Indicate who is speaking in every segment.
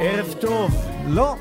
Speaker 1: ערב טוב.
Speaker 2: לא,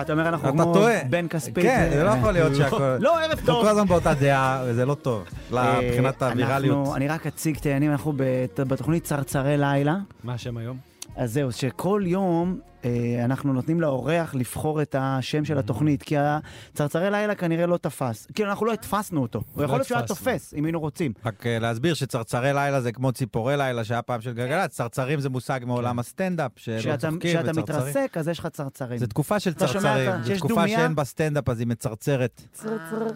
Speaker 1: אתה אומר אנחנו
Speaker 2: אתה
Speaker 1: כמו
Speaker 2: טועה.
Speaker 1: בן כספי.
Speaker 2: כן, זה לא יכול להיות
Speaker 1: לא.
Speaker 2: שהכל...
Speaker 1: לא, ערב
Speaker 2: אנחנו
Speaker 1: טוב.
Speaker 2: כל הזמן באותה דעה, וזה לא טוב. מבחינת
Speaker 1: אה,
Speaker 2: הווירליות.
Speaker 1: אנחנו- אני רק אציג את העניינים, אנחנו בת- בתוכנית צרצרי לילה.
Speaker 3: מה השם היום?
Speaker 1: אז זהו, שכל יום אה, אנחנו נותנים לאורח לבחור את השם
Speaker 3: Mm-hmm.
Speaker 1: של התוכנית, כי הצרצרי לילה כנראה לא תפס. כאילו, אנחנו לא התפסנו אותו. הוא יכול להיות שהוא היה
Speaker 3: התפסנו.
Speaker 1: תופס, אם היינו רוצים.
Speaker 3: לא
Speaker 2: רק אה, להסביר שצרצרי לילה זה כמו ציפורי לילה שהיה פעם של גלגלצ, צרצרים זה מושג מעולם הסטנדאפ, שלא
Speaker 1: כן. כשאתה
Speaker 2: צוחקים
Speaker 1: כשאתה
Speaker 2: וצרצרים.
Speaker 1: מתרסק, אז יש לך צרצרים.
Speaker 2: זו תקופה של
Speaker 1: אתה שומע את
Speaker 2: צרצרים,
Speaker 1: ה-
Speaker 2: זו
Speaker 1: שיש
Speaker 2: תקופה
Speaker 1: דומיה?
Speaker 2: שאין בה סטנדאפ אז היא מצרצרת.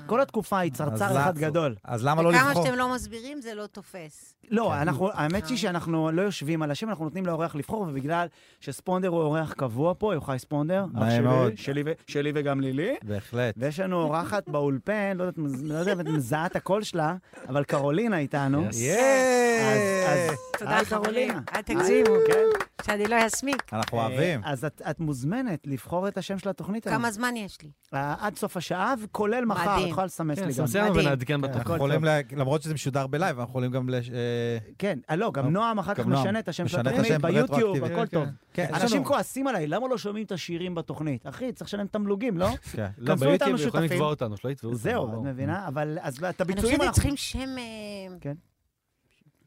Speaker 1: כל התקופה היא צרצר
Speaker 2: אז
Speaker 1: אחד
Speaker 2: למה-
Speaker 1: גדול.
Speaker 2: אז למה לא
Speaker 4: וכמה
Speaker 2: לבחור?
Speaker 4: שאתם לא מסבירים זה לא תופס.
Speaker 1: לא,
Speaker 2: כן.
Speaker 1: אנחנו, האמת היא שאנחנו לא יושבים על השם, אנחנו נותנים לאורח לבחור, ובגלל שספונדר הוא אורח קבוע פה, יוחאי ספונדר, אח
Speaker 2: נעים
Speaker 1: שלי,
Speaker 2: מאוד.
Speaker 1: שלי ו- שלי וגם לילי,
Speaker 4: לא-
Speaker 2: בהחלט.
Speaker 1: ויש לנו אורחת באולפן, לא יודעת לא יודע אם את מזהה את הקול שלה, אבל קרולינה איתנו.
Speaker 3: Yes.
Speaker 2: יאיי!
Speaker 1: אז- אז-
Speaker 4: תודה
Speaker 1: היי,
Speaker 4: חברים,
Speaker 1: קרולינה.
Speaker 4: אל תגזימו,
Speaker 1: כן.
Speaker 4: שאני לא אסמיק.
Speaker 2: אנחנו אוהבים.
Speaker 1: אה, אז את את מוזמנת לבחור את השם של התוכנית היום.
Speaker 4: כמה זמן יש לי?
Speaker 1: אה, עד סוף השעה, וכולל מחר, את
Speaker 4: מדהים.
Speaker 1: יכולה לסמס
Speaker 3: כן,
Speaker 1: לי גם.
Speaker 3: סמסי לנו
Speaker 4: מדהים.
Speaker 3: ונעדכן
Speaker 1: כן,
Speaker 3: בתוכנית.
Speaker 1: הכל
Speaker 2: אנחנו יכולים, ל- למרות שזה משודר בלייב, אנחנו יכולים גם לש... אה,
Speaker 1: כן, אה, לא, גם
Speaker 2: אוקיי.
Speaker 1: נועם אחר כך
Speaker 2: גם נועם.
Speaker 1: משנה את השם של
Speaker 2: משנה את
Speaker 1: התוכנית,
Speaker 2: השם
Speaker 1: ביוטיוב,
Speaker 2: רטרואקטיבית.
Speaker 1: הכל
Speaker 3: כן,
Speaker 1: טוב.
Speaker 3: כן.
Speaker 2: כן, יש
Speaker 1: אנשים
Speaker 2: לנו-
Speaker 1: כועסים עליי, למה לא שומעים את השירים בתוכנית? אחי, צריך לשלם תמלוגים, לא?
Speaker 2: כן.
Speaker 3: לא,
Speaker 1: כנסו איתנו
Speaker 3: ביוטיוב יכולים
Speaker 1: שותפים.
Speaker 3: לתבוע אותנו, שלא יתבעו אותנו.
Speaker 1: זהו,
Speaker 3: ברור.
Speaker 1: את מבינה? אבל אז את
Speaker 4: אני
Speaker 1: הביצועים
Speaker 4: חושבת
Speaker 1: אנחנו...
Speaker 4: שצריכים שם אה,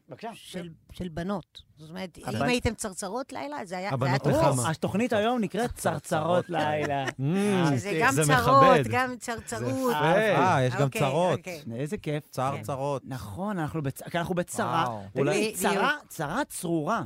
Speaker 1: בבקשה.
Speaker 4: של- של בנות. זאת אומרת,
Speaker 1: הבנ-
Speaker 4: אם הייתם צרצרות לילה, זה היה זה היה
Speaker 3: הבנות
Speaker 1: או,
Speaker 4: תופס.
Speaker 3: נחמה.
Speaker 1: התוכנית היום נקראת צרצרות לילה. אה,
Speaker 3: Mm,
Speaker 4: שזה גם
Speaker 3: זה
Speaker 4: צרות,
Speaker 3: מכבד.
Speaker 4: גם צרצרות.
Speaker 1: זה-
Speaker 3: אה,
Speaker 2: אה, יש גם
Speaker 4: אוקיי,
Speaker 2: צרות.
Speaker 4: אוקיי.
Speaker 1: אה, איזה כיף.
Speaker 2: צר צרות.
Speaker 1: נכון, אנחנו בצ- כי אנחנו בצרה.
Speaker 2: וואו.
Speaker 1: תגידי,
Speaker 4: אולי-
Speaker 1: צרה- צרה צרורה.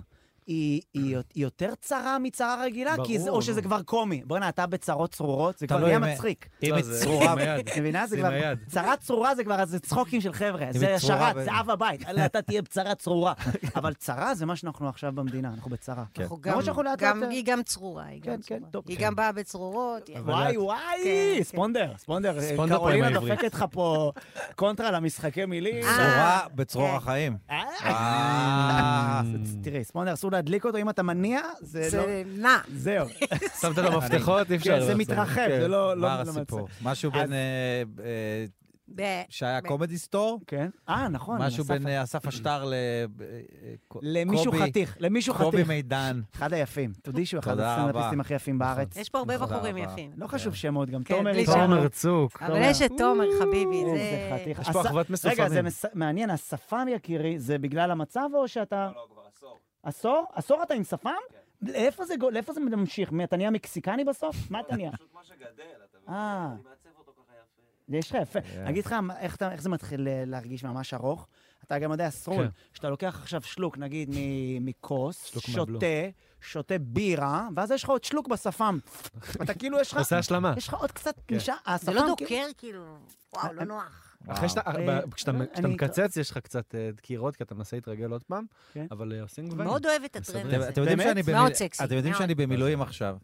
Speaker 1: היא היא יות- יותר צרה מצרה רגילה? כי זה-
Speaker 3: ברור.
Speaker 1: או שזה כבר קומי. בואנה, אתה בצרות צרורות, זה כבר
Speaker 2: תלוי
Speaker 1: נהיה
Speaker 2: אם-
Speaker 1: מצחיק.
Speaker 2: אם
Speaker 3: לא,
Speaker 2: היא
Speaker 3: זה-
Speaker 2: צרורה,
Speaker 3: עם היד.
Speaker 1: את מבינה? זה
Speaker 3: זה
Speaker 1: כבר...
Speaker 3: עם היד.
Speaker 1: צרה צרורה זה כבר, אז זה צחוקים של חבר'ה. זה
Speaker 2: היא צרורה
Speaker 1: השרת,
Speaker 2: ב-
Speaker 1: זה אב הבית. אללה, אתה תהיה בצרה צרורה. אבל צרה זה מה שאנחנו עכשיו במדינה, אנחנו בצרה.
Speaker 3: כן.
Speaker 2: כן.
Speaker 4: אנחנו
Speaker 1: למרות שאנחנו
Speaker 4: גם-
Speaker 1: לאט
Speaker 4: גם-
Speaker 1: לאט-
Speaker 4: היא גם צרורה, היא
Speaker 1: כן,
Speaker 4: גם
Speaker 1: כן,
Speaker 4: צרורה.
Speaker 1: טוב.
Speaker 4: היא
Speaker 1: כן.
Speaker 4: גם באה בצרורות. היא-
Speaker 1: וואי
Speaker 3: את-
Speaker 1: וואי,
Speaker 4: כן, כן.
Speaker 1: ספונדר, ספונדר, אה,
Speaker 3: ספונדר פה עם
Speaker 1: קרולינה
Speaker 3: העברית.
Speaker 1: דופקת לך פה קונטרה למשחקי מילים.
Speaker 4: אה.
Speaker 2: צרורה בצרור
Speaker 4: כן.
Speaker 2: החיים.
Speaker 1: אה.
Speaker 2: אה,
Speaker 1: אז תראי, ספונדר, אסור להדליק אותו, אם אתה מניע, זה לא...
Speaker 4: זה נע.
Speaker 1: זהו,
Speaker 3: שמת לו מפתחות, אי אפשר.
Speaker 1: כן, זה
Speaker 3: לעשות.
Speaker 1: מתרחב,
Speaker 2: כן,
Speaker 1: זה לא... לא-
Speaker 2: מה
Speaker 1: לא
Speaker 2: הסיפור?
Speaker 1: מצחיק.
Speaker 2: משהו בין אה, אה,
Speaker 4: ב-
Speaker 2: שהיה
Speaker 4: ב-
Speaker 2: קומדי סטור?
Speaker 1: כן. אה, נכון.
Speaker 2: משהו
Speaker 1: אסף-
Speaker 2: בין אה, אסף אשטר ל... אה, אה,
Speaker 1: למישהו
Speaker 2: קובי-
Speaker 1: חתיך, למישהו
Speaker 2: קובי
Speaker 1: חתיך.
Speaker 2: מידן.
Speaker 1: אחד היפים. תודי שהוא אחד
Speaker 2: תודה
Speaker 1: הסטנדאפיסטים
Speaker 2: רבה.
Speaker 1: הכי יפים בארץ.
Speaker 4: יש פה הרבה
Speaker 2: תודה
Speaker 4: בחורים
Speaker 2: רבה.
Speaker 4: יפים.
Speaker 1: לא חשוב שמות, גם
Speaker 4: כן,
Speaker 1: תומר.
Speaker 4: בלי
Speaker 1: איתנו.
Speaker 4: שם.
Speaker 3: תומר צוק.
Speaker 4: אבל יש את תומר, חביבי,
Speaker 1: איזה
Speaker 4: זה...
Speaker 1: חתיך.
Speaker 3: יש פה
Speaker 1: הס-
Speaker 3: אחוות מסופמים.
Speaker 1: רגע, זה מס- מעניין, השפם יקירי, זה בגלל המצב או שאתה... לא, לא, כבר עשור. כן. עשור? עשור אתה עם שפם? לאיפה זה גו- לאיפה זה ממשיך? מי, אתה נהיה מקסיקני בסוף? מה אתה נהיה? פשוט מה שגדל, אתה מבין? אני מעצב אותו ככה יפה. יש לך יפה. אני אגיד לך מה- איך אתה- איך זה מתחיל אה, להרגיש ממש ארוך. אתה גם יודע, סרול,
Speaker 3: כן.
Speaker 1: שאתה לוקח עכשיו שלוק, נגיד, מ- מכוס,
Speaker 3: שלוק מהבלו.
Speaker 1: שותה, שותה בירה, ואז יש לך עוד שלוק בשפם. אתה כאילו, יש לך...
Speaker 3: עושה השלמה.
Speaker 1: יש לך עוד קצת
Speaker 2: כן.
Speaker 1: נשאר, השפם...
Speaker 4: זה לא
Speaker 1: כאילו-
Speaker 4: דוקר, כאילו, וואו, לא נוח.
Speaker 3: אחרי שאתה,
Speaker 1: אה,
Speaker 3: ב- כשאתה
Speaker 1: אה,
Speaker 3: כשאתה
Speaker 1: אני-
Speaker 3: מקצץ, יש לך קצת אה, דקירות, כי אתה מנסה להתרגל עוד פעם,
Speaker 1: כן.
Speaker 3: אבל אה, עושים גוונים.
Speaker 4: מאוד אוהבת את
Speaker 3: מסדרים.
Speaker 4: הטרנד
Speaker 2: אתם
Speaker 4: הזה.
Speaker 2: אתם יודעים
Speaker 1: באמת?
Speaker 2: שאני
Speaker 4: מאוד
Speaker 2: במילואים-
Speaker 4: סקסי,
Speaker 2: אתם יודעים
Speaker 4: מאוד.
Speaker 2: שאני במילואים עכשיו.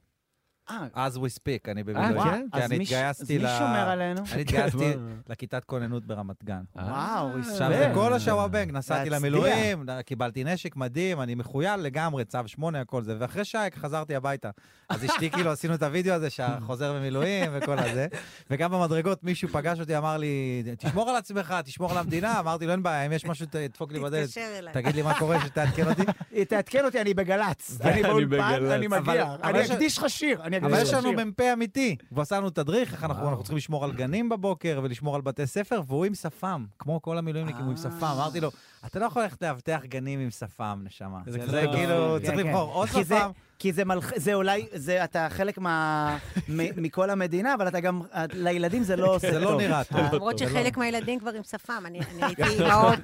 Speaker 1: אה,
Speaker 2: As we speak, אני
Speaker 3: אה,
Speaker 2: במילואים.
Speaker 3: כן?
Speaker 2: כי אני
Speaker 1: מי ש-
Speaker 2: התגייסתי ל...
Speaker 1: אז מי שומר עלינו?
Speaker 2: אני
Speaker 1: כן,
Speaker 2: התגייסתי
Speaker 3: וואו.
Speaker 2: לכיתת כוננות ברמת גן.
Speaker 3: אה,
Speaker 1: וואו, אה,
Speaker 2: עכשיו אה. זה
Speaker 1: ריספקט.
Speaker 2: כל השוואבנג, נסעתי
Speaker 1: להצדיע.
Speaker 2: למילואים, קיבלתי נשק מדהים, אני מחוייל לגמרי, צו 8, הכל זה. ואחרי שעה חזרתי הביתה. אז אשתי, כאילו, עשינו את הוידאו הזה, שחוזר במילואים וכל הזה. וגם במדרגות מישהו פגש אותי, אמר לי, תשמור על עצמך, תשמור על המדינה. אמרתי לו, אין בעיה, אם יש משהו, ת- תדפוק לי בדלת.
Speaker 4: תתקשר אליי.
Speaker 2: תגיד לי מה קורה, שתעדכן אותי.
Speaker 1: אה, תעדכן אותי, אני בגל"צ. אני באולפן,
Speaker 3: בגל"צ.
Speaker 1: אני מגיע.
Speaker 2: אבל-
Speaker 1: אני
Speaker 2: אבל-
Speaker 1: אקדיש לך שיר. אני
Speaker 2: אבל
Speaker 1: אקדיש לך
Speaker 2: יש לנו
Speaker 1: שיר.
Speaker 2: מ"פ אמיתי, הוא עשה לנו תדריך, איך אנחנו אנחנו צריכים לשמור על גנים בבוקר ולשמור על בתי ספר, והוא עם שפם, כמו כל המילואימניקים, הוא עם שפם.
Speaker 1: אה.
Speaker 2: אמרתי לו, אתה לא יכול ללכת לאבטח גנים עם שפם, נשמה.
Speaker 3: זה
Speaker 2: זה
Speaker 3: קצת-
Speaker 2: כאילו,
Speaker 1: כן,
Speaker 2: צריך
Speaker 1: כן.
Speaker 2: לבחור עוד
Speaker 1: כי זה-
Speaker 2: שפם.
Speaker 1: כי זה מלח... זה אולי, זה אתה חלק מה... מ- מכל המדינה, אבל אתה גם, את- לילדים זה לא עושה טוב.
Speaker 2: זה לא נראה טוב.
Speaker 4: למרות שחלק
Speaker 1: לא.
Speaker 4: מהילדים כבר עם שפם, אני אני הייתי אימהות
Speaker 1: נכון.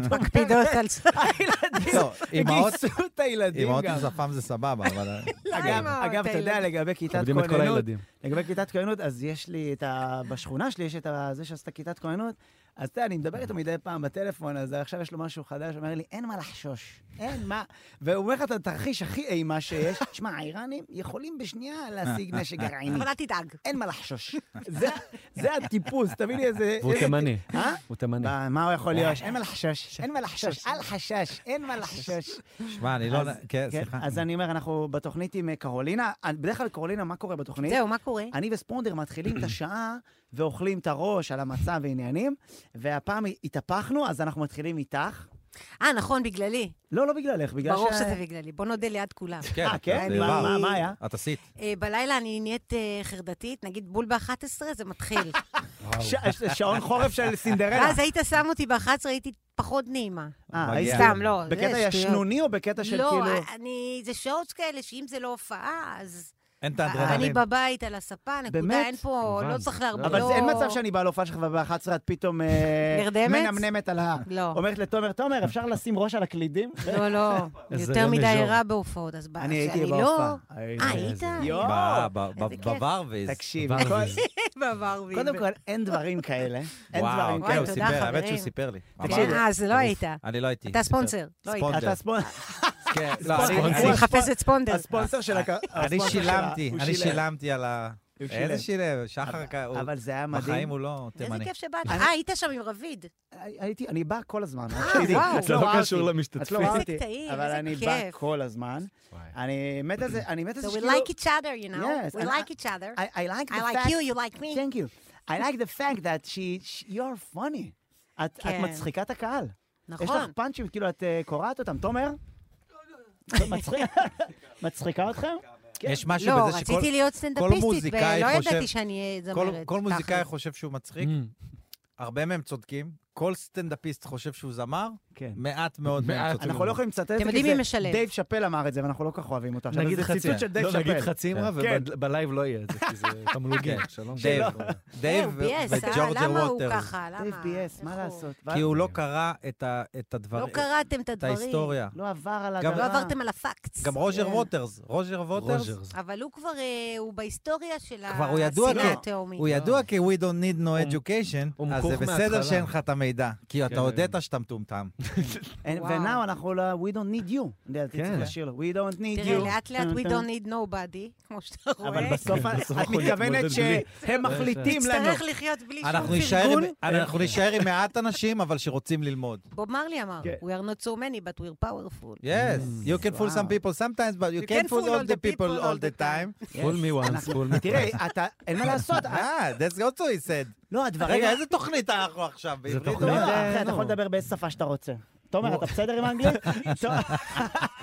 Speaker 4: שמקפידות על זה.
Speaker 2: לא, אמהות-
Speaker 1: גייסו את הילדים
Speaker 2: אמהות
Speaker 1: גם.
Speaker 2: עם שפם זה סבבה, אבל... אה,
Speaker 1: אגב,
Speaker 4: לא,
Speaker 1: אגב, אתה יודע,
Speaker 4: הילדים.
Speaker 1: לגבי כיתת
Speaker 3: מכבדים את כל
Speaker 1: כוננות,
Speaker 3: הילדים.
Speaker 1: לגבי כיתת כהנות, אז יש לי את ה... בשכונה שלי יש את ה... זה שעשת כיתת כהנות, אז אתה יודע, אני מדבר איתו מדי פעם בטלפון, אז עכשיו יש לו משהו חדש, הוא אומר לי, אין מה לחשוש, אין מה. והוא אומר לך את התרחיש הכי אימה שיש, שמע, האיראנים יכולים בשנייה להשיג נשק גרעיני.
Speaker 4: אבל אל תדאג.
Speaker 1: אין מה לחשוש. זה- זה הטיפוס, תביא לי איזה...
Speaker 3: והוא
Speaker 1: איזה-
Speaker 3: תימני.
Speaker 1: אה?
Speaker 3: הוא תימני.
Speaker 1: מה- מה הוא יכול להיות? אין מה לחשוש, אין מה לחשוש, אל חשש, אין מה לחשוש.
Speaker 2: שמע, אני לא...
Speaker 1: אז-
Speaker 2: כן,
Speaker 1: כן,
Speaker 2: סליחה.
Speaker 1: אז אני אומר, אנחנו בתוכנית עם אה, קרולינה, אה, בדרך כלל קרולינה, מה קורה בתוכנית?
Speaker 4: זהו, מה קורה?
Speaker 1: אני וספונדר מתחילים את השעה ואוכלים את הראש על המצע ועניינים, והפעם התהפכנו, אז אנחנו מתחילים איתך.
Speaker 4: אה, נכון, בגללי.
Speaker 1: לא, לא בגללך, בגלל
Speaker 4: ברור
Speaker 1: ש-
Speaker 4: שזה בגללי. בוא נודה ליד כולם.
Speaker 2: כן,
Speaker 1: אה, כן?
Speaker 2: זה
Speaker 1: מה-
Speaker 2: עבר.
Speaker 1: מה- מה היה?
Speaker 2: את עשית.
Speaker 4: אה, בלילה אני נהיית אה, חרדתית, נגיד בול ב-11, זה מתחיל.
Speaker 1: ש- ש- שעון חורף של סינדרלה.
Speaker 4: ואז היית שם אותי ב-11, הייתי פחות נעימה.
Speaker 1: אה,
Speaker 2: מגיע.
Speaker 1: היית-
Speaker 4: סתם, לא. זה
Speaker 1: בקטע
Speaker 4: שטויות.
Speaker 1: ישנוני או בקטע של כאילו...
Speaker 4: לא, אני, זה שעות כאלה, שאם זה לא הופעה, אז...
Speaker 2: אין את
Speaker 4: אני
Speaker 2: האדרנלין.
Speaker 4: בבית על הספה, נקודה,
Speaker 1: באמת?
Speaker 4: אין פה,
Speaker 3: מובן.
Speaker 4: לא צריך להרבה...
Speaker 1: אבל
Speaker 4: לא-
Speaker 1: זה- אין מצב שאני בא להופעה שלך וב-11 את פתאום... אה,
Speaker 4: נרדמת?
Speaker 1: מנמנמת על ה...
Speaker 4: לא.
Speaker 1: אומרת לתומר, תומר, אפשר לשים ראש על הקלידים?
Speaker 4: לא, לא,
Speaker 3: איזה
Speaker 4: יותר מדי
Speaker 3: לז'ור.
Speaker 4: ערה בהופעות, אז
Speaker 1: אני
Speaker 4: שאני
Speaker 1: הייתי
Speaker 4: לא...
Speaker 1: בהופעה. הייתי.
Speaker 4: אה, היית?
Speaker 1: יואו.
Speaker 2: ב- ב-
Speaker 4: איזה
Speaker 2: ב-
Speaker 4: כיף.
Speaker 2: בברוויז.
Speaker 1: לא. תקשיב,
Speaker 3: דבר
Speaker 1: כל-
Speaker 3: רביעי.
Speaker 4: לא בעבר
Speaker 1: קודם כל, אין דברים כאלה. אין
Speaker 2: וואו,
Speaker 1: דברים
Speaker 2: כן,
Speaker 4: וואי,
Speaker 2: הוא
Speaker 1: כאלה.
Speaker 4: תודה,
Speaker 2: סיפר, האמת
Speaker 4: חברים.
Speaker 2: שהוא סיפר לי.
Speaker 1: תקשיב,
Speaker 2: אמר,
Speaker 4: אה, אז לא
Speaker 2: "טירוף".
Speaker 4: היית.
Speaker 2: אני לא הייתי.
Speaker 4: אתה
Speaker 2: סיפר.
Speaker 4: ספונסר, לא היית.
Speaker 2: ספונדר.
Speaker 1: אתה ספונדר.
Speaker 2: כן, לא, אני-
Speaker 1: ספונדר.
Speaker 2: אני-
Speaker 4: הוא
Speaker 1: הוא
Speaker 4: מחפש את ספונדר.
Speaker 1: הספונסר של הקר...
Speaker 2: אני שילמתי, אני שילמתי על ה...
Speaker 1: הוא שילם.
Speaker 2: איזה שילם? שחר ק- הוא-
Speaker 1: אבל זה היה
Speaker 2: בחיים
Speaker 1: מדהים.
Speaker 2: הוא לא
Speaker 4: איזה
Speaker 2: תימני.
Speaker 4: כיף שבאת. אה, היית שם עם רביד.
Speaker 1: הייתי, אני בא כל הזמן. רק
Speaker 4: אה,
Speaker 1: שתדעי.
Speaker 4: וואו.
Speaker 1: את לא רואה אותי. את לא
Speaker 3: למשתתפים.
Speaker 1: רואה
Speaker 4: איזה
Speaker 1: אותי.
Speaker 4: קטעים,
Speaker 1: אבל
Speaker 4: איזה
Speaker 1: אני בא
Speaker 4: כיף.
Speaker 1: כל הזמן. אני מת על זה, אני מת על זה
Speaker 4: So we
Speaker 1: שכאילו...
Speaker 4: like each other, you know?
Speaker 1: כאילו- Yes,
Speaker 4: We
Speaker 1: and
Speaker 4: like
Speaker 1: I-
Speaker 4: each other.
Speaker 1: I I like
Speaker 4: I
Speaker 1: the
Speaker 4: like
Speaker 1: fact...
Speaker 4: you, you like me.
Speaker 1: Thank you. I like the fact that she, she- you're funny. את, את
Speaker 4: כן.
Speaker 1: מצחיקה את הקהל. יש לך
Speaker 4: נכון.
Speaker 1: פאנצ'ים, כאילו, את אה, קורעת אותם. תומר? מצחיק- מצחיקה אתכם? כן.
Speaker 2: יש משהו
Speaker 4: לא,
Speaker 2: בזה שכל...
Speaker 4: רציתי להיות סטנדאפיסטית,
Speaker 2: מוזיקאי
Speaker 4: ולא
Speaker 2: חושב-
Speaker 4: ידעתי שאני אהיה
Speaker 2: כל,
Speaker 4: זמרת.
Speaker 2: כל מוזיקאי
Speaker 4: תכלס.
Speaker 2: חושב שהוא
Speaker 1: Mm.
Speaker 2: מצחיק, הרבה מהם צודקים, כל סטנדאפיסט חושב שהוא זמר,
Speaker 1: כן.
Speaker 2: מעט מאוד מהם
Speaker 3: מעט.
Speaker 2: צודקים.
Speaker 1: אנחנו לא יכולים לצטט את זה,
Speaker 4: יודעים
Speaker 1: כי
Speaker 4: מי
Speaker 1: זה-
Speaker 4: משלם.
Speaker 1: דייב שאפל אמר את זה, ואנחנו לא כל כך אוהבים אותו. עכשיו,
Speaker 3: נגיד
Speaker 1: זה
Speaker 3: חצי,
Speaker 1: ציטוט של דייב
Speaker 3: לא, נגיד
Speaker 1: שאפל.
Speaker 3: חצי אמרה,
Speaker 1: כן.
Speaker 3: ובלייב לא יהיה את זה, כי זה תמלוגים. שלום.
Speaker 2: דייב, דייב
Speaker 4: אה, הוא ביאס, אה?
Speaker 2: וג'ורג'ר
Speaker 4: למה הוא
Speaker 2: ווטרס,
Speaker 4: ככה? למה?
Speaker 1: דייב ביאס,
Speaker 4: איך
Speaker 1: מה
Speaker 4: הוא?
Speaker 1: לעשות?
Speaker 2: כי הוא
Speaker 1: כן.
Speaker 2: לא קרא את ה- את
Speaker 4: לא
Speaker 2: הדברים,
Speaker 4: קראתם את
Speaker 2: את
Speaker 4: הדברים.
Speaker 2: ההיסטוריה.
Speaker 1: לא עבר על
Speaker 2: גם-
Speaker 1: הדבר.
Speaker 4: לא עברתם על הפקס.
Speaker 2: גם רוג'ר
Speaker 1: כן.
Speaker 2: ווטרס, רוג'ר ווטרס,
Speaker 3: רוג'רס.
Speaker 4: אבל הוא כבר, אה, הוא בהיסטוריה של
Speaker 2: כבר הוא ידוע
Speaker 4: השנאה
Speaker 2: כ-
Speaker 4: התהומית.
Speaker 2: הוא ידוע כ- We don't need no education,
Speaker 3: הוא
Speaker 2: אז זה
Speaker 3: מכוך
Speaker 2: בסדר
Speaker 3: מההתחלה.
Speaker 2: שאין לך את המידע, כי אתה
Speaker 3: כן.
Speaker 2: הודית שאתה מטומטם.
Speaker 1: And-
Speaker 4: וואו.
Speaker 1: ו-now אנחנו לא, we don't need you. אני יודע,
Speaker 3: כן.
Speaker 1: צריך לשיר לו, we don't need you.
Speaker 4: תראה, לאט לאט we don't need nobody, כמו שאתה רואה.
Speaker 1: אבל בסוף
Speaker 3: בסוף
Speaker 1: את
Speaker 3: אנחנו
Speaker 1: מתכוונת
Speaker 3: נתמודד בלי.
Speaker 1: שהם מחליטים לנו.
Speaker 4: תצטרך לחיות בלי
Speaker 2: אנחנו
Speaker 4: שום
Speaker 2: נישאר
Speaker 4: פרגון.
Speaker 2: עם-
Speaker 3: כן.
Speaker 2: אנחנו נישאר עם מעט אנשים, אבל שרוצים ללמוד.
Speaker 3: Mm.
Speaker 4: בוב מרלי אמר,
Speaker 1: כן.
Speaker 4: We are not so many, but we're powerful.
Speaker 2: Yes, you can fool some
Speaker 1: Wow.
Speaker 2: people sometimes, but you can't fool all the people all the time.
Speaker 3: פול מי וואנס, פול מי.
Speaker 1: תראה, אתה, אין מה לעשות.
Speaker 2: אה, that's also he said.
Speaker 1: לא, הדברים...
Speaker 2: רגע, איזה תוכנית אנחנו עכשיו? בעברית
Speaker 1: לא,
Speaker 3: תוכנית,
Speaker 2: או-
Speaker 1: לא,
Speaker 3: אה,
Speaker 1: אחי, אתה
Speaker 3: נו.
Speaker 1: יכול לדבר באיזה שפה שאתה רוצה. תומר, אתה בסדר עם האנגלית? טוב.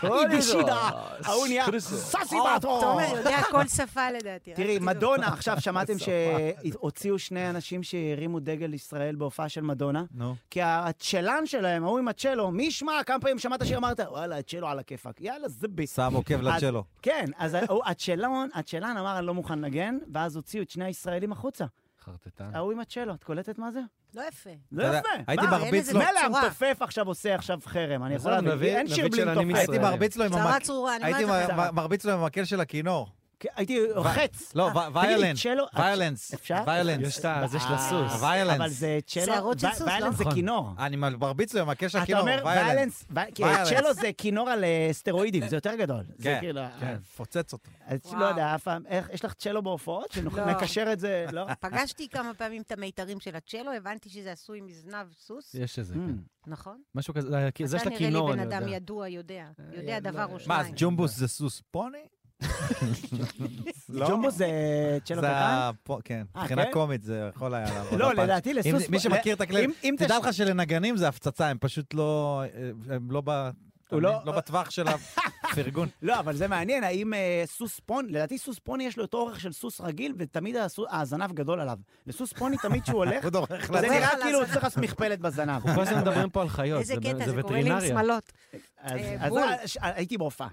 Speaker 1: היא בשידה, ההוא נהיה סאסי באטו.
Speaker 4: אה, תומר יודע כל שפה לדעתי. רק
Speaker 1: תראי,
Speaker 4: תדעו.
Speaker 1: מדונה, עכשיו שמעתם שהוציאו שני אנשים שהרימו דגל ישראל בהופעה של מדונה?
Speaker 2: נו.
Speaker 1: כי הצ'לן שלהם, ההוא עם הצ'לו, מי ישמע כמה פעמים שמעת שיר, אמרת, וואלה, הצ'לו על הכיפאק. יאללה, זה ביס.
Speaker 2: שם עוקב לצ'לו.
Speaker 1: כן, אז ההוא- הצ'לון, הצ'לן אמר, אני לא מוכן לנגן, ואז הוציאו את שני הישראלים החוצה.
Speaker 3: חרטטן.
Speaker 1: ההוא עם הצ'לו, את קולטת מה זה?
Speaker 4: לא יפה.
Speaker 1: לא
Speaker 2: אתה יודע,
Speaker 1: יפה.
Speaker 2: הייתי
Speaker 1: מה?
Speaker 2: מרביץ
Speaker 4: אין לזה
Speaker 2: לו.
Speaker 1: מילא
Speaker 4: צורה.
Speaker 1: המתופף עכשיו עושה עכשיו חרם, אני יכול
Speaker 3: עזוב,
Speaker 1: להבין,
Speaker 3: נביא-
Speaker 1: אין שיר
Speaker 3: נביא
Speaker 1: בלי
Speaker 3: של אני
Speaker 1: מתופף.
Speaker 2: הייתי
Speaker 3: ישראל.
Speaker 2: מרביץ לו עם
Speaker 4: צרה
Speaker 2: המק...
Speaker 4: צרורה, אני לא
Speaker 2: הייתי
Speaker 4: אומרת לך.
Speaker 1: לך.
Speaker 2: מ- מרביץ לו עם המקל של הכינור.
Speaker 1: כן, הייתי חץ.
Speaker 2: לא,
Speaker 4: אה,
Speaker 2: ו- ויולן.
Speaker 1: תגיד, צ'לו-
Speaker 2: ויולנס.
Speaker 1: אפשר? אה,
Speaker 3: יש
Speaker 2: ויולנס.
Speaker 3: את ה... זה של הסוס.
Speaker 2: ויולנס.
Speaker 1: אבל זה צ'לו,
Speaker 4: שערות של סוס, לא?
Speaker 1: ויילנס זה
Speaker 3: נכון.
Speaker 1: כינור.
Speaker 2: אני מרביץ לו עם המקל של
Speaker 1: אתה
Speaker 2: הכינור.
Speaker 1: אומר
Speaker 2: ויולנס.
Speaker 1: ויילנס, וי- כי
Speaker 2: ויילנס.
Speaker 1: צ'לו זה כינור על אה, סטרואידים, זה יותר גדול. זה
Speaker 2: כן,
Speaker 1: כאילו...
Speaker 2: כן, פוצץ אותו.
Speaker 1: אז
Speaker 4: וואו.
Speaker 1: לא יודע, אף פעם, איך- יש לך צ'לו בהופעות?
Speaker 4: לא.
Speaker 1: שנקשר את זה, לא?
Speaker 4: פגשתי כמה פעמים את המיתרים של הצ'לו, הבנתי שזה עשוי מזנב סוס,
Speaker 3: יש איזה,
Speaker 1: Mm.
Speaker 3: כן.
Speaker 4: נכון?
Speaker 3: משהו כזה, זה- זה של
Speaker 4: אתה
Speaker 3: הכינור,
Speaker 4: נראה
Speaker 3: אני
Speaker 4: לי בן
Speaker 3: יודע.
Speaker 4: אדם ידוע, יודע. יודע
Speaker 3: אה,
Speaker 4: דבר או
Speaker 2: מה, אז
Speaker 4: שניים.
Speaker 2: ג'ומבוס זה סוס פוני? לא.
Speaker 1: ג'ומבו זה צ'לו
Speaker 2: זה
Speaker 1: קטן?
Speaker 2: הפו- כן,
Speaker 1: אה,
Speaker 2: מבחינה
Speaker 1: כן?
Speaker 2: קומית זה יכול היה לעבוד.
Speaker 1: לא,
Speaker 2: הפאנץ'.
Speaker 1: לדעתי
Speaker 2: אם-
Speaker 1: לסוס...
Speaker 2: מי שמכיר את הכללים,
Speaker 1: אם- אם
Speaker 2: תדע
Speaker 1: תש-
Speaker 2: לך שלנגנים זה הפצצה, הם פשוט לא... הם לא ב...
Speaker 1: הוא
Speaker 2: לא
Speaker 1: לא-
Speaker 2: בטווח של הפרגון.
Speaker 1: לא, אבל זה מעניין, האם אה, סוס פוני, לדעתי סוס פוני יש לו את האורך של סוס רגיל, ותמיד הסו- הזנב גדול עליו. לסוס פוני תמיד כשהוא הולך,
Speaker 2: הוא דורך
Speaker 1: זה
Speaker 2: לזה.
Speaker 1: נראה
Speaker 4: על
Speaker 1: כאילו הוא
Speaker 4: הזנב.
Speaker 1: צריך לעשות מכפלת בזנב.
Speaker 3: אנחנו כל הזמן מדברים פה על חיות,
Speaker 4: איזה
Speaker 3: זה
Speaker 4: קטע,
Speaker 3: זה
Speaker 4: זה קורה לי עם
Speaker 3: וטרינריה.
Speaker 4: שמלות.
Speaker 1: אז
Speaker 4: אה,
Speaker 1: אז
Speaker 4: בול.
Speaker 1: אה, ש- הייתי בהופעה.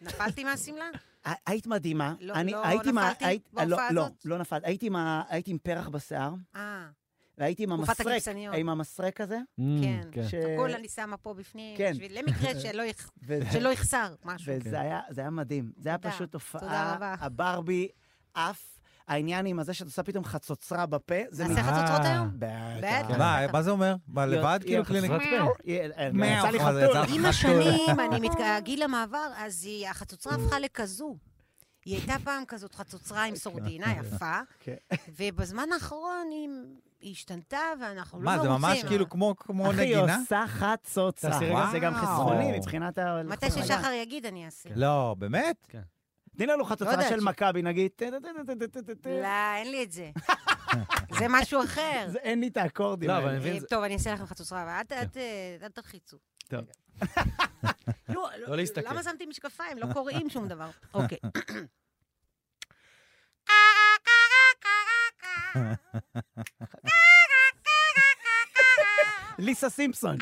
Speaker 4: נפלתי מהשמלה?
Speaker 1: ה- היית מדהימה.
Speaker 4: לא-
Speaker 1: אני-
Speaker 4: לא
Speaker 1: הייתי עם ה-
Speaker 4: נפלתי
Speaker 1: היית- אה, לא-
Speaker 4: בהופעה
Speaker 1: לא,
Speaker 4: הזאת?
Speaker 1: לא נפלתי. הייתי עם ה- הייתי עם פרח בשיער,
Speaker 4: אה,
Speaker 1: והייתי עם
Speaker 4: תקופת
Speaker 1: המסרק,
Speaker 4: הכבשניות.
Speaker 1: עם המסרק הזה.
Speaker 3: Mm,
Speaker 4: כן.
Speaker 1: ש-
Speaker 2: אה,
Speaker 4: הכל אני שמה פה בפנים,
Speaker 1: כן.
Speaker 4: בשביל- למקרה שלא יח-
Speaker 1: וזה-
Speaker 4: שלא יחסר משהו.
Speaker 2: כן.
Speaker 1: וזה היה, זה היה מדהים. זה היה
Speaker 4: תודה,
Speaker 1: פשוט
Speaker 4: תודה
Speaker 1: הופעה,
Speaker 4: רבה.
Speaker 1: הברבי עף. העניין עם הזה שאת עושה פתאום חצוצרה בפה, זה
Speaker 4: נעשה
Speaker 1: נראה...
Speaker 4: חצוצרות היום?
Speaker 1: בטח.
Speaker 4: בטח.
Speaker 2: מה, מה זה אומר? מה, לבד
Speaker 1: היא
Speaker 2: כאילו
Speaker 1: חסרת
Speaker 2: קליניקה?
Speaker 1: יהיה- אה,
Speaker 2: מאו.
Speaker 1: יצא לי
Speaker 2: מה זה, יצא
Speaker 1: חתול.
Speaker 2: לך?
Speaker 4: עם השנים, אני מתק- גיל המעבר, אז היא- החצוצרה הפכה לכזו. היא הייתה פעם כזאת חצוצרה עם סורדינה יפה,
Speaker 1: כן.
Speaker 4: ובזמן האחרון היא היא השתנתה, ואנחנו לא
Speaker 2: מה, זה
Speaker 4: מרוצים.
Speaker 2: ממש
Speaker 4: אבל-
Speaker 2: כאילו כמו כמו
Speaker 1: אחי, היא
Speaker 2: נגינה?
Speaker 1: עושה חצוצרה.
Speaker 3: תעשי
Speaker 2: רגע.
Speaker 1: זה גם
Speaker 2: וואו.
Speaker 1: חסכוני מבחינת ה...
Speaker 4: מתי ששחר יגיד, אני אעשה.
Speaker 2: לא, באמת?
Speaker 1: תני לנו
Speaker 4: לא
Speaker 1: חצוצרה
Speaker 4: יודעת.
Speaker 1: של מכבי, נגיד.
Speaker 4: לא, אין לי את זה. זה משהו אחר.
Speaker 1: זה- אין לי את האקורדים
Speaker 3: לא, אבל
Speaker 1: האלה.
Speaker 3: אני מבין,
Speaker 4: אה,
Speaker 3: זה-
Speaker 2: כן.
Speaker 4: טוב, אני אעשה לכם חצוצרה, אבל אל ת- אל ת- אל תלחיצו.
Speaker 3: טוב.
Speaker 4: לא,
Speaker 3: לא להסתכל.
Speaker 4: למה שמתי משקפיים? לא קוראים שום דבר. אוקיי.
Speaker 1: ליסה סימפסון.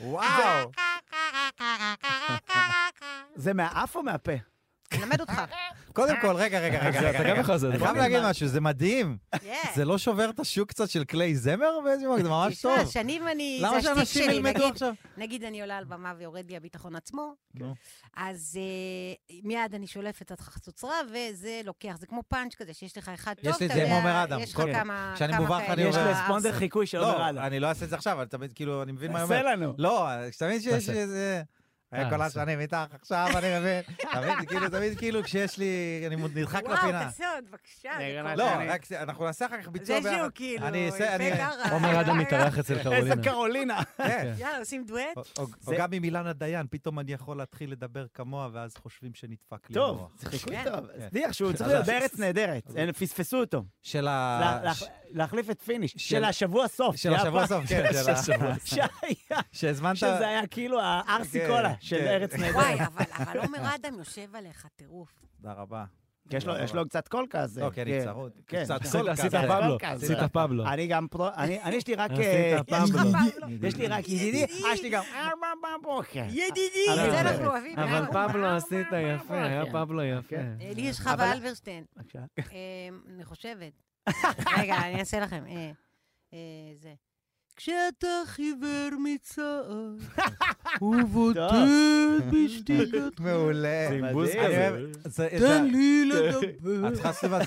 Speaker 2: וואו!
Speaker 1: זה מהאף או מהפה?
Speaker 4: נלמד אותך.
Speaker 2: קודם כל, רגע, רגע, רגע,
Speaker 3: אתה
Speaker 2: רגע,
Speaker 3: גם
Speaker 1: כן.
Speaker 2: רגע.
Speaker 3: יכול לעשות את
Speaker 2: אני
Speaker 3: זה. לא?
Speaker 2: חייב להגיד משהו, זה מדהים.
Speaker 4: כן.
Speaker 2: זה לא שובר את השוק קצת של כלי זמר באיזשהו מקום? זה ממש
Speaker 4: תשמע,
Speaker 2: טוב.
Speaker 4: שנים אני...
Speaker 2: למה
Speaker 4: זה השטיק
Speaker 2: שאנשים
Speaker 4: שלי,
Speaker 2: ילמדו
Speaker 4: נגיד-
Speaker 2: עכשיו?
Speaker 4: נגיד אני עולה על במה ויורד לי הביטחון עצמו, כן.
Speaker 2: נו.
Speaker 4: אז אה, מיד אני שולפת את החצוצרה, וזה לוקח, זה כמו פאנץ' כזה, שיש לך אחד טוב,
Speaker 2: יש לי את
Speaker 4: אתה
Speaker 2: זה עם
Speaker 4: יודע,
Speaker 2: עומר אדם,
Speaker 4: יש לך
Speaker 2: כל-
Speaker 4: כמה...
Speaker 2: כשאני
Speaker 4: כמה
Speaker 2: מובך
Speaker 4: כאלה
Speaker 2: אני
Speaker 1: יש
Speaker 2: אומר-
Speaker 1: לו
Speaker 4: בארסים.
Speaker 1: ספונדר חיקוי של עומר
Speaker 2: לא,
Speaker 1: הלאה.
Speaker 2: אני לא אעשה את זה עכשיו, אבל תמיד, כאילו, אני מבין מה אני
Speaker 1: תעשה
Speaker 2: אומר.
Speaker 1: לנו.
Speaker 2: לא, אתה מבין שיש
Speaker 3: תעשה.
Speaker 2: איזה... היה
Speaker 3: אה,
Speaker 2: כל
Speaker 3: בסדר.
Speaker 2: השנים איתך, עכשיו אני מבין. תמיד, כאילו, תמיד כאילו כשיש לי, אני נדחק
Speaker 4: וואו,
Speaker 2: לפינה.
Speaker 4: תעשה עוד, בבקשה. זה
Speaker 1: נראה
Speaker 4: כל
Speaker 2: לא,
Speaker 4: כך-
Speaker 1: אני-
Speaker 2: רק אנחנו נעשה אחר כך ביצוע
Speaker 4: זה
Speaker 2: ביחד.
Speaker 4: שהוא כאילו,
Speaker 2: לא, אני אעשה, אני...
Speaker 4: יפה ככה.
Speaker 3: עומר אדם מתארח אצל
Speaker 1: איזה
Speaker 2: לא.
Speaker 3: קרולינה.
Speaker 1: קרולינה.
Speaker 2: כן.
Speaker 4: יאללה, עושים דואט?
Speaker 2: או- או- או
Speaker 1: זה-
Speaker 2: גם עם אילנה דיין, פתאום אני יכול להתחיל לדבר כמוה, ואז חושבים שנדפק לי
Speaker 1: טוב,
Speaker 2: המוח.
Speaker 1: זה חיקוי
Speaker 4: כן.
Speaker 1: טוב.
Speaker 2: כן.
Speaker 1: זניח שהוא צריך
Speaker 2: אז-
Speaker 1: להיות בארץ נהדרת. הם פספסו אותו.
Speaker 2: של ה...
Speaker 1: לה- לה-
Speaker 2: ש-
Speaker 1: להחליף את פיניש. של
Speaker 2: של-
Speaker 1: השבוע סוף.
Speaker 2: של השבוע סוף, כן, של ה-
Speaker 1: שהיה,
Speaker 2: שהזמנת...
Speaker 1: שזה היה כאילו הארסי
Speaker 2: כן,
Speaker 1: קולה
Speaker 2: כן.
Speaker 1: של ארץ
Speaker 4: וואי,
Speaker 1: נהדרת.
Speaker 4: אבל- אבל עומר אדם יושב עליך, טירוף.
Speaker 2: תודה רבה.
Speaker 1: כי יש לו- יש לו קצת קול כזה.
Speaker 2: לא, כן, אני צרוד.
Speaker 1: כן.
Speaker 2: קצת
Speaker 3: עשית-
Speaker 2: סולקה.
Speaker 3: עשית
Speaker 1: כזה.
Speaker 3: פבלו,
Speaker 1: סולקה,
Speaker 3: עשית
Speaker 1: זה-
Speaker 3: פבלו.
Speaker 1: אני גם פרו... אני אני יש לי רק... אה,
Speaker 3: עשית
Speaker 1: יש לי-
Speaker 3: פבלו.
Speaker 1: יש לי רק ידידי, אה, יש לי גם ארבע בבוקר.
Speaker 4: ידידי,
Speaker 1: אה, אבל-
Speaker 4: זה אנחנו אוהבים.
Speaker 3: אבל
Speaker 4: אה?
Speaker 3: פבלו עשית יפה, היה
Speaker 1: לא כן.
Speaker 3: פבלו יפה.
Speaker 1: כן.
Speaker 4: אה, לי יש
Speaker 1: אבל-
Speaker 4: חווה אלברשטיין.
Speaker 1: בבקשה.
Speaker 4: אה, אני חושבת. רגע, אני אעשה לכם. אה, אה, זה. כשאתה חיוור מצער, ובוטט בשתיקתך,
Speaker 2: מעולה.
Speaker 1: זה עם בוז
Speaker 2: אני
Speaker 1: כזה.
Speaker 2: אוהב- זה- זה-
Speaker 4: תן לי לדבר.
Speaker 2: את צריכה לשים על-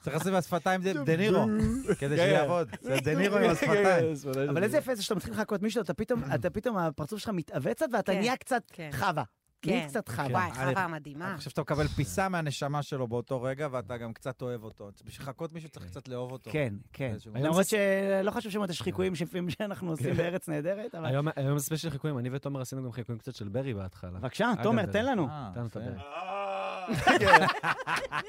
Speaker 2: צריך לשים על השפתיים דה- דה נירו, כדי שזה
Speaker 1: כן.
Speaker 2: יעבוד. זה דה נירו
Speaker 4: אה,
Speaker 2: עם השפתיים.
Speaker 1: אבל איזה יפה זה שאתה מתחיל לחכות מישהו, אתה פתאום, אתה פתאום, הפרצוף שלך מתעוות קצת ואתה
Speaker 4: כן,
Speaker 1: נהיה קצת
Speaker 4: כן.
Speaker 1: חווה. נהיה
Speaker 4: כן.
Speaker 1: קצת חווה.
Speaker 4: וואי,
Speaker 2: אני-
Speaker 4: חווה
Speaker 2: אני
Speaker 4: מדהימה.
Speaker 2: חושב שאתה מקבל פיסה מהנשמה שלו באותו רגע, ואתה גם קצת אוהב אותו. בשביל לחכות מישהו צריך קצת לאהוב אותו.
Speaker 1: כן, כן.
Speaker 2: באיזשהו מקום.
Speaker 1: למרות שלא חשוב שמות השחיקויים
Speaker 2: כן.
Speaker 1: שלפעמים שאנחנו עושים בארץ נהדרת,
Speaker 4: אה,
Speaker 1: אבל...
Speaker 3: היום היום ספיישל חיקויים, אני ותומר עשינו גם חיקויים קצת של ברי בהתחלה.
Speaker 1: בבקשה,
Speaker 3: אגב,
Speaker 1: תומר,
Speaker 3: זה-
Speaker 1: תן לנו.
Speaker 2: אה,
Speaker 3: תן לנו את
Speaker 2: יפה.
Speaker 3: הבן.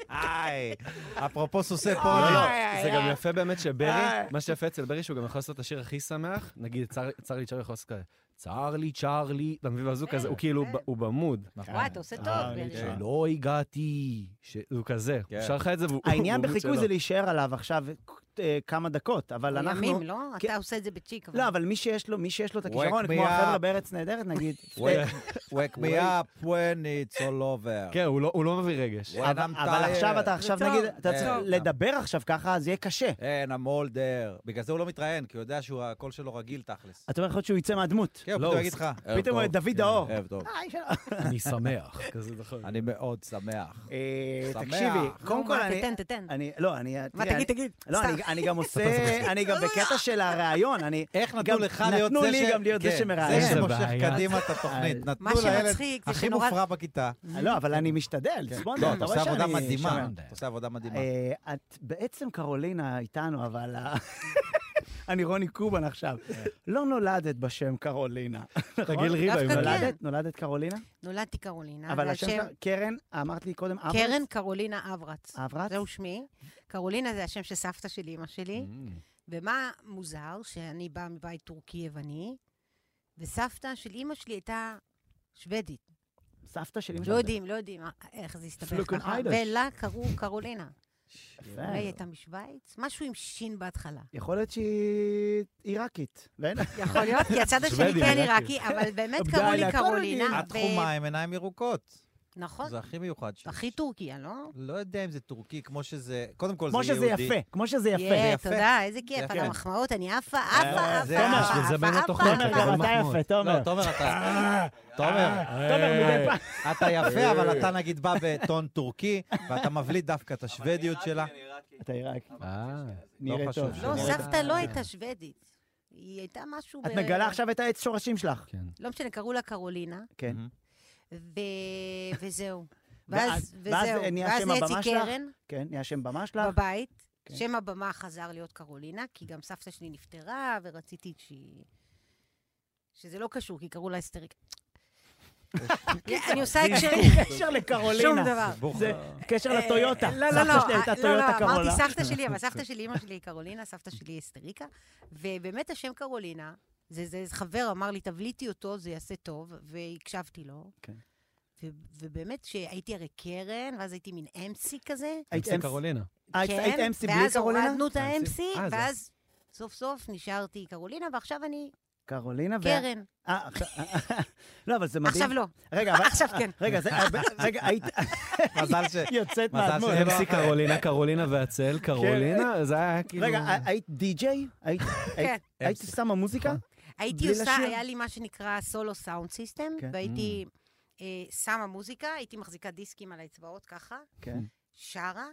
Speaker 2: היי, אפרופו סוסי
Speaker 3: לא,
Speaker 2: פולי.
Speaker 3: לא,
Speaker 1: איי,
Speaker 3: זה
Speaker 1: איי,
Speaker 3: גם
Speaker 1: איי.
Speaker 3: יפה באמת שברי,
Speaker 1: איי.
Speaker 3: מה שיפה אצל ברי שהוא גם יכול לעשות את השיר הכי שמח, נגיד צר- צר לי צ'ארלי יכול לעשות כזה, צר לי צ'ארלי, אתה מבין?
Speaker 4: אה,
Speaker 3: ואז הוא כזה, הוא כאילו, ב- הוא במוד.
Speaker 2: נכון.
Speaker 4: וואי, אתה עושה
Speaker 1: אה,
Speaker 4: טוב. ברי.
Speaker 1: כן.
Speaker 3: שלא הגעתי, ש- הוא כזה,
Speaker 2: כן.
Speaker 3: הוא שר לך את זה והוא...
Speaker 1: העניין
Speaker 3: הוא במוד
Speaker 1: בחיקוי
Speaker 3: שלו.
Speaker 1: זה להישאר עליו עכשיו אה, כמה דקות, אבל
Speaker 4: הוא
Speaker 1: אנחנו...
Speaker 4: ימים, לא?
Speaker 1: כן.
Speaker 4: אתה עושה את זה בצ'יק. אבל-
Speaker 1: לא, אבל מי שיש לו, מי שיש לו את
Speaker 2: Wake
Speaker 1: הכישרון,
Speaker 2: me
Speaker 1: כמו החבר'ה
Speaker 2: up.
Speaker 1: בארץ נהדרת, נגיד.
Speaker 2: Wake- Wake me up when it's all over.
Speaker 3: כן, הוא לא- הוא לא מביא רגש.
Speaker 2: When
Speaker 1: אבל
Speaker 2: I'm
Speaker 1: אבל
Speaker 2: tired.
Speaker 1: עכשיו אתה עכשיו,
Speaker 4: זה טוב,
Speaker 1: נגיד, אתה
Speaker 2: זה
Speaker 1: צריך
Speaker 2: טוב.
Speaker 1: לדבר עכשיו ככה, אז יהיה קשה.
Speaker 2: And I'm all there. בגלל זה הוא לא מתראיין, כי הוא יודע שהקול שלו רגיל תכלס.
Speaker 1: אתה אומר יכול להיות שהוא יצא מהדמות.
Speaker 2: כן, הוא
Speaker 3: לא,
Speaker 2: פתאום
Speaker 3: הוא
Speaker 2: יגיד לך. "ערב
Speaker 1: פתאום הוא
Speaker 2: טוב."
Speaker 1: דוד
Speaker 2: כן,
Speaker 1: האור.
Speaker 2: ערב טוב.
Speaker 1: אה, איש ה-
Speaker 3: אני שמח. כזה נכון.
Speaker 2: אני מאוד שמח.
Speaker 1: אה,
Speaker 2: שמח.
Speaker 1: תקשיבי,
Speaker 4: לא,
Speaker 1: קודם כל
Speaker 4: מה,
Speaker 1: אני...
Speaker 4: תתן, תתן.
Speaker 1: אני, לא, אני...
Speaker 4: מה,
Speaker 1: תראה,
Speaker 4: תגיד,
Speaker 1: אני-
Speaker 4: תגיד.
Speaker 1: לא,
Speaker 4: סתם. לא,
Speaker 1: אני- אני גם עושה, אני גם בקטע של הראיון, אני...
Speaker 2: איך
Speaker 1: גם
Speaker 2: נתנו לך להיות זה ש...
Speaker 1: נתנו לי גם להיות זה
Speaker 2: כן,
Speaker 1: שמראיין.
Speaker 2: זה
Speaker 3: איזה
Speaker 2: שמושך
Speaker 3: בעיה.
Speaker 2: קדימה את התוכנית.
Speaker 1: מה
Speaker 2: נתנו לילד
Speaker 4: שמצחיק זה
Speaker 2: הכי
Speaker 4: שנורא-
Speaker 2: מופרע בכיתה.
Speaker 1: לא, אבל אני משתדל,
Speaker 4: כן.
Speaker 1: ספונדר,
Speaker 2: לא, אתה
Speaker 1: אתה רואה
Speaker 2: עושה
Speaker 1: שאני...
Speaker 2: עבודה מדהימה.
Speaker 1: שומר.
Speaker 2: אתה עושה עבודה מדהימה.
Speaker 1: אה, את בעצם קרולינה איתנו, אבל... ה- אני רוני קובן עכשיו.
Speaker 4: כן.
Speaker 1: לא נולדת בשם קרולינה.
Speaker 3: תגיל ריבה,
Speaker 4: דווקא
Speaker 3: אם
Speaker 4: כן.
Speaker 1: נולדת? נולדת קרולינה?
Speaker 4: נולדתי קרולינה.
Speaker 1: אבל
Speaker 4: זה
Speaker 1: השם
Speaker 4: השם-
Speaker 1: שלך, קרן, אמרת לי קודם, אברץ?
Speaker 4: קרן קרולינה אברץ.
Speaker 1: אברץ?
Speaker 4: זהו שמי. קרולינה זה השם של סבתא של אימא שלי.
Speaker 2: Mm-hmm.
Speaker 1: כן.
Speaker 4: ומה מוזר? שאני באה מבית טורקי-יווני, וסבתא של אימא שלי הייתה שוודית.
Speaker 1: סבתא שלי.
Speaker 4: לא יודעים, לא יודעים אה, איך זה הסתבך
Speaker 1: פלוקן
Speaker 4: ככה.
Speaker 1: איידש.
Speaker 4: ולה קראו קרולינה.
Speaker 2: אה.
Speaker 1: יפה.
Speaker 4: אולי היא הייתה משוויץ? משהו עם שין בהתחלה.
Speaker 1: יכול להיות שהיא עיראקית. ואין-
Speaker 4: יכול להיות, כי הצד השני
Speaker 3: שוודית,
Speaker 4: כן
Speaker 3: עיראקי.
Speaker 4: עיראקי, אבל באמת
Speaker 1: די,
Speaker 4: קראו לי
Speaker 1: הכל
Speaker 4: קרולינה.
Speaker 2: את
Speaker 4: ו-
Speaker 2: חומה עם עיניים ירוקות.
Speaker 4: נכון.
Speaker 2: זה הכי מיוחד שיש.
Speaker 4: הכי טורקיה, לא?
Speaker 2: לא יודע אם זה טורקי, כמו שזה... קודם כל, זה
Speaker 1: כמו
Speaker 2: יהודי.
Speaker 1: שזה יפה, כמו שזה יפה.
Speaker 4: יא,
Speaker 2: יפה.
Speaker 4: תודה, איזה כיף,
Speaker 2: יפה.
Speaker 4: על המחמאות, אני עפה, עפה,
Speaker 2: אה,
Speaker 4: עפה,
Speaker 2: זה ממש,
Speaker 4: עפה,
Speaker 3: וזה בין
Speaker 4: עפה,
Speaker 3: התוכניות,
Speaker 1: תומר,
Speaker 4: עפה.
Speaker 3: אבל
Speaker 1: גם אתה
Speaker 3: מחמוד.
Speaker 1: יפה, תומר.
Speaker 2: לא, תומר, אתה...
Speaker 1: אה!
Speaker 3: אה,
Speaker 2: תומר,
Speaker 1: תומר מדי פעם.
Speaker 2: אתה יפה, אבל
Speaker 1: אה!
Speaker 2: אתה נגיד בא בטון טורקי, ואתה מבליט דווקא את השוודיות שלה.
Speaker 1: אתה עיראקי.
Speaker 3: אה,
Speaker 1: נראה
Speaker 2: לא חשוב
Speaker 1: טוב.
Speaker 2: שזה
Speaker 4: לא,
Speaker 1: נראה טוב.
Speaker 4: סבתא לא הייתה שוודית. היא הייתה משהו...
Speaker 1: כן. את
Speaker 4: ב-
Speaker 1: מגלה עכשיו את העץ שורשים שלך.
Speaker 3: כן.
Speaker 4: לא משנה, קראו לה קרולינה,
Speaker 1: כן.
Speaker 4: ו... וזהו.
Speaker 1: ואז-
Speaker 4: ואז, וזהו.
Speaker 1: ואז נהיה שם הבמה
Speaker 4: נהייתי
Speaker 1: שלך?
Speaker 4: קרן
Speaker 1: כן, נהיה שם במה שלך.
Speaker 4: בבית.
Speaker 1: כן.
Speaker 4: שם הבמה חזר להיות קרולינה, כי גם סבתא שלי נפטרה, ורציתי שהיא... שזה לא קשור, כי קראו לה אסתריקה. אני עושה הקשרים.
Speaker 1: קשר לקרולינה.
Speaker 4: שום דבר.
Speaker 2: סיבוך.
Speaker 1: זה קשר לטויוטה.
Speaker 4: אה, לא, לא, לא,
Speaker 1: סבתא שלי הייתה
Speaker 4: אה, לא, לא,
Speaker 1: טויוטה
Speaker 4: אמרתי
Speaker 1: קרולה.
Speaker 4: סבתא שלי, אבל סבתא שלי, אימא שלי היא קרולינה, סבתא שלי היא אסטריקה, ובאמת השם קרולינה, זה זה איזה חבר אמר לי, תבליטי אותו, זה יעשה טוב, והקשבתי לו.
Speaker 1: כן.
Speaker 4: ו- ובאמת שהייתי הרי קרן, ואז הייתי מין אמסי כזה.
Speaker 1: היית
Speaker 3: MC
Speaker 1: אמס-
Speaker 3: קרולינה.
Speaker 1: אה, היית היית אמסי בלי
Speaker 4: כן, ואז
Speaker 1: קרולינה?
Speaker 4: הורדנו את
Speaker 3: אה, MC?
Speaker 4: האמסי,
Speaker 3: אה, זה-
Speaker 4: ואז סוף סוף נשארתי קרולינה, ועכשיו אני
Speaker 1: קרולינה ו...
Speaker 4: קרן.
Speaker 1: אה, עכשיו- לא, אבל זה מדהים.
Speaker 4: עכשיו לא,
Speaker 1: רגע, אבל...
Speaker 4: עכשיו כן.
Speaker 1: רגע, זה... אה, רגע, היית
Speaker 2: מזל ש...
Speaker 1: יוצאת
Speaker 3: אה,
Speaker 2: מזל
Speaker 1: מהדמות.
Speaker 2: שזה לא
Speaker 3: MC קרולינה, קרולינה והצל, קרולינה, זה היה כאילו...
Speaker 1: כן. רגע, אה, היית די-ג'יי? היית-
Speaker 4: כן.
Speaker 1: היית- היית
Speaker 2: MC.
Speaker 1: שמה מוזיקה?
Speaker 2: נכון.
Speaker 4: הייתי
Speaker 1: בלי
Speaker 4: עושה,
Speaker 1: לשיר?
Speaker 4: היה לי מה שנקרא סולו סאונד סיסטם,
Speaker 1: כן.
Speaker 4: והייתי אה, שמה מוזיקה, הייתי מחזיקה דיסקים על האצבעות ככה,
Speaker 1: כן.
Speaker 4: שרה,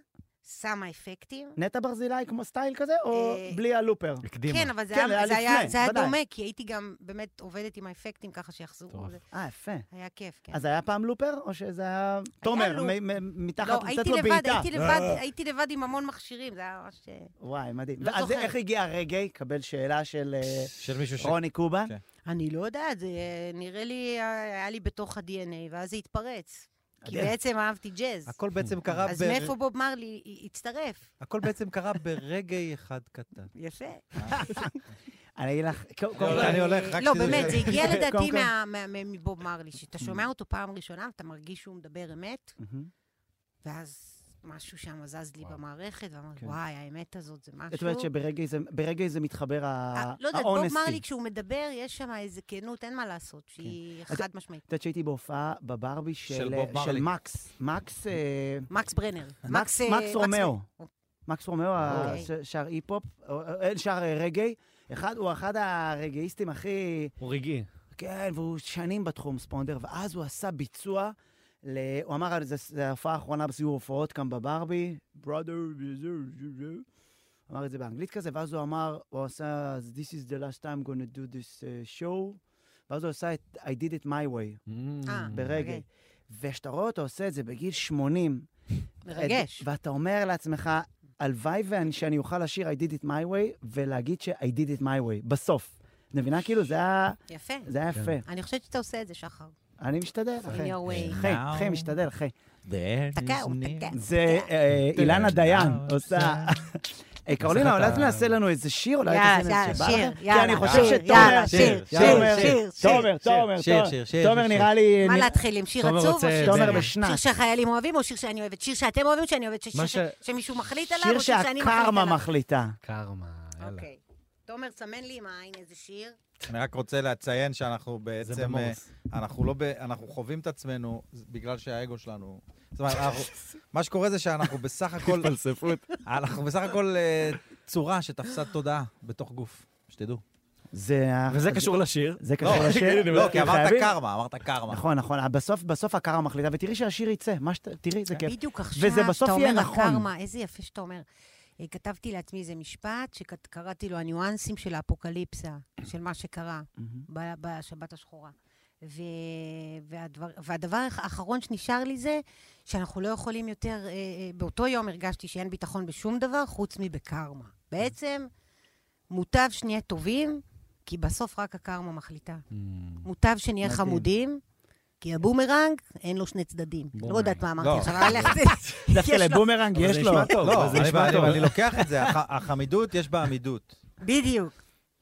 Speaker 4: שמה אפקטים.
Speaker 1: נטע ברזילי כמו סטייל כזה, או
Speaker 4: אה,
Speaker 1: בלי הלופר?
Speaker 2: הקדימה.
Speaker 4: כן, אבל זה
Speaker 1: כן,
Speaker 4: היה-
Speaker 1: היה
Speaker 4: זה היה
Speaker 1: לפני,
Speaker 4: זה היה
Speaker 1: ודאי.
Speaker 4: דומה, כי הייתי גם באמת עובדת עם האפקטים ככה שיחזרו.
Speaker 3: מטורף.
Speaker 4: זה
Speaker 1: אה, יפה.
Speaker 4: היה כיף, כן.
Speaker 1: אז היה פעם לופר, או שזה היה... תומר,
Speaker 4: לופ.
Speaker 1: מ- מ- מתחת,
Speaker 4: לא,
Speaker 1: לתת
Speaker 4: הייתי
Speaker 1: לו
Speaker 4: לבד,
Speaker 1: בעיטה.
Speaker 4: הייתי לבד, הייתי לבד עם המון מכשירים, זה היה ממש... אה,
Speaker 1: וואי, מדהים.
Speaker 4: לא
Speaker 1: ואז
Speaker 4: זוכרת.
Speaker 1: איך הגיע הרגעי? קבל שאלה של אה,
Speaker 2: של מישהו ש...
Speaker 1: רוני קובן.
Speaker 2: כן.
Speaker 4: אני לא יודעת, זה אה, נראה לי, אה, היה לי בתוך ה-DNA, ואז זה התפרץ. כי
Speaker 1: הדרך.
Speaker 4: בעצם אהבתי ג'אז.
Speaker 2: הכל בעצם קרה
Speaker 4: אז
Speaker 2: בר-
Speaker 4: מאיפה בוב מרלי הצטרף?
Speaker 2: הכל בעצם קרה ברגעי אחד קטן.
Speaker 4: יפה.
Speaker 1: אני אגיד לך... קודם
Speaker 2: לא,
Speaker 1: כל-
Speaker 2: אני הולך, רק
Speaker 4: לא,
Speaker 2: שתדעי.
Speaker 4: באמת, זה הגיע
Speaker 1: קודם
Speaker 4: לדעתי
Speaker 1: כל-
Speaker 4: מה- מה- מה- מבוב מרלי, שאתה שומע אותו פעם ראשונה ואתה מרגיש שהוא מדבר אמת,
Speaker 1: מהמם.
Speaker 4: ואז משהו שם זז לי
Speaker 3: וואו.
Speaker 4: במערכת, ואמרתי,
Speaker 1: כן.
Speaker 4: וואי, האמת הזאת זה משהו.
Speaker 1: את אומרת שברגעי זה- ברגעי זה מתחבר
Speaker 4: אה,
Speaker 1: ה-
Speaker 4: לא יודעת, בוב מרלי,
Speaker 1: האונסטי.
Speaker 4: כשהוא מדבר, יש שם איזה כנות, אין מה
Speaker 1: כן.
Speaker 4: לעשות, שהיא
Speaker 1: אתה-
Speaker 4: חד משמעית.
Speaker 1: את יודעת שהייתי בהופעה בברבי של אה,
Speaker 2: בוב
Speaker 1: של
Speaker 2: מרלי.
Speaker 1: מקס. מקס... אה,
Speaker 4: מקס ברנר.
Speaker 1: מקס
Speaker 4: אה,
Speaker 1: מקס רומאו. מקס רומאו, ה-
Speaker 4: אוקיי.
Speaker 1: ש- שר אי-פופ, או- אה, שר אה, רגעי. אחד- הוא אחד הרגעיסטים הכי...
Speaker 3: הוא רגעי.
Speaker 1: כן, והוא שנים בתחום ספונדר, ואז הוא עשה ביצוע, ל... הוא אמר, "זה- זה ההופעה האחרונה בסיור הופעות כאן בברבי, brother, אמר את זה באנגלית כזה, ואז הוא אמר, הוא עשה, This is the last time I'm gonna do this uh, show, ואז הוא עשה את I did it my way,
Speaker 4: אה.
Speaker 1: ברגע.
Speaker 4: אוקיי.
Speaker 1: וכשאתה רואה אותו עושה את זה בגיל 80,
Speaker 4: מרגש.
Speaker 1: את- ואתה אומר לעצמך, הלוואי ואני- שאני אוכל לשיר I did it my way, ולהגיד ש-I did it my way, בסוף. את מבינה? כאילו, זה היה,
Speaker 4: יפה.
Speaker 1: זה היה יפה.
Speaker 4: אני חושבת שאתה עושה את זה, שחר.
Speaker 1: אני משתדל, אחי.
Speaker 4: In your way.
Speaker 1: אחי,
Speaker 2: Now.
Speaker 1: אחי, משתדל, אחי.
Speaker 4: תקעו, תקעו.
Speaker 1: זה אה, אילנה דיין עושה... אה, קרולינה, אולי את מנסה לנו איזה שיר? אולי
Speaker 4: יאללה,
Speaker 1: תעשה לנו
Speaker 4: יאללה,
Speaker 1: איזה שבא
Speaker 4: שיר,
Speaker 1: לך? כי
Speaker 4: יאללה,
Speaker 1: אני חושב
Speaker 4: שיר,
Speaker 1: שתומר...
Speaker 4: יאללה, שיר,
Speaker 1: שיר,
Speaker 4: שיר,
Speaker 1: שיר,
Speaker 4: שיר,
Speaker 1: תומר, תומר,
Speaker 4: שיר,
Speaker 2: שיר,
Speaker 1: תומר,
Speaker 2: שיר, שיר,
Speaker 1: תומר
Speaker 2: שיר,
Speaker 1: נראה לי...
Speaker 4: מה
Speaker 1: נראה-
Speaker 4: להתחיל עם שיר
Speaker 3: תומר
Speaker 4: עצוב? או
Speaker 3: רוצה
Speaker 1: כן,
Speaker 4: שיר-
Speaker 1: תומר
Speaker 3: זה-
Speaker 4: שיר
Speaker 1: בשנת.
Speaker 4: שהחיילים אוהבים, או שיר שאני אוהבת, שיר שאתם אוהבים, שאני אוהבת, ששיר
Speaker 3: מה
Speaker 4: ש-
Speaker 3: ש-
Speaker 4: שמישהו מחליט עליו,
Speaker 1: שיר
Speaker 4: או שיר שאני
Speaker 1: שהקרמה
Speaker 4: מחליט
Speaker 1: מחליטה.
Speaker 3: קרמה,
Speaker 4: עליו.
Speaker 3: יאללה.
Speaker 4: אוקיי. תומר, סמן לי עם העין איזה שיר.
Speaker 2: אני רק רוצה לציין שאנחנו
Speaker 3: זה
Speaker 2: בעצם, אה,
Speaker 3: במורס.
Speaker 2: אנחנו לא, ב- אנחנו חווים את עצמנו בגלל שהאגו שלנו. זאת אומרת, אנחנו- מה שקורה זה שאנחנו בסך הכל,
Speaker 3: התפלספות.
Speaker 2: אנחנו בסך הכל אה, צורה שתפסה תודעה בתוך גוף, שתדעו.
Speaker 1: זה... ה-
Speaker 3: וזה
Speaker 1: זה-
Speaker 3: קשור לשיר.
Speaker 1: זה קשור לשיר?
Speaker 2: לא, כי אמרת
Speaker 1: חייבים-
Speaker 2: קרמה, אמרת קרמה.
Speaker 1: נכון, נכון. בסוף- בסוף הקרמה מחליטה, ותראי שהשיר יצא. מה שת- תראי, זה כיף.
Speaker 4: בדיוק
Speaker 1: וזה
Speaker 4: עכשיו,
Speaker 1: בסוף
Speaker 4: שאתה
Speaker 1: יהיה
Speaker 4: אומר
Speaker 1: נכון.
Speaker 4: הקרמה, איזה יפה שאתה אומר. אה, כתבתי לעצמי איזה משפט שקראתי לו הניואנסים של האפוקליפסה, של מה שקרה
Speaker 1: מהמם.
Speaker 4: ב- בשבת השחורה. ו... והדבר... והדבר האחרון שנשאר לי זה שאנחנו לא יכולים יותר, אה, אה, באותו יום הרגשתי שאין ביטחון בשום דבר חוץ מבקרמה. בעצם מוטב שנהיה טובים, כי בסוף רק הקרמה מחליטה. מוטב שנהיה
Speaker 1: מדהים.
Speaker 4: חמודים, כי הבומרנג, אין לו שני צדדים. לא יודעת מה אמרתי
Speaker 2: לא.
Speaker 4: עכשיו, אבל לך
Speaker 1: דווקא
Speaker 4: יש לו-
Speaker 1: לבומרנג
Speaker 3: אבל
Speaker 1: יש
Speaker 3: זה
Speaker 1: לו.
Speaker 3: נשמע טוב,
Speaker 2: לא,
Speaker 3: אבל זה
Speaker 2: אני-
Speaker 3: נשמע
Speaker 2: אני-
Speaker 3: טוב.
Speaker 2: אני לוקח את זה, הח- החמידות יש בה עמידות.
Speaker 4: בדיוק.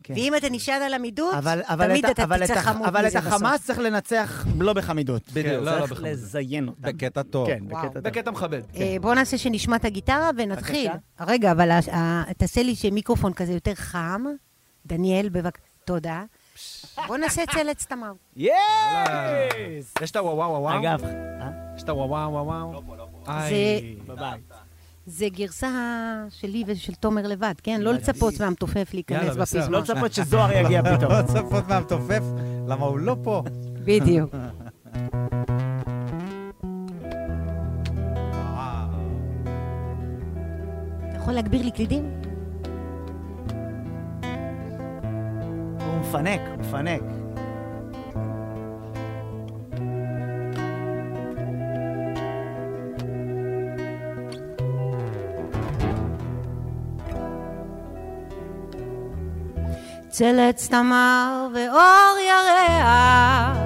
Speaker 1: כן.
Speaker 4: ואם אתה נשען על עמידות,
Speaker 1: אבל, אבל,
Speaker 4: תמיד
Speaker 1: את,
Speaker 4: אתה
Speaker 1: אבל, את,
Speaker 4: תצא
Speaker 1: הח-
Speaker 4: חמוד
Speaker 1: אבל את
Speaker 4: מזה בסוף.
Speaker 1: החמאס צריך לנצח לא בחמידות.
Speaker 2: בדיוק,
Speaker 1: כן,
Speaker 3: לא, לא
Speaker 1: צריך
Speaker 3: בחמידות.
Speaker 1: לזיין אותם.
Speaker 2: בקטע טוב.
Speaker 1: כן,
Speaker 4: וואו.
Speaker 1: בקטע טוב.
Speaker 3: בקטע מכבד.
Speaker 4: אה, בוא נעשה שנשמע את הגיטרה ונתחיל.
Speaker 1: כן. בבקשה.
Speaker 4: רגע, אבל הש- ה- תעשה לי שמיקרופון כזה יותר חם. דניאל, בבק... תודה. בוא נעשה צלץ תמר.
Speaker 1: יס!
Speaker 3: יש את הוואו וואו וואו?
Speaker 1: אגב, אה?
Speaker 3: יש את הוואו וואו וואו? איי.
Speaker 4: זה-
Speaker 1: בבית.
Speaker 4: זה גרסה שלי ושל תומר לבד, כן? לא לצפות מהמתופף להיכנס
Speaker 3: יאללה, בסדר.
Speaker 4: בפזמון.
Speaker 1: לא לצפות שזוהר יגיע פתאום.
Speaker 2: לא צפות מהמתופף, למה הוא לא פה?
Speaker 4: בדיוק. אתה יכול להגביר לי קלידים?
Speaker 1: הוא מפנק, הוא מפנק.
Speaker 4: צלץ תמר ואור ירח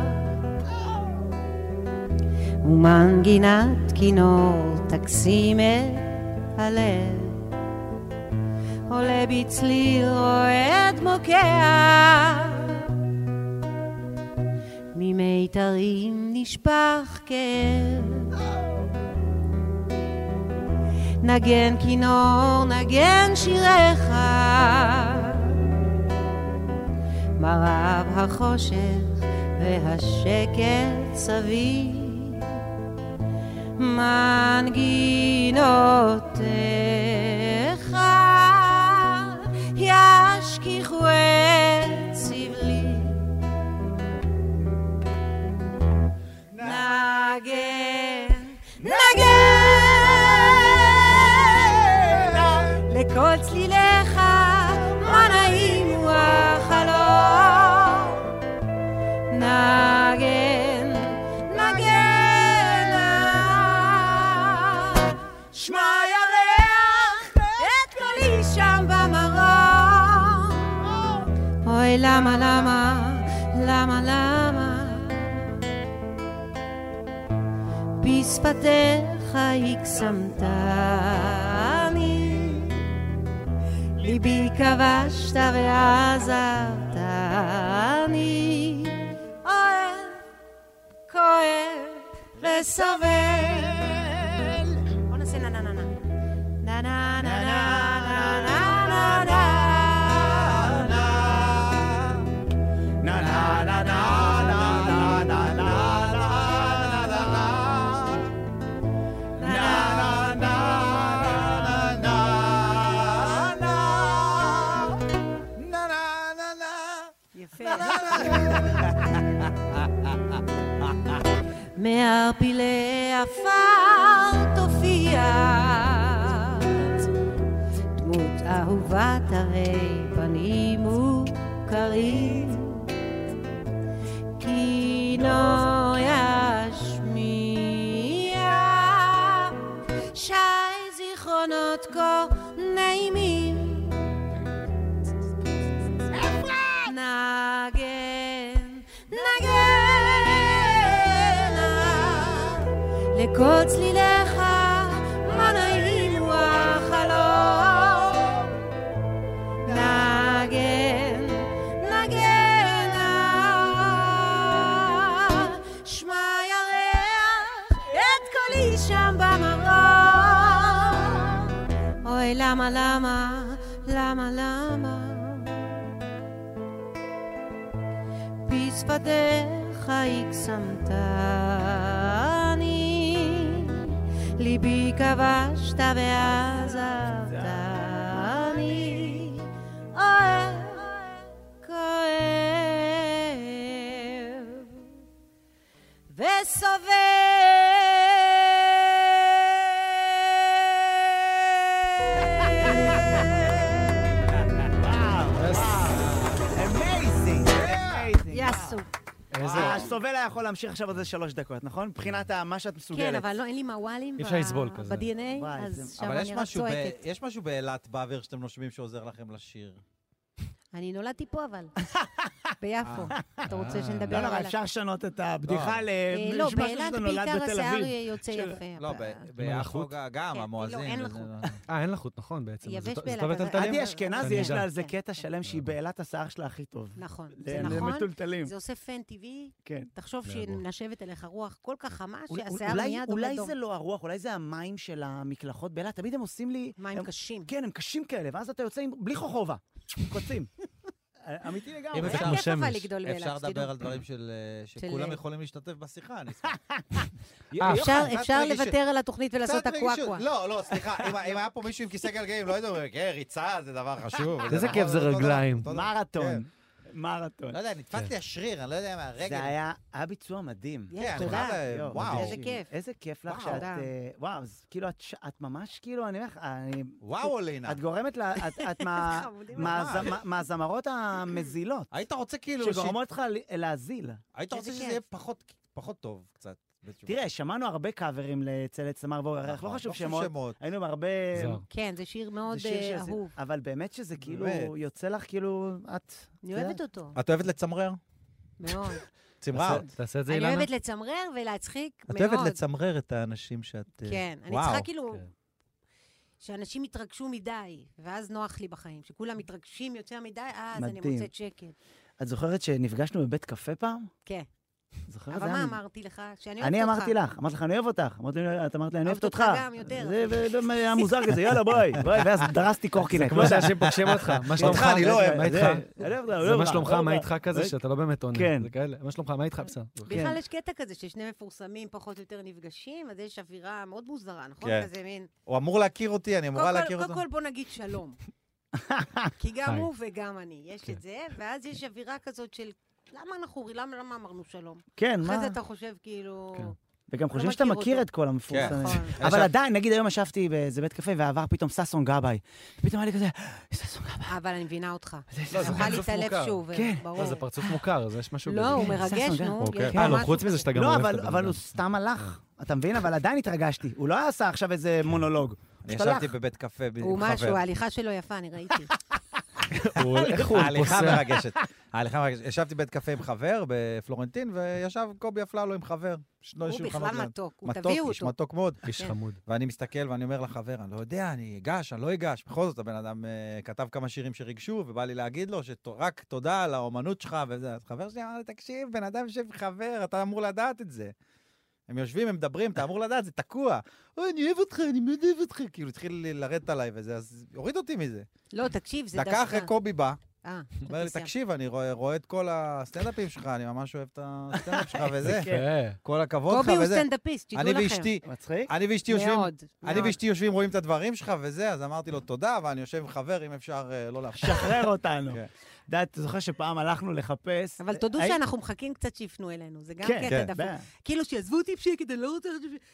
Speaker 4: ומנגינת כינור תקסים את הלב. עולה בצליל רועד מוקע, ממיתרים נשפך כאב. נגן כינור, נגן שיריך, מרב החושך והשקט סביב. מנגינותיך ישכיחו את סבלי. נגן, נגן, לכל צליליך מה נעים הוא החלום. נגן, נגן, שמע ירח את קולי שם במרום. אוי, למה, למה, למה, למה? בשפתך הקסמתני, ליבי כבשת ועזרתני. אוהב, כואב וסובל. בוא נעשה נה נה נה נה. נה נה נה נה נה נה נה יפה. מערפילי עפר תופיע דמות אהובת הרי פנים וכרית כי לא ישמיע שי זיכרונות כה נעימים נגן, נגן, לכל צליליך, מה נעים הוא החלום. נגן, נגן, שמע ירח את קולי שם במרום. אוי, למה, למה, למה, למה? בשפתיך הקסמתני, ליבי כבשת ועזבתני, אוהב, כואב וסובל.
Speaker 1: אמייזינג, אמייזינג.
Speaker 4: יעשו.
Speaker 3: איזה...
Speaker 1: הסובל היה יכול להמשיך עכשיו עוד איזה שלוש דקות, נכון? מבחינת ה- מה שאת מסוגלת.
Speaker 4: כן, אבל לא, אין לי מהוואלים.
Speaker 3: אי אפשר
Speaker 4: ב-
Speaker 3: לסבול כזה.
Speaker 4: ב-DNA,
Speaker 1: וואי,
Speaker 4: אז
Speaker 1: זה-
Speaker 4: שם
Speaker 2: אבל יש
Speaker 4: אני רק
Speaker 2: משהו ב-
Speaker 4: צועקת.
Speaker 2: יש משהו באילת באוויר שאתם נושמים שעוזר לכם לשיר.
Speaker 4: אני נולדתי פה אבל, ביפו. אתה רוצה שנדבר
Speaker 1: לא
Speaker 4: על
Speaker 1: נורא,
Speaker 4: אילת?
Speaker 1: אפשר לשנות את הבדיחה ל...
Speaker 4: אה, לא,
Speaker 1: יש משהו
Speaker 4: באילת
Speaker 1: שאתה נולד
Speaker 4: בעיקר
Speaker 1: בתל
Speaker 4: השיער
Speaker 1: אביב.
Speaker 4: יוצא
Speaker 1: של-
Speaker 4: יפה.
Speaker 2: לא,
Speaker 4: ב-
Speaker 2: ביפו
Speaker 3: הלחות?
Speaker 2: גם,
Speaker 4: כן,
Speaker 2: המואזין.
Speaker 4: לא, אין
Speaker 2: וזה-
Speaker 4: לחוט.
Speaker 3: אה, אין לחות, נכון בעצם.
Speaker 4: יבש
Speaker 3: אז זה- זה
Speaker 4: באילת,
Speaker 3: טוב
Speaker 4: אבל-
Speaker 3: לטלטלים?
Speaker 1: עדי אשכנזי,
Speaker 3: אני
Speaker 1: יש לה
Speaker 3: גם.
Speaker 1: על זה
Speaker 4: כן.
Speaker 1: קטע שלם שהיא
Speaker 3: אה.
Speaker 1: באילת השיער שלה הכי טוב.
Speaker 4: נכון,
Speaker 1: ל-
Speaker 4: זה נכון.
Speaker 1: למטולטלים.
Speaker 4: זה עושה פן טבעי.
Speaker 1: כן.
Speaker 4: תחשוב
Speaker 3: זה
Speaker 4: שמנשבת אליך רוח כל כך חמה,
Speaker 1: אולי-
Speaker 4: שהשיער
Speaker 1: אולי-
Speaker 4: מיד עומד
Speaker 1: אולי
Speaker 4: דום.
Speaker 1: זה לא הרוח, אולי זה המים של המקלחות באילת. תמיד הם עושים לי...
Speaker 4: מים
Speaker 1: הם-
Speaker 4: קשים.
Speaker 1: כן, הם קשים כאלה, ואז אתה יוצא עם... בלי חוכובה. קוצים.
Speaker 2: אה,
Speaker 1: אמיתי לגמרי.
Speaker 2: אם
Speaker 4: זה
Speaker 2: אפשר-
Speaker 4: כיף אבל
Speaker 3: שמש.
Speaker 4: לגדול באילת,
Speaker 2: אפשר לדבר
Speaker 4: שתדעו.
Speaker 2: על דברים של, אה,
Speaker 4: של,
Speaker 2: שכולם
Speaker 4: אה,
Speaker 2: יכולים להשתתף בשיחה, אני אשמח.
Speaker 3: אה,
Speaker 2: יוחנן,
Speaker 4: אפשר-
Speaker 2: קצת
Speaker 4: אפשר
Speaker 2: רגישות.
Speaker 4: לוותר על התוכנית ולעשות
Speaker 2: קצת רגישות.
Speaker 4: הקוואקווה.
Speaker 2: לא, לא, סליחה, אם ה- אם היה פה מישהו עם כיסא גלגלים, לא הייתם אומרים, כן, ריצה זה דבר חשוב. וזה
Speaker 3: איזה
Speaker 2: נכון,
Speaker 3: כיף זה
Speaker 2: אותו דבר,
Speaker 3: רגליים. כן.
Speaker 2: אותו דבר. כן.
Speaker 1: מרתון. מרתון.
Speaker 2: לא יודע, נתפס לי השריר, אני לא יודע מה, הרגל.
Speaker 1: זה היה, היה ביצוע מדהים.
Speaker 4: יש,
Speaker 2: אני
Speaker 4: תודה.
Speaker 2: חייב, אה,
Speaker 1: יואו,
Speaker 2: וואו.
Speaker 1: מדהים.
Speaker 4: איזה כיף.
Speaker 1: איזה כיף לך
Speaker 2: וואו.
Speaker 1: שאת...
Speaker 4: תודה.
Speaker 1: אה, וואו, אז כאילו את ש- את ממש כאילו, אני אומר לך, אני-
Speaker 2: וואו, אלינה.
Speaker 1: את גורמת ל... את- את מה-
Speaker 4: חמודים.
Speaker 1: מהז- מה- מהזמרות המזילות,
Speaker 2: היית רוצה כאילו, שגורמות...
Speaker 1: שגורמות לך ל- להזיל.
Speaker 2: היית רוצה
Speaker 4: איזה
Speaker 2: שזה
Speaker 4: כן, כיף.
Speaker 2: יהיה פחות- פחות טוב קצת. בתשובה.
Speaker 1: תראה, שמענו הרבה קאברים לצלד סמר ואורח, לא
Speaker 2: נכון,
Speaker 1: חשוב שמות.
Speaker 2: שמות.
Speaker 1: היינו בהרבה...
Speaker 3: זוהר.
Speaker 4: כן, זה שיר
Speaker 1: זה
Speaker 4: מאוד
Speaker 1: שיר
Speaker 4: אה,
Speaker 1: שזה-
Speaker 4: אהוב.
Speaker 1: אבל באמת שזה כאילו,
Speaker 2: באמת.
Speaker 1: יוצא לך כאילו, את...
Speaker 4: אני אוהבת אותו.
Speaker 2: את אוהבת לצמרר?
Speaker 4: מאוד.
Speaker 2: צמרה,
Speaker 3: תעשה- תעשה את זה,
Speaker 4: אני
Speaker 3: אילנה.
Speaker 4: אוהבת לצמרר ולהצחיק
Speaker 2: את
Speaker 4: מאוד.
Speaker 2: אוהבת לצמרר את האנשים שאת... אה,
Speaker 4: כן, אני
Speaker 2: וואו.
Speaker 4: צריכה כאילו...
Speaker 3: כן.
Speaker 4: שאנשים יתרגשו מדי, ואז נוח לי בחיים. שכולם מתרגשים יותר מדי, אז אני
Speaker 1: מדהים.
Speaker 4: מוצאת שקט.
Speaker 1: את זוכרת שנפגשנו בבית קפה פעם?
Speaker 4: כן.
Speaker 1: זוכרת? זה
Speaker 4: אבל
Speaker 1: היה
Speaker 4: מה
Speaker 1: מ-
Speaker 4: אמרתי לך? שאני אוהבת אותך.
Speaker 1: אני אמרתי לך, אמרתי לך, אני אוהב אותך. אמרת לי, את אמרת לי, אני אוהבת
Speaker 4: אוהבת אותך
Speaker 1: אותך.
Speaker 4: גם יותר.
Speaker 1: זה ו- היה מוזר כזה, יאללה, ביי, ביי, ואז דרסתי קורקינט.
Speaker 3: כמו שאנשים פוגשים אותך, מה שלומך?
Speaker 2: אני לא אוהב,
Speaker 3: מה איתך? זה מה שלומך, מה איתך כזה,
Speaker 1: אוהב.
Speaker 3: שאתה לא באמת עונה.
Speaker 1: כן.
Speaker 3: זה כאלה, מה שלומך, מה איתך, בסדר.
Speaker 4: בכלל יש קטע כזה ששני מפורסמים פחות או יותר נפגשים, אז יש אווירה מאוד מוזרה, נכון?
Speaker 2: כן.
Speaker 4: כזה מין...
Speaker 2: הוא אמור להכיר אותי, אני אמורה
Speaker 4: קודם כל-
Speaker 2: להכיר אותו.
Speaker 4: קודם כל בוא נגיד שלום. כי גם
Speaker 3: היי.
Speaker 4: הוא וגם אני, יש
Speaker 3: כן.
Speaker 4: את זה, ואז יש אווירה כזאת של... למה אנחנו, למה למה אמרנו שלום?
Speaker 1: כן,
Speaker 4: אחרי
Speaker 1: מה?
Speaker 4: זה אתה חושב כאילו...
Speaker 3: כן.
Speaker 1: וגם חושבים
Speaker 4: מכיר
Speaker 1: שאתה מכיר
Speaker 4: אותו.
Speaker 1: את כל
Speaker 2: כן.
Speaker 1: המפורסמים.
Speaker 4: נכון.
Speaker 1: אבל עדיין, נגיד היום ישבתי באיזה בית קפה ועבר פתאום ששון גבאי. פתאום היה לי כזה, "אה, ששון גבאי.
Speaker 4: אבל אני מבינה אותך.
Speaker 3: לא, זה
Speaker 4: נוכל
Speaker 3: פרצוף
Speaker 4: להתעלף
Speaker 3: מוכר.
Speaker 4: שוב,
Speaker 1: כן.
Speaker 4: ברור.
Speaker 3: לא, זה פרצוף מוכר, אז יש משהו
Speaker 4: לא,
Speaker 3: בזה.
Speaker 4: הוא
Speaker 1: כן,
Speaker 4: מרגש,
Speaker 1: ששון גם.
Speaker 4: נו.
Speaker 3: אוקיי.
Speaker 4: יש
Speaker 3: אה, לא,
Speaker 4: משהו
Speaker 3: חוץ מזה שאתה גם
Speaker 1: לא,
Speaker 3: אוהב את
Speaker 1: אבל-
Speaker 3: הבן
Speaker 1: אבל
Speaker 3: אדם.
Speaker 1: הוא סתם הלך, אתה מבין? אבל עדיין התרגשתי. הוא לא עשה עכשיו איזה
Speaker 2: כן.
Speaker 1: מונולוג.
Speaker 2: אני
Speaker 1: פשוט הלך.
Speaker 2: ישבתי בבית קפה ב- עם חבר.
Speaker 4: הוא משהו, ההליכה שלו יפה, אני ראיתי.
Speaker 3: הוא- איך הוא
Speaker 2: ההליכה
Speaker 3: פוסע?
Speaker 2: מרגשת. ההליכה מרגשת. ישבתי בבית קפה עם חבר בפלורנטין, וישב קובי אפללו עם חבר. שני
Speaker 4: הוא
Speaker 2: שולחנות
Speaker 4: בכלל
Speaker 2: ליד.
Speaker 4: מתוק, הוא
Speaker 2: מתוק,
Speaker 4: תביאו
Speaker 2: איש
Speaker 4: אותו.
Speaker 2: מתוק מאוד.
Speaker 3: איש
Speaker 4: כן.
Speaker 3: חמוד.
Speaker 2: ואני מסתכל ואני אומר לחבר, אני לא יודע, אני אגש, אני לא אגש. בכל זאת, הבן אדם אה, כתב כמה שירים שריגשו, ובא לי להגיד לו שרק תודה על האומנות שלך וזה. אז חבר שלי אמר לי, תקשיב, בן אדם יושב עם חבר, אתה אמור לדעת את זה. הם יושבים, הם מדברים, אתה אמור לדעת, זה תקוע. אוי, אני אוהב אותך, אני מאוד אוהב אותך. כאילו, התחיל לרדת עליי וזה, אז הוריד אותי מזה.
Speaker 4: לא, תקשיב, זה דווקא...
Speaker 2: דקה אחרי קובי בא,
Speaker 4: אה,
Speaker 2: אומר לי,
Speaker 4: סיימת.
Speaker 2: תקשיב, אני רואה רואה את כל הסטנדאפים שלך, אני ממש אוהב את הסטנדאפ שלך וזה.
Speaker 1: כן.
Speaker 3: יפה.
Speaker 2: כל הכבוד לך
Speaker 4: קובי הוא
Speaker 2: וזה.
Speaker 4: סטנדאפיסט, תדעו לכם.
Speaker 2: אני ואשתי,
Speaker 1: מצחיק?
Speaker 2: אני ואשתי יושבים,
Speaker 4: מאוד,
Speaker 2: אני
Speaker 4: מאוד.
Speaker 2: ואשתי יושבים, רואים את הדברים שלך וזה, אז אמרתי לו תודה, ואני יושב עם חבר, אם אפשר אה, לא להפסיק.
Speaker 1: שחרר אותנו.
Speaker 2: כן.
Speaker 1: אתה יודע, אתה זוכר שפעם הלכנו לחפש... אה,
Speaker 4: אבל תודו
Speaker 1: היי-
Speaker 4: שאנחנו מחכים קצת שיפנו אלינו, זה גם
Speaker 1: כן,
Speaker 4: קטע
Speaker 2: כן.
Speaker 4: דפוק.
Speaker 1: ב-
Speaker 4: כאילו, שיעזבו אותי בשקט, אני לא רוצה,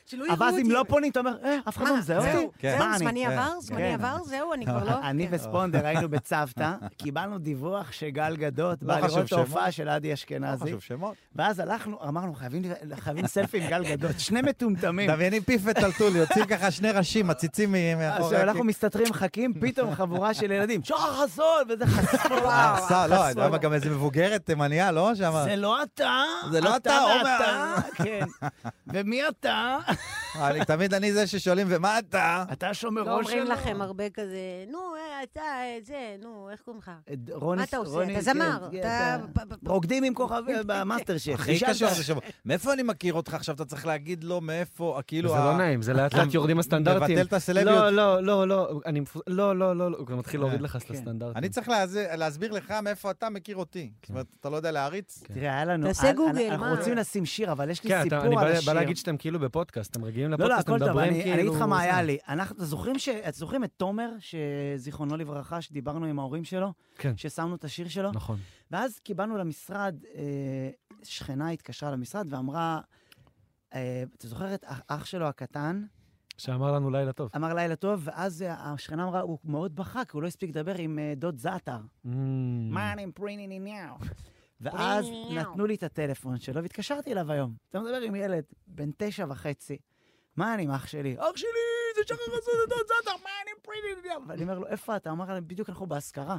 Speaker 4: שלא יראו אותי.
Speaker 1: אבל אז אם לא פונים, אתה אומר, אה, אף אחד לא
Speaker 4: מה,
Speaker 1: מזהה אותי.
Speaker 4: זהו,
Speaker 2: כן.
Speaker 1: מה
Speaker 4: זהו,
Speaker 1: אני?
Speaker 4: זמני
Speaker 2: כן,
Speaker 4: עבר,
Speaker 1: כן.
Speaker 4: זמני עבר, זהו, אני כבר לא...
Speaker 1: אני
Speaker 4: כן.
Speaker 1: וספונדר היינו בצוותא, קיבלנו דיווח שגל גדות
Speaker 2: לא
Speaker 1: בא
Speaker 2: חשוב
Speaker 1: לראות את
Speaker 2: שמות.
Speaker 1: ההופעה של עדי
Speaker 2: לא
Speaker 1: אשכנזי,
Speaker 2: חשוב שמות.
Speaker 1: ואז הלכנו, אמרנו, "חייבים- חייבים סלפי עם גל גדות, שני מטומטמים.
Speaker 2: דמיינים פיף וטלטול, יוצאים ככה שני ראשים, מציצים מ-
Speaker 1: אז
Speaker 2: מאחורי...
Speaker 1: אנחנו מסתתרים, מחכים, פתאום חבורה של ילדים, שחר חסון, וזה חסון.
Speaker 2: אה, עשה, לא, אני יודע, גם איזה מבוגרת תימניה, לא? שם...
Speaker 1: זה לא אתה,
Speaker 2: זה לא אתה, עומר.
Speaker 1: ואתה, כן. ומי אתה?
Speaker 2: אני תמיד אני זה ששואלים, ומה אתה?
Speaker 1: אתה שומר ראש שלו.
Speaker 4: לא אומרים לכם הרבה כזה, נו, אה, אתה, אה, זה, נו, איך קוראים לך?
Speaker 1: את רוני-
Speaker 4: מה אתה עושה?
Speaker 1: רוני,
Speaker 4: אתה
Speaker 1: כן,
Speaker 4: זמר,
Speaker 1: כן,
Speaker 4: אתה...
Speaker 1: אתה-
Speaker 4: פ- פ- פ-
Speaker 1: רוקדים עם כוכב
Speaker 4: כן,
Speaker 1: אה, במאסטר שף.
Speaker 2: הכי קשור זה שמות. מאיפה אני מכיר אותך עכשיו? אתה צריך להגיד לו מאיפה, כאילו...
Speaker 3: זה
Speaker 2: ה-
Speaker 3: לא נעים, זה לאט לאט יורדים הסטנדרטים.
Speaker 2: מבטל את הסלביות.
Speaker 3: לא, לא, לא, לא, אני מפוס... לא, לא, לא, לא, הוא כבר מתחיל להוריד לך את
Speaker 1: כן.
Speaker 3: הסטנדרטים.
Speaker 2: אני צריך להז- להסביר לך מאיפה אתה מכיר אותי. זאת אומרת, אתה לא יודע להעריץ?
Speaker 3: כן.
Speaker 1: תראה, היה לנו...
Speaker 4: תעשה
Speaker 1: אנ-
Speaker 4: גוגל,
Speaker 1: אנ- אנחנו
Speaker 4: מה?
Speaker 1: רוצים לשים שיר, אבל יש לי
Speaker 3: כן, אתה- אני
Speaker 1: סיפור
Speaker 3: בא-
Speaker 1: על
Speaker 3: בא
Speaker 1: השיר.
Speaker 3: להגיד שאתם כאילו בפודקאסט, אתם מגיעים
Speaker 1: לא, לא,
Speaker 3: לפודקאסט, אתם
Speaker 1: הכל טוב,
Speaker 3: מדברים
Speaker 1: אני
Speaker 3: כאילו...
Speaker 1: אני אגיד לך מה היה
Speaker 3: זה.
Speaker 1: לי. אנחנו, אתם זוכרים ש- את זוכרים את תומר, שזיכרונו לברכה, שדיברנו עם ההורים שלו?
Speaker 3: כן.
Speaker 1: ששמנו את השיר שלו?
Speaker 3: נכון.
Speaker 1: ואז קיבלנו למשרד, אה, שכנה התקשרה למשרד ואמרה, אה, אתה זוכר את אח- אח שלו הקטן?
Speaker 3: שאמר לנו לילה טוב.
Speaker 1: אמר לילה טוב, ואז אה, השכנה אמרה, הוא מאוד בחק, הוא לא הספיק לדבר עם אה, דוד זעתר. מה אני פריניני ניאו? Mm. ואז
Speaker 4: פריניני ניאו.
Speaker 1: נתנו לי את הטלפון שלו והתקשרתי אליו היום. אתה מדבר עם ילד בן תשע וחצי, מה אני עם אח שלי? אח שלי, זה שחר חסון, זה דוד זאטר, מה אני עם פריניני ניאו? ואני אומר לו, איפה אתה? הוא אמר לי, בדיוק אנחנו באזכרה.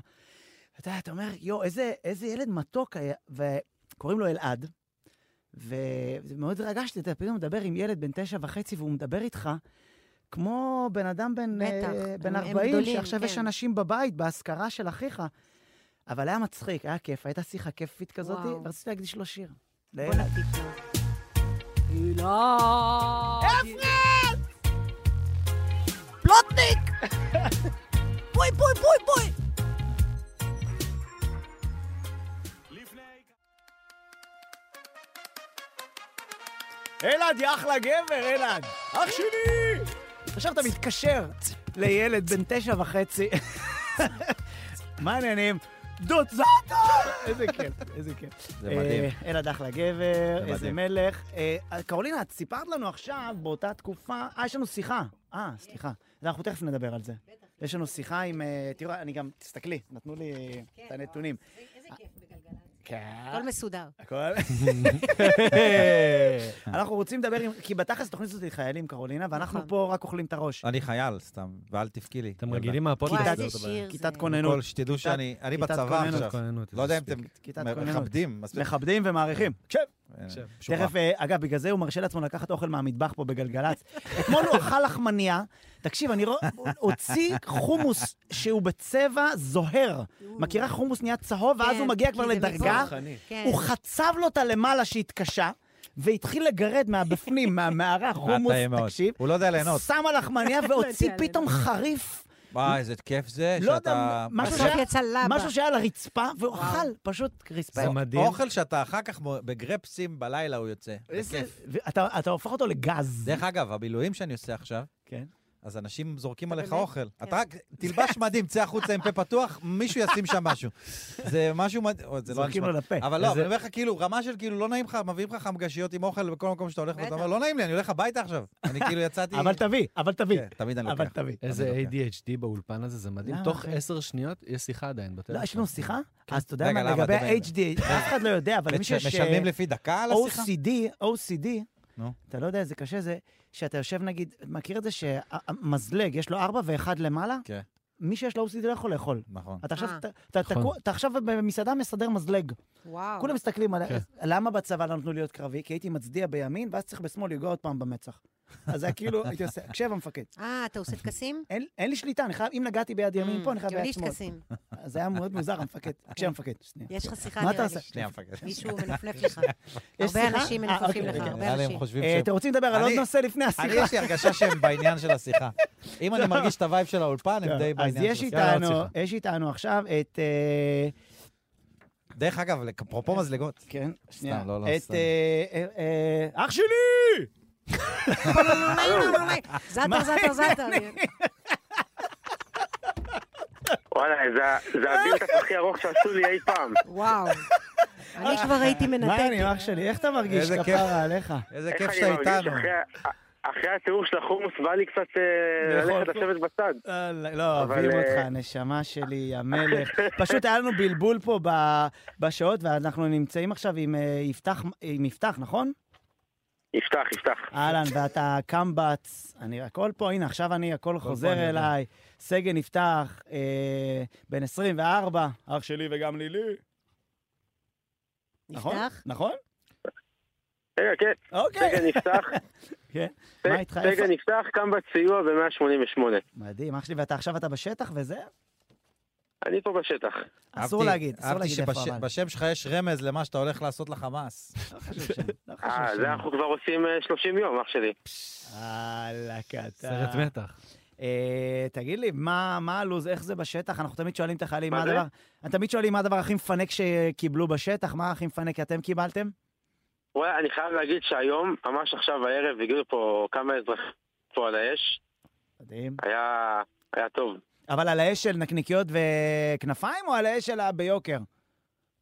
Speaker 1: אתה יודע, אתה אומר, יואו, איזה איזה ילד מתוק היה, וקוראים לו אלעד. ומאוד התרגשתי, אתה יודע, פתאום מדבר עם ילד בן תשע וחצי והוא מדבר איתך כמו בן אדם בן,
Speaker 4: בטח,
Speaker 1: אה, בן
Speaker 4: הם- הם
Speaker 1: 40,
Speaker 4: גדולים,
Speaker 1: שעכשיו יש
Speaker 4: כן.
Speaker 1: אנשים בבית, באזכרה של אחיך. אבל היה מצחיק, היה כיף, הייתה שיחה כיפית כזאת,
Speaker 4: וואו.
Speaker 1: ורציתי להקדיש לו שיר.
Speaker 4: בוא
Speaker 1: לאלעד.
Speaker 4: נקליט לו. אילן! אפרת! פלוטניק! בואי, בואי, בואי, בואי!
Speaker 1: אלעד, יא אחלה גבר, אלעד. אח שלי! עכשיו אתה מתקשר לילד בן תשע וחצי. מה העניינים? דוד זאטה! איזה כיף, איזה כיף.
Speaker 2: זה מדהים.
Speaker 1: אה, אלעד אחלה גבר,
Speaker 2: זה
Speaker 1: איזה
Speaker 2: מדהים.
Speaker 1: מלך. אה, קרולינה, את סיפרת לנו עכשיו, באותה תקופה, אה, יש לנו שיחה. אה, סליחה. אז אנחנו תכף נדבר על זה. יש לנו שיחה עם... אה, תראו, אני גם, תסתכלי, נתנו לי את הנתונים.
Speaker 4: איזה כיף אה, בגלגלצ.
Speaker 1: כן.
Speaker 4: כן. הכל מסודר.
Speaker 1: הכל... אנחנו רוצים לדבר עם... כי בתכלס תוכנית הזאת היא חיילים, קרולינה, ואנחנו
Speaker 4: נכון.
Speaker 1: פה רק אוכלים את הראש.
Speaker 2: אני חייל, סתם, ואל תבכי לי.
Speaker 3: אתם
Speaker 2: ילדה.
Speaker 3: רגילים מהפודקאסט?
Speaker 4: וואי,
Speaker 1: כיתת-
Speaker 4: איזה
Speaker 3: זאת הבעיה.
Speaker 4: שיר זה.
Speaker 1: כיתת
Speaker 2: קודם
Speaker 1: כוננות.
Speaker 2: כל, שתדעו
Speaker 1: כיתת-
Speaker 2: שאני אני
Speaker 1: כיתת
Speaker 2: בצבא
Speaker 1: כוננות.
Speaker 2: עכשיו.
Speaker 3: כוננות,
Speaker 2: לא יודע אם
Speaker 3: מספיק.
Speaker 2: אתם
Speaker 1: כיתת כוננות.
Speaker 2: מכבדים, מספיק.
Speaker 1: מכבדים ומעריכים. שב.
Speaker 2: אה,
Speaker 3: עכשיו,
Speaker 2: שורה.
Speaker 1: תכף, אה, אגב, בגלל זה הוא מרשה לעצמו לקחת אוכל מהמטבח פה בגלגלצ. אתמול הוא אכל לחמניה, תקשיב, אני רואה, הוא הוציא חומוס שהוא בצבע זוהר. מכירה חומוס נהיה צהוב, ואז
Speaker 4: כן,
Speaker 1: הוא מגיע כבר
Speaker 4: כי זה
Speaker 1: לדרגה,
Speaker 4: מפה. כן.
Speaker 1: הוא חצב לו את הלמעלה שהתקשה, והתחיל לגרד מהבפנים, מהמערה, חומוס,
Speaker 2: אה, טעים מאוד.
Speaker 1: תקשיב.
Speaker 2: הוא לא יודע ליהנות.
Speaker 1: שם על לחמניה והוציא
Speaker 4: לא יודע
Speaker 1: פתאום חריף,
Speaker 2: וואי, איזה כיף זה
Speaker 1: לא יודע,
Speaker 2: שאתה...
Speaker 1: משהו
Speaker 4: בסוף
Speaker 1: שהיה-
Speaker 4: יצא לבה.
Speaker 1: משהו שהיה על הרצפה, והוא אכל פשוט רצפה.
Speaker 3: זה מדהים.
Speaker 2: אוכל שאתה אחר כך מו- בגרפסים בלילה הוא יוצא.
Speaker 1: איזה-
Speaker 2: בכיף.
Speaker 1: ואתה אתה הופך אותו לגז.
Speaker 2: דרך אגב, המילואים שאני עושה עכשיו,
Speaker 1: כן.
Speaker 2: אז אנשים זורקים עליך
Speaker 4: באמת?
Speaker 2: אוכל. אתה רק תלבש מדים, צא החוצה עם פה פתוח, מישהו ישים שם משהו. זה משהו מדהים, זה לא
Speaker 1: זורקים
Speaker 2: נשמע.
Speaker 1: לו לפה.
Speaker 2: אבל לא,
Speaker 3: וזה-
Speaker 2: אבל אני אומר לך, כאילו, רמה של כאילו, לא נעים לך, מביאים לך חמגשיות עם אוכל בכל מקום שאתה הולך, ואתה אומר, לא נעים לי, אני הולך הביתה עכשיו. אני כאילו יצאתי...
Speaker 1: אבל תביא, אבל תביא.
Speaker 2: כן, תמיד אני
Speaker 1: אבל
Speaker 2: לוקח.
Speaker 1: תביא.
Speaker 3: איזה
Speaker 2: אני לוקח.
Speaker 3: ADHD באולפן הזה, זה מדהים.
Speaker 1: למה,
Speaker 3: תוך
Speaker 1: אחי?
Speaker 3: עשר שניות יש שיחה עדיין בטלפון.
Speaker 1: לא, יש לנו שיחה? אז אתה יודע
Speaker 2: נכון. כן. רגע,
Speaker 1: מה,
Speaker 2: למה,
Speaker 1: לגבי
Speaker 2: אתם-
Speaker 1: ה-HD, אף אחד לא יודע, אבל מי שיש... אה,
Speaker 2: משלמים לפי דקה על השיחה?
Speaker 1: OCD, OCD,
Speaker 2: נו.
Speaker 1: אתה לא יודע איזה קשה זה, שאתה יושב נגיד, מכיר את זה שהמזלג, יש לו ארבע ואחד למעלה?
Speaker 2: כן.
Speaker 1: מי שיש לו OCD לא יכול לאכול.
Speaker 2: נכון.
Speaker 1: אתה עכשיו,
Speaker 4: אה.
Speaker 1: אתה- אתה
Speaker 3: נכון.
Speaker 1: תקוע- אתה עכשיו במסעדה מסדר מזלג.
Speaker 4: וואו.
Speaker 1: כולם מסתכלים עליי,
Speaker 3: כן.
Speaker 1: למה בצבא לא נתנו להיות קרבי? כי הייתי מצדיע בימין, ואז צריך בשמאל לגוע עוד פעם במצח. אז זה היה כאילו, הייתי עושה, הקשב המפקד,
Speaker 4: אה, אתה עושה טקסים?
Speaker 1: אין אין לי שליטה, אני חייב, אם נגעתי ביד ימין פה, אני חייב
Speaker 4: גם לי
Speaker 1: ביד
Speaker 4: יש
Speaker 1: שמאל.
Speaker 4: טקסים.
Speaker 1: אז זה היה מאוד מוזר, המפקד. הקשב המפקד, שנייה.
Speaker 4: יש לך שיחה,
Speaker 1: מה אתה
Speaker 4: נראה
Speaker 1: עושה?
Speaker 4: לי.
Speaker 2: שנייה, מפקד.
Speaker 4: מישהו מנפנף לך.
Speaker 1: יש
Speaker 4: הרבה
Speaker 1: שיחה?
Speaker 4: אנשים
Speaker 1: אה,
Speaker 4: מנפנפים
Speaker 1: אוקיי,
Speaker 4: לך,
Speaker 1: אוקיי.
Speaker 4: הרבה
Speaker 2: נראה לי
Speaker 4: אנשים.
Speaker 2: הם חושבים
Speaker 1: אה,
Speaker 2: שהם
Speaker 1: אתם רוצים לדבר על עוד
Speaker 2: אני-
Speaker 1: נושא לפני
Speaker 2: אני
Speaker 1: השיחה?
Speaker 2: יש לי הרגשה שהם בעניין של השיחה. אם אני מרגיש את הווייב של האולפן, הם די
Speaker 1: אז
Speaker 2: בעניין
Speaker 1: יש
Speaker 2: של השיחה.
Speaker 1: איתנו, יש איתנו עכשיו את... אה,
Speaker 2: דרך אגב, אפרופו מזלגות.
Speaker 1: כן, שנייה.
Speaker 2: לא, לא,
Speaker 1: את...
Speaker 2: סתם.
Speaker 1: אה, אה, אה, אח שלי!
Speaker 4: זאטר, זאטר, זאטר.
Speaker 5: וואלה, זה- זה הביוטק הכי ארוך שעשו לי אי פעם.
Speaker 4: וואו. אני כבר הייתי
Speaker 1: אה, מה
Speaker 4: מנתקת.
Speaker 1: העניינים, אח שלי? איך אתה מרגיש?
Speaker 2: איזה כיף.
Speaker 1: כפרה עליך.
Speaker 2: איזה
Speaker 5: איך
Speaker 2: כיף
Speaker 5: אני
Speaker 2: שאתה
Speaker 5: מרגיש
Speaker 2: איתנו.
Speaker 5: אחרי- אחרי התיאור של החומוס בא לי קצת אה,
Speaker 1: לאכול
Speaker 5: ללכת לשבת בצד.
Speaker 1: אה, לא,
Speaker 5: אבל,
Speaker 1: אוהבים
Speaker 5: אה,
Speaker 1: אותך, הנשמה שלי, המלך. פשוט היה לנו בלבול פה ב- בשעות, ואנחנו נמצאים עכשיו עם אה, יפתח, עם יפתח, נכון?
Speaker 5: יפתח, יפתח.
Speaker 1: אהלן, ואתה קמב"ץ, אני הכל פה, הנה, עכשיו אני, הכל
Speaker 2: אני
Speaker 1: חוזר
Speaker 2: יודע.
Speaker 1: אליי. סגן יפתח, אה, בן 24, אח שלי וגם לילי. נכון?
Speaker 4: נפתח?
Speaker 1: נכון?
Speaker 5: רגע, כן,
Speaker 1: אוקיי.
Speaker 5: סגן יפתח.
Speaker 1: כן.
Speaker 5: ס-
Speaker 1: מה איתך? איפה?
Speaker 5: סגן יפתח קם בסיוע ב-188.
Speaker 1: מדהים, אח שלי, ואתה עכשיו אתה בשטח וזה?
Speaker 5: אני פה בשטח.
Speaker 1: אסור
Speaker 2: אהבתי-
Speaker 1: להגיד, אסור להגיד איפה
Speaker 2: אהבתי
Speaker 1: אבל.
Speaker 2: שבשם שלך יש רמז למה שאתה הולך לעשות לחמאס.
Speaker 1: לא חשוב שם, לא חשוב
Speaker 5: אה,
Speaker 1: שם.
Speaker 5: זה אנחנו כבר עושים אה, 30 יום, אח שלי.
Speaker 1: וואלה, קטן.
Speaker 3: סרט מתח.
Speaker 1: אה, תגיד לי, מה מה הלו"ז, איך זה בשטח? אנחנו תמיד שואלים את החיילים,
Speaker 5: מה
Speaker 1: מה
Speaker 5: זה?
Speaker 1: הדבר... תמיד שואלים מה הדבר הכי מפנק שקיבלו בשטח, מה הכי מפנק אתם קיבלתם?
Speaker 5: וואלה, אני חייב להגיד שהיום, ממש עכשיו הערב, הגיעו פה כמה אזרחים פה על האש.
Speaker 1: מדהים.
Speaker 5: היה... היה טוב.
Speaker 1: אבל על האש של נקניקיות וכנפיים, או על האש של ה- ביוקר?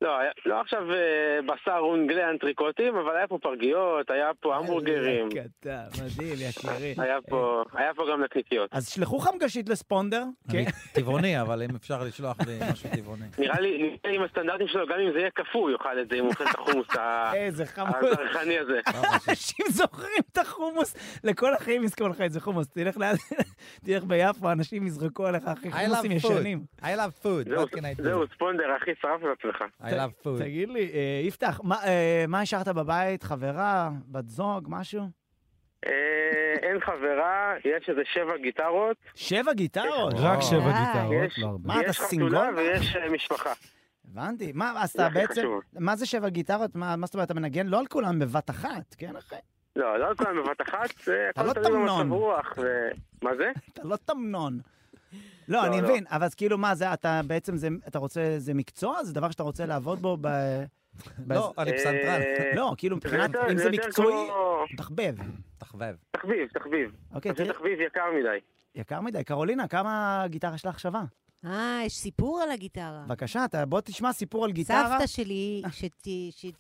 Speaker 5: לא, היה- לא עכשיו אה, בשר רונגלי אנטריקוטים, אבל היה פה פרגיות, היה פה המבורגרים,
Speaker 1: אה, קטן, מדהים, יקירי.
Speaker 5: היה פה, היה פה גם נקניקיות.
Speaker 1: אז שלחו חמגשית לספונדר.
Speaker 2: אני טבעוני, אבל אם אפשר לשלוח לי משהו טבעוני.
Speaker 5: נראה לי, נראה לי עם הסטנדרטים שלו, גם אם זה יהיה קפוא, הוא יאכל את זה, אם הוא אוכל את החומוס ה-
Speaker 1: אוקיי? איזה חמוד.
Speaker 5: הזרחני הזה.
Speaker 2: לא,
Speaker 1: אנשים זוכרים את החומוס, לכל החיים יזכור לך את זה חומוס. תלך לאט, תלך ביפו, אנשים יזרקו עליך אחרי
Speaker 2: I
Speaker 1: חומוסים
Speaker 2: love
Speaker 1: ישנים.
Speaker 2: food. I love food.
Speaker 5: זהו,
Speaker 1: לא,
Speaker 2: What
Speaker 1: כן,
Speaker 2: can I
Speaker 5: זהו,
Speaker 2: do?
Speaker 5: ספונדר, אחי, שרף את עצמך.
Speaker 2: I love food.
Speaker 1: תגיד לי, אה, יפתח, מה, אה, מה השארת בבית? חברה? בת זוג? משהו?
Speaker 5: אה, אין חברה, יש איזה שבע גיטרות,
Speaker 1: שבע גיטרות? אה,
Speaker 3: רק
Speaker 2: וואו.
Speaker 3: שבע
Speaker 4: די.
Speaker 3: גיטרות,
Speaker 5: יש-
Speaker 3: לא הרבה.
Speaker 1: מה, אתה
Speaker 5: יש חתולה
Speaker 1: סינגון?
Speaker 5: ויש אה, משפחה.
Speaker 1: הבנתי. מה, אז
Speaker 5: זה
Speaker 1: אתה
Speaker 5: הכי
Speaker 1: בעצם...
Speaker 5: חשוב.
Speaker 1: מה זה שבע גיטרות? מה מה זאת אומרת, אתה מנגן לא על כולם בבת אחת, כן, אחי?
Speaker 5: לא, לא כולם בבת אחת, זה
Speaker 1: אתה לא
Speaker 5: הכל תלוי
Speaker 1: תמנון.
Speaker 5: במצב רוח. ו- מה זה?
Speaker 1: אתה לא תמנון. לא,
Speaker 5: לא,
Speaker 1: אני
Speaker 5: לא.
Speaker 1: מבין, אבל אז כאילו, מה, זה, אתה בעצם, זה, אתה רוצה, זה מקצוע? זה דבר שאתה רוצה לעבוד בו ב... ב-
Speaker 2: לא, אני פסנתרן.
Speaker 5: אה,
Speaker 1: לא, כאילו,
Speaker 5: זה
Speaker 1: מבחינת,
Speaker 5: יותר-
Speaker 1: אם
Speaker 5: זה
Speaker 1: זה
Speaker 5: יותר
Speaker 1: מקצועי,
Speaker 5: כמו
Speaker 1: תחבב.
Speaker 2: תחבב.
Speaker 5: תחביב, תחביב.
Speaker 1: אוקיי,
Speaker 5: פשוט
Speaker 1: תראה,
Speaker 5: תחביב יקר מדי.
Speaker 1: יקר מדי. קרולינה, כמה הגיטרה שלך שווה?
Speaker 4: אה, יש סיפור על הגיטרה.
Speaker 1: בבקשה, אתה- בוא תשמע סיפור על גיטרה.
Speaker 4: סבתא שלי,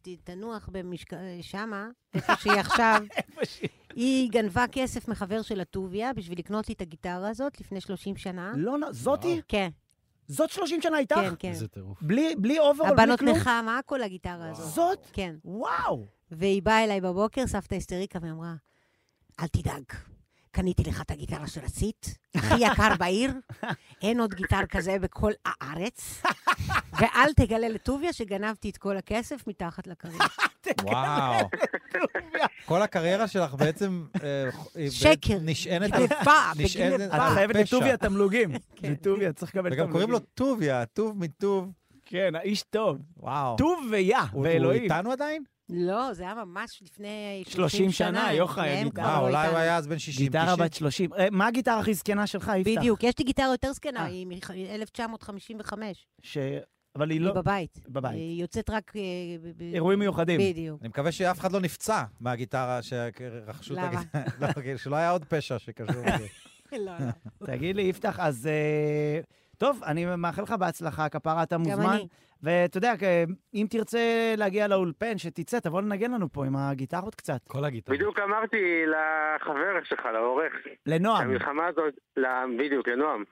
Speaker 4: שתנוח במשק... שמה, איפה שהיא עכשיו, היא גנבה כסף מחבר של הטוביה בשביל לקנות לי את הגיטרה הזאת לפני 30 שנה.
Speaker 1: לא, לא, זאתי?
Speaker 4: כן.
Speaker 1: זאת 30 שנה איתך?
Speaker 4: כן, כן.
Speaker 3: איזה טירוף.
Speaker 1: בלי, בלי אוברול, בלי
Speaker 4: הבנות
Speaker 1: כלום?
Speaker 4: נחמה, הכל הגיטרה הזאת.
Speaker 1: זאת?
Speaker 4: כן.
Speaker 1: וואו.
Speaker 4: והיא באה אליי בבוקר, סבתא היסטריקה, ואמרה, אל תדאג, קניתי לך את הגיטרה של הסית, הכי יקר בעיר, אין עוד גיטר כזה בכל הארץ, ואל תגלה לטוביה שגנבתי את כל הכסף מתחת לקריר.
Speaker 2: וואו. כל הקריירה שלך בעצם... אה, היא
Speaker 4: שקר.
Speaker 2: נשענת על...
Speaker 4: גנבה,
Speaker 2: נשענת
Speaker 4: בגנבה.
Speaker 2: על
Speaker 5: אה,
Speaker 1: את חייבת
Speaker 2: פשע.
Speaker 1: לטוביה תמלוגים.
Speaker 4: כן.
Speaker 1: לטוביה, צריך לקבל תמלוגים.
Speaker 2: וגם קוראים לו טוביה, טוב מטוב.
Speaker 1: כן, האיש טוב.
Speaker 2: וואו.
Speaker 1: טוביה,
Speaker 2: הוא- הוא
Speaker 1: ואלוהים.
Speaker 2: איתנו עדיין?
Speaker 4: לא, זה היה ממש לפני
Speaker 1: 30 שנה, יוחאי,
Speaker 4: הם
Speaker 1: הגיטרה.
Speaker 4: כבר
Speaker 2: אה,
Speaker 4: לא
Speaker 2: אולי הוא
Speaker 4: איתנו.
Speaker 2: היה אז בן 60.
Speaker 1: גיטרה
Speaker 2: 90.
Speaker 1: בת 30. אה, מה הגיטרה הכי זקנה שלך, יפתח?
Speaker 4: בדיוק, יש לי גיטרה יותר זקנה,
Speaker 1: אה.
Speaker 4: היא מ-1955,
Speaker 1: ש... אבל היא
Speaker 4: היא
Speaker 1: לא...
Speaker 4: בבית.
Speaker 1: בבית.
Speaker 4: היא יוצאת רק... אה, ב- ב-
Speaker 1: אירועים מיוחדים.
Speaker 4: בדיוק.
Speaker 2: אני מקווה שאף אחד לא נפצע מהגיטרה שרכשו את
Speaker 4: למה?
Speaker 2: הגיטרה. לא, כאילו, שלא היה עוד פשע שקשור לזה.
Speaker 4: לא, לא.
Speaker 1: תגיד לי, יפתח, אז... אה, טוב, אני מאחל לך בהצלחה, כפרה, אתה מוזמן.
Speaker 4: אני.
Speaker 1: ואתה יודע, כ- אם תרצה להגיע לאולפן, שתצא, תבוא לנגן לנו פה עם הגיטרות קצת.
Speaker 3: כל הגיטרה.
Speaker 5: בדיוק אמרתי לחבר שלך, לעורך,
Speaker 1: לנועם.
Speaker 5: המלחמה הזאת, ל- בדיוק, לנועם.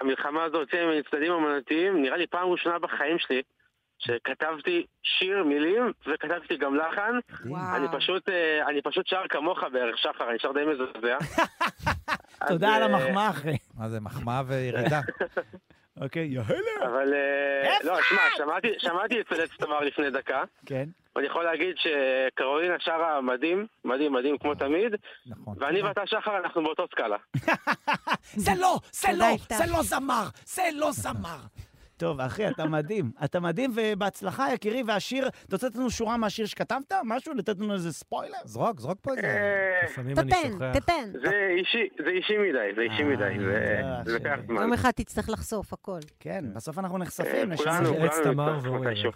Speaker 5: המלחמה הזאת הוציאה ממני צדדים אמנותיים, נראה לי פעם ראשונה בחיים שלי שכתבתי שיר מילים וכתבתי גם לחן.
Speaker 4: וואו.
Speaker 5: אני פשוט, אה, אני פשוט שר כמוך בערך, שחר, אני שר די מזעזע. אז,
Speaker 1: תודה על
Speaker 5: אה,
Speaker 1: המחמאה, אחי.
Speaker 2: מה זה, מחמאה וירידה.
Speaker 1: אוקיי, יאללה.
Speaker 5: אבל... אה, לא, שמע, שמעתי- שמעתי את פלט סתמר לפני דקה,
Speaker 1: כן,
Speaker 5: ואני יכול להגיד שקרולינה שרה מדהים, מדהים, מדהים כמו תמיד,
Speaker 2: נכון.
Speaker 5: ואני ואתה, שחר, אנחנו באותו סקאלה.
Speaker 6: זה לא, זה
Speaker 4: תודה,
Speaker 6: לא,
Speaker 4: יפתח.
Speaker 6: זה לא זמר, זה לא זמר.
Speaker 1: טוב, אחי, אתה מדהים. אתה מדהים, ובהצלחה, יקירי, והשיר, אתה רוצה לתת לנו שורה מהשיר שכתבת? משהו? לתת לנו איזה ספוילר?
Speaker 2: זרוק, זרוק פה איזה...
Speaker 5: אה,
Speaker 3: לפעמים אני
Speaker 4: תתן,
Speaker 3: שוכח.
Speaker 4: תתן.
Speaker 5: זה אישי, זה אישי מדי, זה אישי מדי, זה
Speaker 1: אה,
Speaker 5: זה לוקח
Speaker 1: שלי.
Speaker 5: זמן.
Speaker 4: יום אחד תשתרך לחשוף הכל.
Speaker 1: כן, בסוף אנחנו
Speaker 5: אה,
Speaker 1: נחשפים
Speaker 5: כולנו,
Speaker 1: לשם.
Speaker 3: עץ תמר
Speaker 5: כולנו נצטרך
Speaker 3: ואורן.
Speaker 5: מתישהו.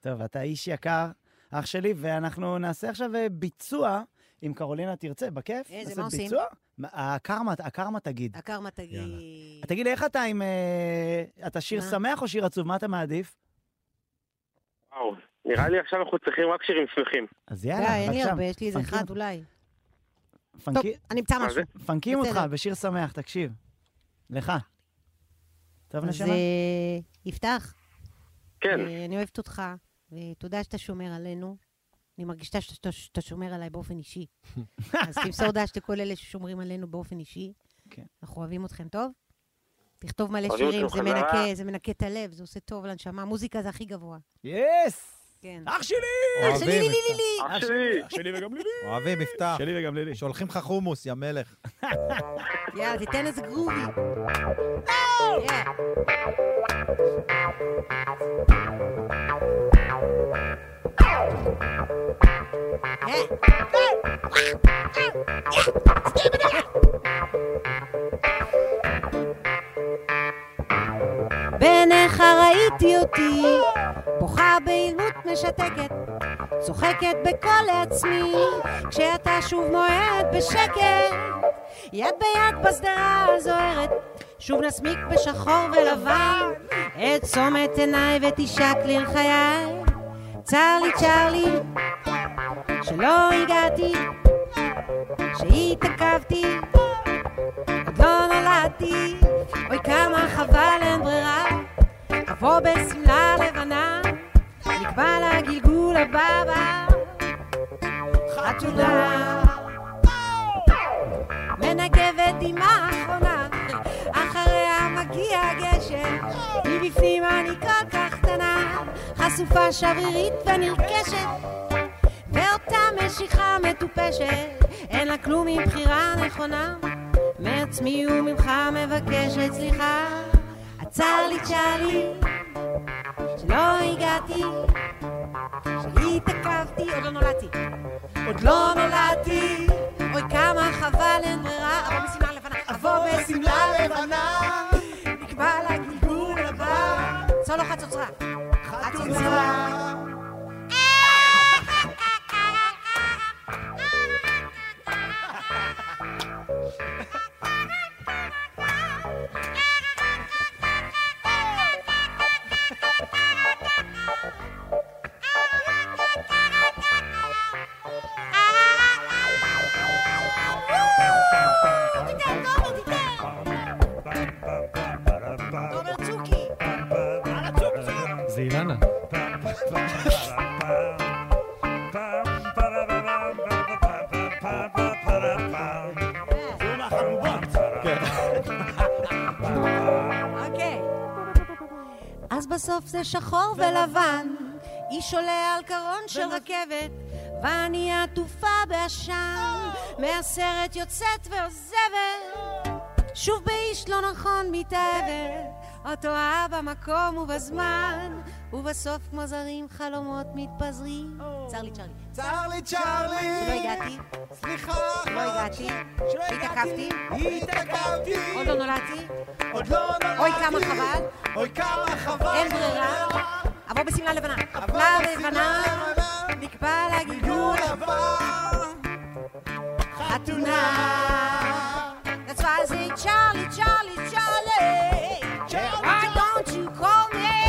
Speaker 1: טוב, אתה איש יקר, אח שלי, ואנחנו נעשה עכשיו אה, ביצוע, אם קרולינה תרצה, בכיף.
Speaker 4: איזה,
Speaker 1: נעשה
Speaker 4: מה עושים? אוקיי.
Speaker 1: ביצוע. מה- הקרמה, הקרמה תגיד.
Speaker 4: הקרמה תגיד.
Speaker 1: תגיד לי, איך אתה עם... אה, אתה שיר
Speaker 4: מה?
Speaker 1: שמח או שיר עצוב? מה אתה מעדיף?
Speaker 5: וואו, נראה לי עכשיו אנחנו צריכים רק שירים שמחים.
Speaker 1: אז
Speaker 4: די,
Speaker 1: יאללה,
Speaker 4: לא, אין לי הרבה,
Speaker 1: בבקשה,
Speaker 4: יש לי איזה
Speaker 1: פנקים
Speaker 4: אחד
Speaker 1: אותו.
Speaker 4: אולי. טוב,
Speaker 1: פנקי-
Speaker 4: אני אמצא
Speaker 5: מה
Speaker 4: משהו.
Speaker 1: פנקים אותך
Speaker 4: בסדר.
Speaker 1: בשיר שמח, תקשיב. לך. טוב,
Speaker 4: אז
Speaker 1: נשמה?
Speaker 4: אה, יפתח,
Speaker 5: כן,
Speaker 4: אה, אני אוהבת אותך, ותודה שאתה שומר עלינו. אני מרגישה שאתה- שאתה שומר עליי באופן אישי. אז תמסור דש לכל אלה ששומרים עלינו באופן אישי.
Speaker 1: כן.
Speaker 4: אנחנו אוהבים אתכם, טוב? תכתוב מלא
Speaker 5: אוהבים
Speaker 4: שירים,
Speaker 5: אתכם
Speaker 4: זה
Speaker 5: חזרה.
Speaker 4: מנקה, זה מנקה את הלב, זה עושה טוב לנשמה. מוזיקה זה הכי גבוה.
Speaker 1: יס!
Speaker 4: כן.
Speaker 1: אח שלי!
Speaker 2: אוהבים,
Speaker 4: לי, לי, לי,
Speaker 2: יפתח.
Speaker 4: לי.
Speaker 1: אה,
Speaker 5: אח אה, שלי,
Speaker 1: שלי וגם לילי.
Speaker 2: אוהבים, יפתח.
Speaker 1: שלי וגם לילי.
Speaker 2: שולחים לך חומוס, יא מלך.
Speaker 4: יאללה, תיתן איזה גרובי. Yeah. Yeah. בעיניך ראיתי אותי, בוכה באילמות משתקת, צוחקת בקול עצמי, כשאתה שוב מועד בשקט, יד ביד בשדרה הזוהרת, שוב נסמיק בשחור ולבן, את צומת עיניי ותשק לי אל חיי, צר לי צר לי, שלא הגעתי, שהתעכבתי, עוד לא נולדתי, אוי כמה חבל אין ברירה, אבוא בשמלה לבנה, נקבע לגלגול הבא בא. חתולה, מנגבת דמעה אחרונה, אחריה מגיע הגשם, מבפנים אני כל כך קטנה, חשופה שברירית ונרכשת, ואותה משיכה מטופשת, אין לה כלום מבחירה נכונה, מעצמי וממך מבקשת סליחה. הצר לי צר לי, שלא הגעתי, שהתעכבתי, עוד לא נולדתי. עוד לא נולדתי, אוי כמה חבל אין ברירה, אבוא בשמלה לבנה, אבוא בשמלה לבנה, נקבע לגלגול הבא. סולו חצוצרה. חצוצרה. תומר, תיתן, תומר, תיתן. תומר, צ'ו.
Speaker 3: שלנו.
Speaker 4: אוקיי. אז בסוף זה שחור ולבן, איש עולה על קרון של רכבת, ואני עטופה בעשן, מהסרט יוצאת ועוזבת, שוב באיש לא נכון מתאהבת, או טועה במקום ובזמן, ובסוף כמו זרים חלומות מתפזרים. צר לי, צ'רלי.
Speaker 2: צר לי, צ'רלי!
Speaker 4: לא הגעתי,
Speaker 2: סליחה,
Speaker 4: לא הגעתי, התעכבתי,
Speaker 2: התעכבתי,
Speaker 4: עוד לא נולדתי,
Speaker 2: עוד לא נולדתי.
Speaker 4: אוי כמה חבל.
Speaker 2: אוי כמה חבל.
Speaker 4: אין ברירה. עבור בשמלה לבנה. אפלה לבנה, נקבע לה גיגול חתונה. That's why I say Charlie, Charlie, Charlie. Why don't you call me?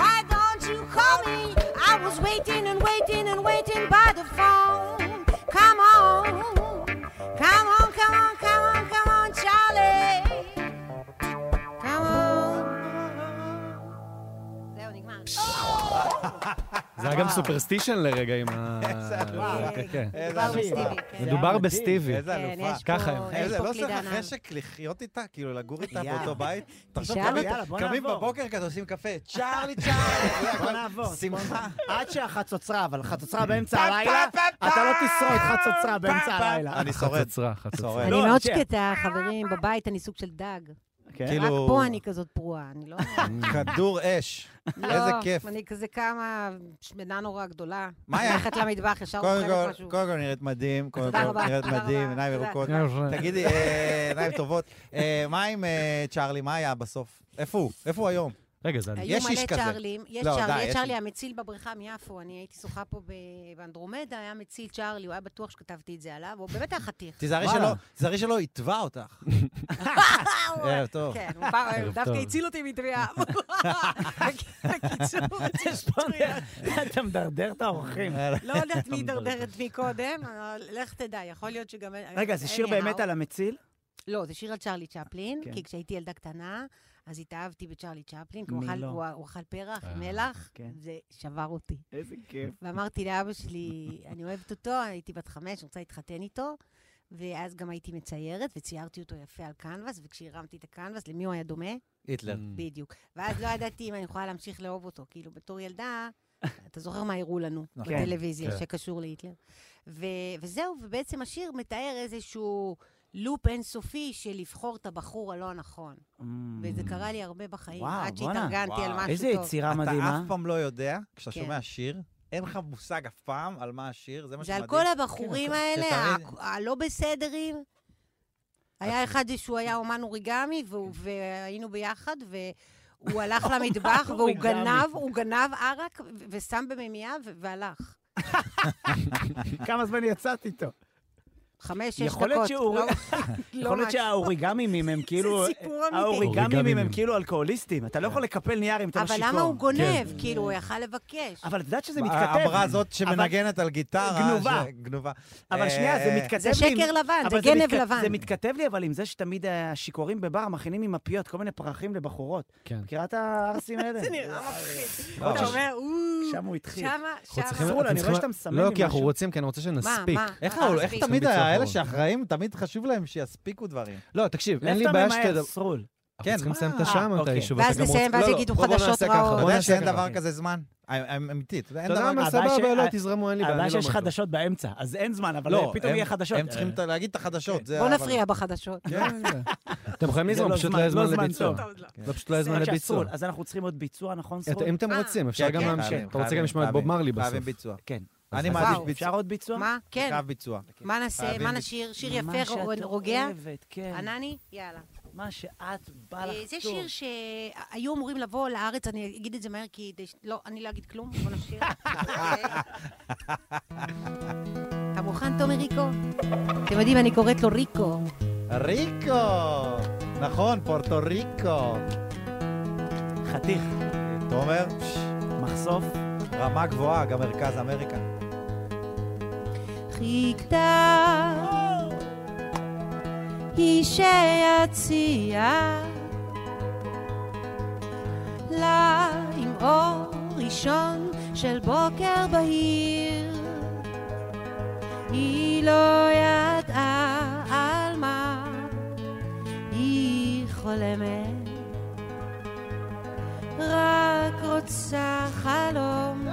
Speaker 4: Why don't you call me? I was waiting and waiting and waiting by the phone. Come on, come on, come on, come on, come on, Charlie. Come on. זהו, נגמר.
Speaker 3: זה היה גם סופרסטישן לרגע עם ה...
Speaker 2: אלופה.
Speaker 3: כן, כן.
Speaker 2: איזה אלופה.
Speaker 4: מדובר בסטיבי, כן.
Speaker 3: מדובר
Speaker 1: מדהים.
Speaker 3: בסטיבי.
Speaker 2: איזה
Speaker 4: כן,
Speaker 2: אלופה.
Speaker 4: יש פה-
Speaker 3: ככה הם.
Speaker 4: יש
Speaker 2: איזה,
Speaker 4: פה
Speaker 2: לא צריך
Speaker 4: קלידן
Speaker 2: לך
Speaker 4: על.
Speaker 2: חשק לחיות איתה? כאילו, לגור איתה
Speaker 1: יאללה.
Speaker 2: באותו בית? תחשוב,
Speaker 4: תשאל
Speaker 2: קמים-
Speaker 1: יאללה, בוא
Speaker 2: קמים
Speaker 1: נעבור.
Speaker 2: בבוקר כזה, עושים קפה, צ'רלי, צ'רלי.
Speaker 1: בוא נעבור.
Speaker 2: שמחה.
Speaker 1: עד שהחצוצרה, אבל חצוצרה באמצע הלילה, אתה לא תשרוד חצוצרה באמצע הלילה.
Speaker 2: אני שורד.
Speaker 3: חצוצרה, חצוצרה.
Speaker 2: שורד.
Speaker 4: אני
Speaker 1: לא,
Speaker 4: מאוד
Speaker 1: אנשי-
Speaker 4: שקטה, חברים, בבית אני סוג של דג.
Speaker 1: כן?
Speaker 2: כן. כאילו-
Speaker 4: רק פה אני כזאת פרועה, אני לא...
Speaker 2: כדור אש. איזה
Speaker 4: לא,
Speaker 2: כיף.
Speaker 4: אני כזה קמה, שמנה נורא גדולה.
Speaker 2: מאיה.
Speaker 4: הולכת למטבח, ישר
Speaker 2: קודם
Speaker 4: לא אוכלת
Speaker 2: כל,
Speaker 4: משהו.
Speaker 2: קודם כל נראית מדהים, קודם
Speaker 4: תודה
Speaker 2: כל
Speaker 4: רבה,
Speaker 2: נראית
Speaker 4: תודה
Speaker 2: מדהים,
Speaker 4: רבה,
Speaker 2: עיניים
Speaker 4: תודה.
Speaker 2: ירוקות.
Speaker 3: יפה.
Speaker 2: תגידי, אה, עיניים טובות. אה, מה עם אה, צ'רלי, מה היה בסוף? איפה הוא? איפה הוא היום?
Speaker 3: רגע, זה... אני.
Speaker 4: היו
Speaker 2: יש איש
Speaker 4: מלא
Speaker 2: כזה.
Speaker 4: צ'ארלים, יש
Speaker 2: לא, די,
Speaker 4: צ'ארלי,
Speaker 2: יש
Speaker 4: יש צ'ארלי
Speaker 2: איש.
Speaker 4: המציל בבריכה מיפו, אני הייתי שוחה פה ב- באנדרומדה, היה מציל צ'ארלי, הוא היה בטוח שכתבתי את זה עליו, הוא באמת היה חתיך.
Speaker 2: תיזהרי
Speaker 1: וואלה.
Speaker 2: שלא, תיזהרי שלא יתבע אותך. ערב אה, טוב.
Speaker 4: כן, הוא בא-
Speaker 3: ערב
Speaker 4: דווקא
Speaker 3: טוב.
Speaker 4: הציל אותי מטביעה. בקיצור, יש פה טביעה.
Speaker 1: אתה מדרדר את האורחים.
Speaker 2: אה,
Speaker 4: לא יודעת מי הידרדר את מי קודם, אבל לך תדע, יכול להיות שגם...
Speaker 1: רגע, זה שיר
Speaker 4: anyhow.
Speaker 1: באמת על המציל?
Speaker 4: לא, זה שיר על צ'רלי צ'פלין,
Speaker 1: כן.
Speaker 4: כי כשהייתי ילדה קטנה, אז התאהבתי בצ'רלי צ'פלין, כי
Speaker 1: מי
Speaker 4: הוא אכל-
Speaker 1: לא?
Speaker 4: הוא הוא אכל פרח
Speaker 3: אה,
Speaker 4: עם מלח,
Speaker 1: כן.
Speaker 4: זה שבר אותי.
Speaker 1: איזה כיף.
Speaker 4: ואמרתי לאבא שלי, אני אוהבת אותו, הייתי בת חמש, אני רוצה להתחתן איתו. ואז גם הייתי מציירת, וציירתי אותו יפה על קנבס, וכשהרמתי את הקנבס, למי הוא היה דומה?
Speaker 2: היטלר.
Speaker 3: Mm.
Speaker 4: בדיוק. ואז לא ידעתי אם אני יכולה להמשיך לאהוב אותו. כאילו, בתור ילדה, אתה זוכר מה הראו לנו
Speaker 2: נכון.
Speaker 4: בטלוויזיה
Speaker 3: כן.
Speaker 4: שקשור להיטלר. ו- וזהו, ובעצם השיר מתאר איזשהו לופ אינסופי של לבחור את הבחור הלא הנכון.
Speaker 1: Mm.
Speaker 4: וזה קרה לי הרבה בחיים,
Speaker 1: וואו,
Speaker 4: עד
Speaker 1: בואנה.
Speaker 4: שהתארגנתי על
Speaker 2: וואו.
Speaker 4: משהו
Speaker 1: איזה
Speaker 4: טוב.
Speaker 1: יצירה
Speaker 2: אתה
Speaker 1: מדהימה.
Speaker 2: אף פעם לא יודע, כשאתה
Speaker 4: כן.
Speaker 2: שומע שיר, אין לך מושג אף פעם על מה השיר, זה מה
Speaker 4: זה
Speaker 2: שמדהים.
Speaker 4: על כל הבחורים
Speaker 2: כן,
Speaker 4: האלה,
Speaker 2: שתמיד-
Speaker 4: ה- הלא בסדרים. היה אחד שהוא היה אומן אוריגמי, והוא-
Speaker 1: כן.
Speaker 4: והיינו ביחד, והוא הלך למטבח, והוא
Speaker 1: אוריגמי.
Speaker 4: גנב, הוא גנב ערק, ו- ושם במימייה, ו- והלך.
Speaker 1: כמה זמן יצאת איתו?
Speaker 4: חמש, שש
Speaker 1: יכול
Speaker 4: דקות.
Speaker 1: להיות שהוא-
Speaker 4: לא- לא
Speaker 1: יכול להיות
Speaker 4: משהו.
Speaker 1: שהאוריגמימים הם כאילו...
Speaker 4: סיפור אמיתי.
Speaker 1: האוריגמימים הם
Speaker 3: אוריגמימים.
Speaker 1: כאילו אלכוהוליסטים. אתה לא יכול לקפל נייר אם אתה לא
Speaker 4: אבל
Speaker 1: שיכור.
Speaker 4: למה הוא גונב? כאילו, הוא יכל לבקש.
Speaker 1: כן. אבל את יודעת שזה מתכתב.
Speaker 2: האמרה הזאת שמנגנת על גיטרה.
Speaker 1: גנובה.
Speaker 2: ש- גנובה.
Speaker 1: אבל
Speaker 2: אה,
Speaker 1: שנייה, זה מתכתב
Speaker 4: זה
Speaker 1: לי עם-
Speaker 4: שקר לבן, זה
Speaker 1: אבל
Speaker 4: גנב
Speaker 1: מתכת-
Speaker 4: לבן.
Speaker 1: זה מתכתב לי אבל עם זה שתמיד השיכורים בבר מכינים עם מפיות כל מיני פרחים לבחורות.
Speaker 3: כן.
Speaker 1: מכירה את הערסים האלה? אה,
Speaker 4: זה נראה מפחיד.
Speaker 2: וואו.
Speaker 4: אתה אומר, אוו,
Speaker 1: שם הוא התחיל.
Speaker 4: שמה,
Speaker 3: אנחנו צריכים-
Speaker 4: שמה.
Speaker 1: אסור לה, אני
Speaker 3: אנחנו
Speaker 1: רואה
Speaker 3: צריכים-
Speaker 1: שאתה מסמן
Speaker 3: לא,
Speaker 1: לי
Speaker 3: כי אנחנו
Speaker 1: משהו.
Speaker 3: רוצים, כי אני רוצה שנספיק.
Speaker 4: מה?
Speaker 2: איך
Speaker 4: אה,
Speaker 2: ההוא- איך
Speaker 4: מספיק.
Speaker 2: תמיד
Speaker 3: ביצוע
Speaker 2: האלה
Speaker 3: אחרון.
Speaker 2: שאחראים, תמיד חשוב להם שיספיקו דברים.
Speaker 3: לא, תקשיב, אין
Speaker 1: מאיפה
Speaker 3: לי
Speaker 1: אתה
Speaker 3: בעיה
Speaker 1: ממהר,
Speaker 3: שתדבר.
Speaker 1: סרול?
Speaker 2: כן,
Speaker 3: אנחנו צריכים לסיים את
Speaker 2: מה?
Speaker 3: השעה
Speaker 1: אה,
Speaker 3: מתישהו.
Speaker 4: אוקיי.
Speaker 3: ואתה
Speaker 4: ואז
Speaker 3: גם
Speaker 4: נסיים,
Speaker 3: רוצה-
Speaker 4: ואז
Speaker 3: לא, לא,
Speaker 4: יגידו
Speaker 3: בוא- בוא
Speaker 4: חדשות
Speaker 3: נעשה ככה,
Speaker 4: רעות.
Speaker 2: אתה
Speaker 3: בוא
Speaker 2: יודע
Speaker 3: נעשה
Speaker 2: שאין
Speaker 3: ככה.
Speaker 2: דבר כזה זמן? אה, אמ- אמיתית, אין
Speaker 3: אתה
Speaker 2: דבר
Speaker 3: יודע מה,
Speaker 1: הבעיה
Speaker 3: סבבה,
Speaker 1: ש-
Speaker 3: לא, תזרמו, אין לי בעיה.
Speaker 1: הבעיה
Speaker 3: אני לא
Speaker 1: שיש
Speaker 3: אומר כלום.
Speaker 1: חדשות באמצע, אז אין זמן, אבל אה,
Speaker 2: לא,
Speaker 1: פתאום
Speaker 2: הם-
Speaker 1: יהיה חדשות. אה,
Speaker 2: הם צריכים את- להגיד את החדשות. זה
Speaker 4: בוא
Speaker 2: אה, אבל-
Speaker 4: נפריע בחדשות.
Speaker 3: כן, כן. אתם יכולים
Speaker 1: זה
Speaker 3: לזרום,
Speaker 1: לא
Speaker 3: פשוט
Speaker 1: זמן-
Speaker 3: לא
Speaker 1: לא
Speaker 3: היה זמן
Speaker 1: זמן
Speaker 3: לביצוע.
Speaker 1: טוב.
Speaker 3: לא, פשוט לא היה זמן
Speaker 1: רק
Speaker 3: לביצוע.
Speaker 1: שהסרול, אז אנחנו צריכים עוד ביצוע, נכון,
Speaker 3: את-
Speaker 1: סרול?
Speaker 3: אם אתם
Speaker 4: אה.
Speaker 3: רוצים, אפשר
Speaker 2: כן,
Speaker 3: גם
Speaker 2: כן,
Speaker 3: להמשיך.
Speaker 2: חייבים,
Speaker 3: אתה רוצה גם
Speaker 2: חייבים,
Speaker 3: לשמוע את בוב
Speaker 2: חייבים.
Speaker 3: מרלי בסוף.
Speaker 2: חייבים ביצוע.
Speaker 1: כן.
Speaker 2: אני
Speaker 3: אז-
Speaker 2: מעדיף
Speaker 4: וואו.
Speaker 2: ביצוע.
Speaker 1: אפשר עוד ביצוע?
Speaker 4: מה? כן.
Speaker 2: קרב ביצוע.
Speaker 4: מה נעשה?
Speaker 2: חייבים
Speaker 4: מה
Speaker 2: לי-
Speaker 4: נשיר? שיר
Speaker 1: מה
Speaker 4: יפה,
Speaker 1: שאת
Speaker 4: רו- רוגע?
Speaker 1: אוהבת, כן.
Speaker 4: ענני? יאללה.
Speaker 1: מה שאת בא לך
Speaker 4: אה, זה
Speaker 1: טוב.
Speaker 4: שיר שהיו אמורים לבוא לארץ, אני אגיד את זה מהר כי... כדי ש- לא, אני לא אגיד כלום, בוא נשיר. אוקיי. אתה מוכן, תומר ריקו? אתם יודעים, אני קוראת לו ריקו.
Speaker 2: ריקו! נכון, פורטו ריקו.
Speaker 1: חתיך,
Speaker 2: תומר,
Speaker 1: מחשוף.
Speaker 2: רמה גבוהה, גם מרכז אמריקה. אה,
Speaker 4: חיכתה היא שיציע לה עם אור ראשון של בוקר בהיר. היא לא ידעה על מה היא חולמת, רק רוצה חלום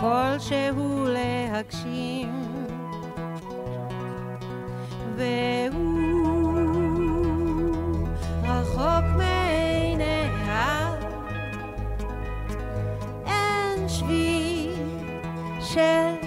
Speaker 4: כלשהו להגשים. והוא רחוק מעיניה, אין שביל של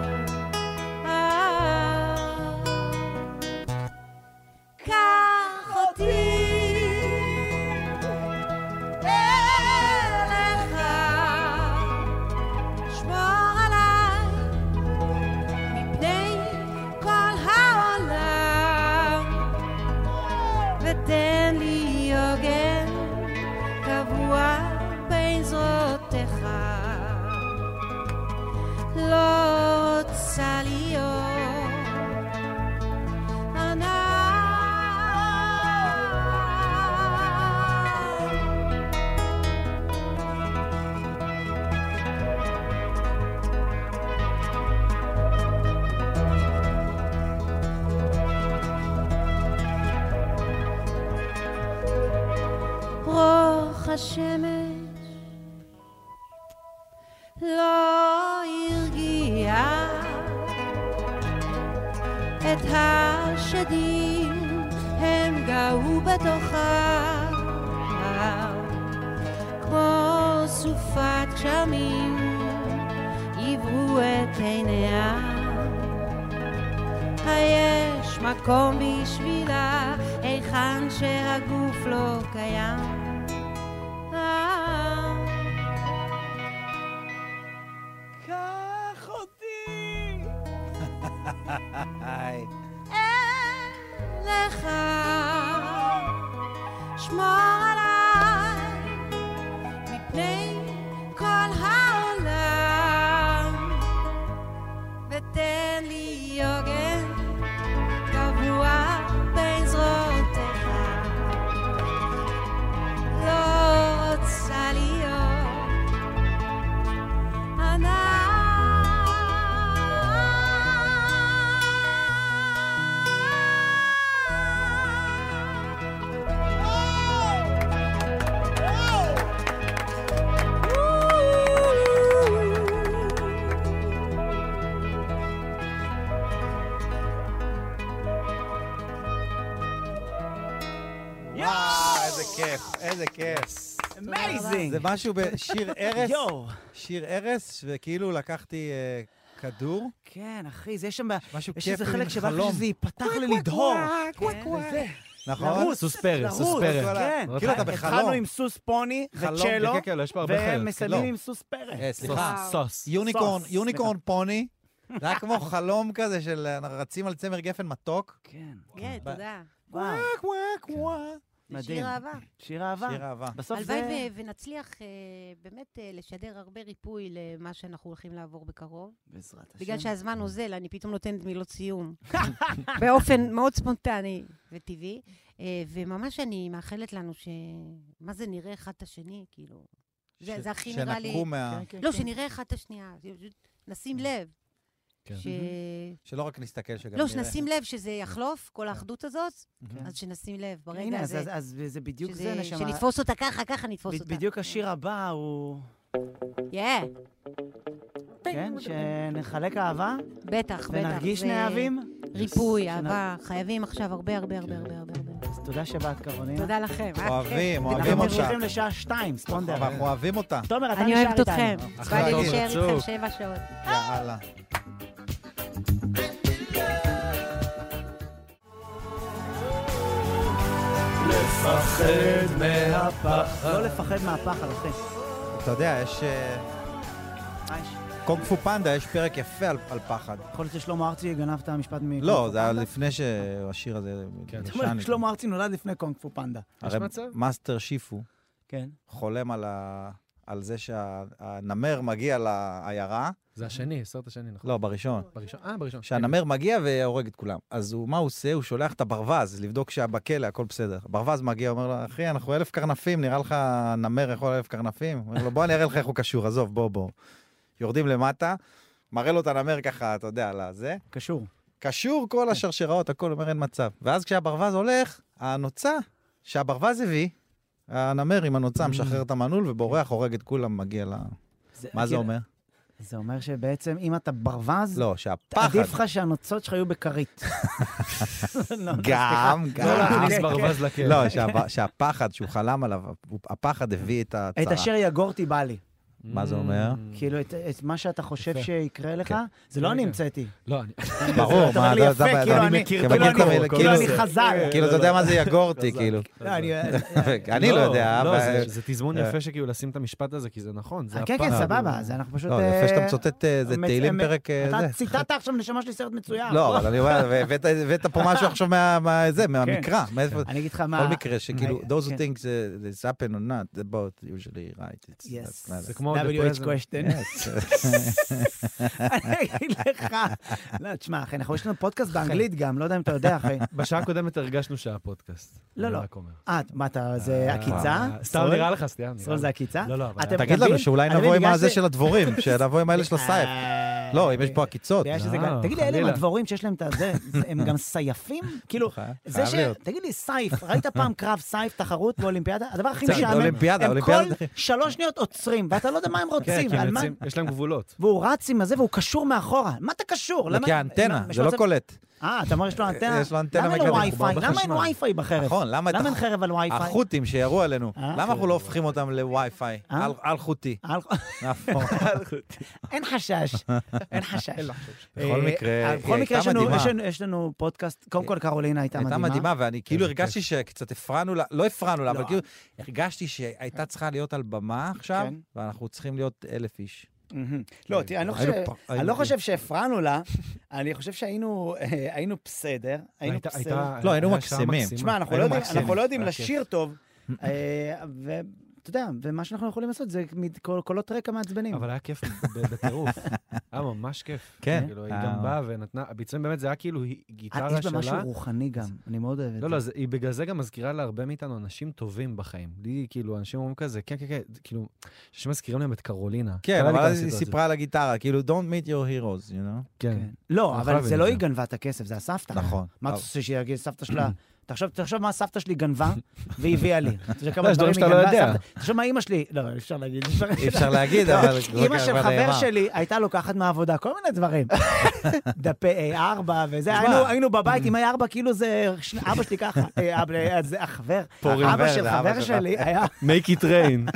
Speaker 4: אה, קח אותי אליך, שמור עליי מפני כל העולם, ותן לי הוגן קבוע בין זרועותיך. לא רוצה להיות ענן. רוח השמש לא הרגיע את השדים הם גאו בתוכה כמו סופת גשמים עברו את עיניה היש מקום בשבילה היכן שהגוף לא קיים אה,
Speaker 6: קח אותי!
Speaker 2: היי.
Speaker 4: לך, שמור עליי מפני כל העולם, ותן לי הוגן קבוע בין זרועותיך. לא רוצה להיות
Speaker 2: וואו, איזה כיף, איזה כיף.
Speaker 1: אמייזינג.
Speaker 2: זה משהו בשיר ארס,
Speaker 1: יואו.
Speaker 2: שיר ארס, וכאילו לקחתי אה, כדור,
Speaker 1: כן, אחי, זה יש שם...
Speaker 2: משהו
Speaker 1: יש
Speaker 2: כיפי,
Speaker 1: איזה
Speaker 2: מין
Speaker 1: חלק שבא
Speaker 2: חלום.
Speaker 1: לך שזה ייפתח ולדהור. כן, וזה,
Speaker 2: נכון?
Speaker 1: לרוץ,
Speaker 3: סוס פרא,
Speaker 1: לרוץ,
Speaker 3: סוס פרא.
Speaker 1: כן.
Speaker 2: כאילו אתה בחלום.
Speaker 1: התחלנו עם סוס פוני
Speaker 2: חלום,
Speaker 1: וצ'לו,
Speaker 3: כן, כן, לא, יש פה הרבה חלק.
Speaker 1: והם מסיימים
Speaker 2: לא.
Speaker 1: עם סוס פרא.
Speaker 2: אה, סליחה,
Speaker 3: סוס, סוס.
Speaker 2: יוניקורן,
Speaker 1: סוס,
Speaker 2: יוניקורן פוני, זה היה כמו חלום כזה של אה, רצים על צמר גפן מתוק.
Speaker 1: כן.
Speaker 4: כן, תודה.
Speaker 1: וואו,
Speaker 4: אה,
Speaker 2: וואק וואק וואק.
Speaker 1: מדהים.
Speaker 4: שיר אהבה.
Speaker 1: שיר אהבה.
Speaker 2: שיר אהבה.
Speaker 1: בסוף זה...
Speaker 4: הלוואי ו- ונצליח אה, באמת אה, לשדר הרבה ריפוי למה שאנחנו הולכים לעבור בקרוב.
Speaker 1: בעזרת השם.
Speaker 4: בגלל שהזמן אוזל, אני פתאום נותנת מילות סיום. באופן מאוד ספונטני וטבעי. אה, וממש אני מאחלת לנו ש... מה זה נראה אחד את השני, כאילו. זה
Speaker 2: ש-
Speaker 4: זה הכי נראה לי...
Speaker 2: שנקום מה...
Speaker 1: כן, כן,
Speaker 4: לא,
Speaker 1: כן.
Speaker 4: שנראה אחד את השנייה. פשוט נשים לב.
Speaker 3: כן.
Speaker 4: ש...
Speaker 1: Mm-hmm.
Speaker 2: שלא רק נסתכל, שגם
Speaker 4: לא,
Speaker 2: נראה.
Speaker 4: שנשים לב שזה יחלוף, כל האחדות הזאת,
Speaker 2: כן.
Speaker 4: אז שנשים לב ברגע
Speaker 1: Mm-hmm. הנה, אז-
Speaker 4: הזה.
Speaker 1: אז- אז זה בדיוק
Speaker 4: שזה-
Speaker 1: זה, נשמה.
Speaker 4: שנתפוס אותה ככה, ככה נתפוס
Speaker 1: ב-
Speaker 4: אותה.
Speaker 1: בדיוק השיר הבא הוא...
Speaker 4: כן,
Speaker 1: כן? שנחלק אהבה?
Speaker 4: בטח, בטח.
Speaker 1: ונרגיש
Speaker 4: זה-
Speaker 1: נאהבים?
Speaker 4: ריפוי,
Speaker 1: שנ-
Speaker 4: אהבה. חייבים עכשיו הרבה הרבה הרבה הרבה הרבה. הרבה.
Speaker 1: אז תודה שבאת, קרולינה.
Speaker 4: תודה לכם. אה,
Speaker 2: אוהבים,
Speaker 4: כיף.
Speaker 2: אוהבים
Speaker 1: כן. אנחנו
Speaker 2: אותך.
Speaker 1: ממשיכים לשעה שתיים, ספונדר.
Speaker 2: אבל אנחנו אוהבים אותה.
Speaker 1: תומר, אתה
Speaker 4: אני
Speaker 1: נשאר
Speaker 4: אוהבת
Speaker 1: איתנו.
Speaker 4: אתכם.
Speaker 3: אחלה,
Speaker 4: בא לי
Speaker 3: טוב,
Speaker 4: להישאר איתכם
Speaker 3: רצוף.
Speaker 4: שבע שעות.
Speaker 2: יאללה.
Speaker 3: פחד מהפחד.
Speaker 1: לא לפחד מהפחד, אחי.
Speaker 2: אתה יודע, יש... אה, קונג פו פנדה, יש פרק יפה על על פחד.
Speaker 1: יכול להיות ששלמה ארצי גנב את המשפט מ...
Speaker 2: לא, זה היה לפני שהשיר הזה...
Speaker 3: כן.
Speaker 1: זאת אומרת, שלמה ארצי נולד לפני קונג פו פנדה.
Speaker 3: יש מצב?
Speaker 2: מאסטר שיפו.
Speaker 1: כן.
Speaker 2: חולם על, ה... על זה שהנמר מגיע לעיירה,
Speaker 3: זה השני, סרט השני, נכון?
Speaker 2: לא, בראשון,
Speaker 3: בראשון? אה, בראשון.
Speaker 2: שהנמר מגיע והורג את כולם. אז הוא, מה הוא עושה? הוא שולח את הברווז לבדוק שבכלא הכל בסדר. הברווז מגיע, אומר לו, אחי, אנחנו אלף קרנפים, נראה לך נמר יכול אלף קרנפים? הוא אומר לו, בוא אני אראה לך איך הוא קשור, עזוב, בוא, בוא. יורדים למטה, מראה לו את הנמר ככה, אתה יודע, לזה.
Speaker 1: קשור.
Speaker 2: קשור כל השרשראות, הכל אומר אין מצב. ואז כשהברווז הולך, הנוצה שהברווז הביא, הנמר עם
Speaker 1: Mm.
Speaker 2: הנוצה משחרר את המנעול ובורח, הורג את כולם, מגיע ל... מה זה
Speaker 1: כאילו,
Speaker 2: אומר?
Speaker 1: זה אומר שבעצם אם אתה ברווז,
Speaker 2: לא, שהפחד...
Speaker 1: עדיף לך שהנוצות שלך יהו בכרית. לא, לא,
Speaker 2: גם,
Speaker 1: לא
Speaker 2: גם.
Speaker 1: להכניס ברווז
Speaker 3: לכלא.
Speaker 2: לא, שהב- שהפחד שהוא חלם עליו, הוא- הפחד הביא את
Speaker 1: את
Speaker 2: ההצעה.
Speaker 1: אשר יגורתי בא לי.
Speaker 2: מה זה אומר?
Speaker 1: כאילו, את- את מה שאתה חושב
Speaker 3: יפה.
Speaker 1: שיקרה לך,
Speaker 2: כן.
Speaker 1: זה לא אני
Speaker 3: רגע.
Speaker 1: המצאתי.
Speaker 3: לא, אני...
Speaker 2: ברור,
Speaker 1: אתה
Speaker 2: מה,
Speaker 1: אומר לי
Speaker 2: זה-
Speaker 1: יפה,
Speaker 2: זה הבעיה,
Speaker 1: כאילו
Speaker 2: אני
Speaker 1: אני-
Speaker 2: מכיר,
Speaker 1: כאילו
Speaker 2: אתה מכיר את
Speaker 1: אני-
Speaker 2: המילה,
Speaker 1: כאילו אני
Speaker 2: כאילו-
Speaker 1: חזק.
Speaker 3: לא,
Speaker 2: כאילו, אתה יודע מה זה יגורתי,
Speaker 3: חזק.
Speaker 2: כאילו.
Speaker 1: לא, אני... כן.
Speaker 2: אני לא יודע,
Speaker 3: לא,
Speaker 2: אבל-
Speaker 3: זה- זה תזמון
Speaker 2: אה.
Speaker 3: יפה שכאילו לשים את המשפט הזה, כי זה נכון, זה
Speaker 1: כן,
Speaker 3: הפעם.
Speaker 1: כן, סבבה, אז אנחנו פשוט...
Speaker 2: לא,
Speaker 1: אה,
Speaker 2: יפה שאתה מצוטט אה, זה
Speaker 1: מצ-
Speaker 2: תהילים
Speaker 1: אה,
Speaker 2: פרק אה,
Speaker 1: אתה
Speaker 2: זה.
Speaker 1: ציטטת עכשיו, נשמה שלי, סרט מצוין.
Speaker 2: לא, אבל אני אומר, והבאת- הבאת פה משהו עכשיו מה- מה- זה, מהמקרא. מאיפה-
Speaker 1: כן. אני אגיד לך מה...
Speaker 2: בכל מקרה, שכאילו,
Speaker 1: מה-
Speaker 2: those who
Speaker 1: כן.
Speaker 2: think that this happen or not, they're both usually right. It's-
Speaker 1: Yes.
Speaker 2: that's not-
Speaker 3: זה כמו... The
Speaker 1: WH
Speaker 3: Present.
Speaker 1: question. אני אגיד לך, לא, תשמע, אחי, אנחנו, יש לנו פודקאסט באנגלית גם, לא יודע אם אתה יודע, אחי.
Speaker 3: בשעה הקודמת הרגשנו שהיה פודקאסט.
Speaker 1: לא,
Speaker 3: אני
Speaker 1: לא.
Speaker 3: רק אומר.
Speaker 1: אה, מה אתה, זה עקיצה?
Speaker 3: אה, סתם
Speaker 1: סרול?
Speaker 3: נראה לך, סטיאן.
Speaker 1: סרול זה עקיצה?
Speaker 3: לא, לא, אבל...
Speaker 1: אתם
Speaker 2: תגיד
Speaker 1: מקבלים?
Speaker 2: לנו שאולי
Speaker 1: אני
Speaker 2: נבוא עם
Speaker 1: בגלל
Speaker 2: הזה
Speaker 1: ש-
Speaker 2: של הדבורים, שנבוא עם האלה של הסייף.
Speaker 1: אה,
Speaker 2: לא, אם יש פה אה, עקיצות.
Speaker 1: בגלל שזה
Speaker 3: לא,
Speaker 1: גם- תגיד לי, אלה הם
Speaker 3: חלילה.
Speaker 1: הדבורים שיש להם את הזה, זה- הם גם סייפים? כאילו,
Speaker 2: חי-
Speaker 1: זה
Speaker 2: חייב
Speaker 1: ש...
Speaker 2: להיות.
Speaker 1: תגיד לי, סייף, ראית פעם קרב סייף, תחרות באולימפיאדה? הדבר הכי
Speaker 2: תגיד,
Speaker 1: משעמם,
Speaker 2: אולימפיאדה,
Speaker 1: הם כל
Speaker 2: אולימפיאדה, אחי.
Speaker 1: שלוש שניות עוצרים, ואתה לא יודע מה הם
Speaker 3: כן,
Speaker 1: רוצים,
Speaker 3: כי
Speaker 1: על
Speaker 3: הם
Speaker 1: מה...
Speaker 3: יוצאים, יש להם גבולות.
Speaker 1: והוא רץ עם הזה והוא קשור מאחורה. מה אתה קשור?
Speaker 2: זה
Speaker 1: למה-
Speaker 2: כי האנטנה,
Speaker 1: מה-
Speaker 2: זה לא
Speaker 1: מה-
Speaker 2: קולט.
Speaker 1: אה, אתה אומר יש לו אנטנה?
Speaker 2: יש לו אנטנה
Speaker 1: למה אין לו
Speaker 2: מקרבת,
Speaker 1: וי-פיי?
Speaker 2: מחובר
Speaker 1: למה אין
Speaker 2: בחשמל.
Speaker 1: wi בחרב?
Speaker 2: נכון, למה את
Speaker 1: למה אין
Speaker 2: הח-
Speaker 1: חרב על וי-פיי?
Speaker 2: החות'ים שירו עלינו,
Speaker 1: אה?
Speaker 2: למה אנחנו לא הופכים אותם לווי-פיי?
Speaker 1: אה?
Speaker 2: על- על-חוטי.
Speaker 1: על-
Speaker 2: נכון.
Speaker 1: אין חשש, אין חשש.
Speaker 2: בכל
Speaker 1: אה,
Speaker 2: מקרה,
Speaker 1: בכל
Speaker 2: היא
Speaker 1: מקרה, יש
Speaker 2: הייתה
Speaker 1: לנו-
Speaker 2: מדהימה.
Speaker 1: יש לנו- יש לנו פודקאסט, קודם כל קרולינה הייתה מדהימה.
Speaker 2: הייתה מדהימה, ואני כאילו
Speaker 3: כן,
Speaker 2: הרגשתי שקצת הפרענו לה, לא הפרענו לה,
Speaker 1: לא.
Speaker 2: אבל כאילו הרגשתי שהייתה צריכה להיות על במה עכשיו,
Speaker 1: כן.
Speaker 2: ואנחנו צריכים להיות אלף איש.
Speaker 1: מהמם. לא, תראה, אני לא
Speaker 2: היינו
Speaker 1: חושב-
Speaker 2: אה, פה,
Speaker 1: אני
Speaker 2: היינו
Speaker 1: לא
Speaker 2: פה.
Speaker 1: חושב שהפרענו לה, אני חושב שהיינו אה, היינו בסדר, היינו
Speaker 3: הייתה-
Speaker 1: בסדר.
Speaker 3: הייתה-
Speaker 2: לא, היינו
Speaker 3: היה שעה
Speaker 2: מקסימים.
Speaker 3: מקסימה.
Speaker 1: תשמע, אנחנו לא
Speaker 2: היינו
Speaker 1: יודעים-
Speaker 2: מקסימים.
Speaker 1: אנחנו לא יודעים
Speaker 3: היה
Speaker 1: לשיר טוב, אה, ואתה יודע, ומה שאנחנו יכולים לעשות זה מד- קול- קולות רקע מעצבנים.
Speaker 3: אבל היה כיף ב- בטירוף. היה ממש כיף.
Speaker 2: כן.
Speaker 3: כאילו, היא
Speaker 2: אה.
Speaker 3: גם באה ונתנה, הביצועים באמת, זה היה כאילו היא-
Speaker 1: אה,
Speaker 3: גיטרה
Speaker 1: יש בה משהו
Speaker 3: שלה.
Speaker 1: רוחני גם, אני מאוד אוהב את זה.
Speaker 3: לא, לא, זה- היא בגלל זה גם מזכירה להרבה מאיתנו אנשים טובים בחיים. לי, כאילו, אנשים אומרים כזה, כן, כן, כן, כאילו, אנשים מזכירים להם את קרולינה.
Speaker 2: כן,
Speaker 3: קרה לי
Speaker 2: אבל
Speaker 3: גם
Speaker 2: אז היא
Speaker 3: לא סיטואציה.
Speaker 2: סיפרה על הגיטרה, כאילו, don't meet your heroes, you know?
Speaker 3: כן.
Speaker 1: כן. לא,
Speaker 3: אני
Speaker 1: אבל
Speaker 3: חייב
Speaker 1: זה
Speaker 3: עם
Speaker 1: לא
Speaker 3: זה.
Speaker 1: היא גנבה את הכסף, זה הסבתא.
Speaker 2: נכון.
Speaker 1: מה אתה רוצה שיגיד סבתא שלה? תחשוב, תחשוב מה סבתא שלי גנבה והביאה לי. אתה יודע כמה
Speaker 3: לא, יש
Speaker 1: דברים היא
Speaker 3: דברים שאתה לא
Speaker 1: גנבה,
Speaker 3: יודע.
Speaker 1: סבתא- תחשוב מה אימא שלי, לא, אי אפשר להגיד.
Speaker 2: אי אפשר להגיד, לא אבל...
Speaker 1: אימא לא, של
Speaker 2: אבל
Speaker 1: חבר
Speaker 2: נאמר.
Speaker 1: שלי הייתה לוקחת מהעבודה כל מיני דברים. דפי A4 וזה, היינו- היינו בבית עם A4 כאילו זה, ש- אבא שלי ככה, אה, אבא- אה, זה החבר,
Speaker 2: פורים
Speaker 1: אבא
Speaker 2: ורד,
Speaker 1: של
Speaker 2: אבא
Speaker 1: חבר
Speaker 2: שלך.
Speaker 1: שלי היה,
Speaker 3: make it rain.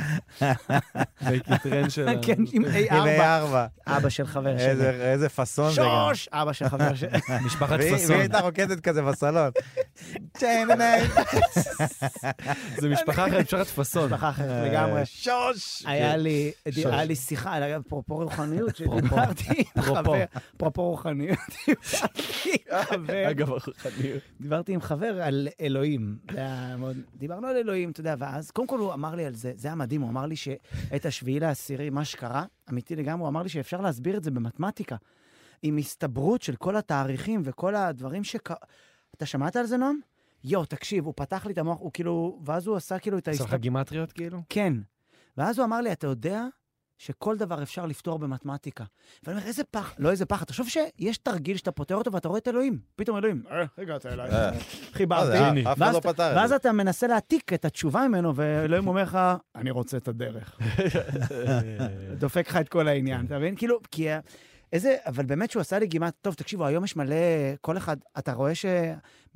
Speaker 3: make it rain שלה.
Speaker 1: כן, עם
Speaker 2: עם
Speaker 1: A4,
Speaker 2: A4.
Speaker 1: אבא של חבר שלי.
Speaker 2: איזה איזה פאסון זה גם.
Speaker 1: שוש! אבא של חבר שלי.
Speaker 3: משפחת
Speaker 2: והיא והיא
Speaker 3: פסון.
Speaker 2: הייתה רוקדת כזה בסלון. צ'ייננאי.
Speaker 3: זה משפחה אחרת, משפחת פסון.
Speaker 1: משפחה אחרת לגמרי.
Speaker 2: שוש!
Speaker 1: היה לי,
Speaker 3: שוש.
Speaker 1: היה לי שיחה, היה אפרופו רוחניות, שדיברתי עם
Speaker 3: אפרופו.
Speaker 1: חבר, אפרופו רוחניות, דיברתי עם חבר,
Speaker 3: אגב, הרוחניות.
Speaker 1: דיברתי עם חבר על אלוהים. זה היה מאוד- דיברנו על אלוהים, אתה יודע, ואז קודם כל הוא אמר לי על זה, זה היה מדהים, הוא אמר לי שאת השביעי לעשירי, מה שקרה, אמיתי לגמרי, הוא אמר לי שאפשר להסביר את זה במתמטיקה, עם הסתברות של כל התאריכים וכל הדברים שק... אתה שמעת על זה, נועם? יואו, תקשיב, הוא פתח לי את המוח, הוא כאילו, ואז הוא עשה כאילו את
Speaker 3: עושה לך
Speaker 1: ההסתברות.
Speaker 3: גימטריות כאילו?
Speaker 1: כן. ואז הוא אמר לי, אתה יודע שכל דבר אפשר לפתור במתמטיקה. ואני אומר, איזה פח, לא איזה פח, תחשוב שיש תרגיל שאתה פותר אותו ואתה רואה את אלוהים. פתאום אלוהים, אה, הגעת אליי, חיברתי.
Speaker 2: אה, אף אחד
Speaker 1: ואז
Speaker 2: לא
Speaker 1: אתה-
Speaker 2: פתר את
Speaker 1: ואז
Speaker 2: זה.
Speaker 1: אתה מנסה להעתיק את התשובה ממנו, ואלוהים אומר לך, אני רוצה את הדרך. דופק לך את כל העניין, אתה מבין? כאילו, כי... ה- איזה, אבל באמת שהוא עשה לי גימת, טוב, תקשיבו, היום יש מלא, כל אחד, אתה רואה ש...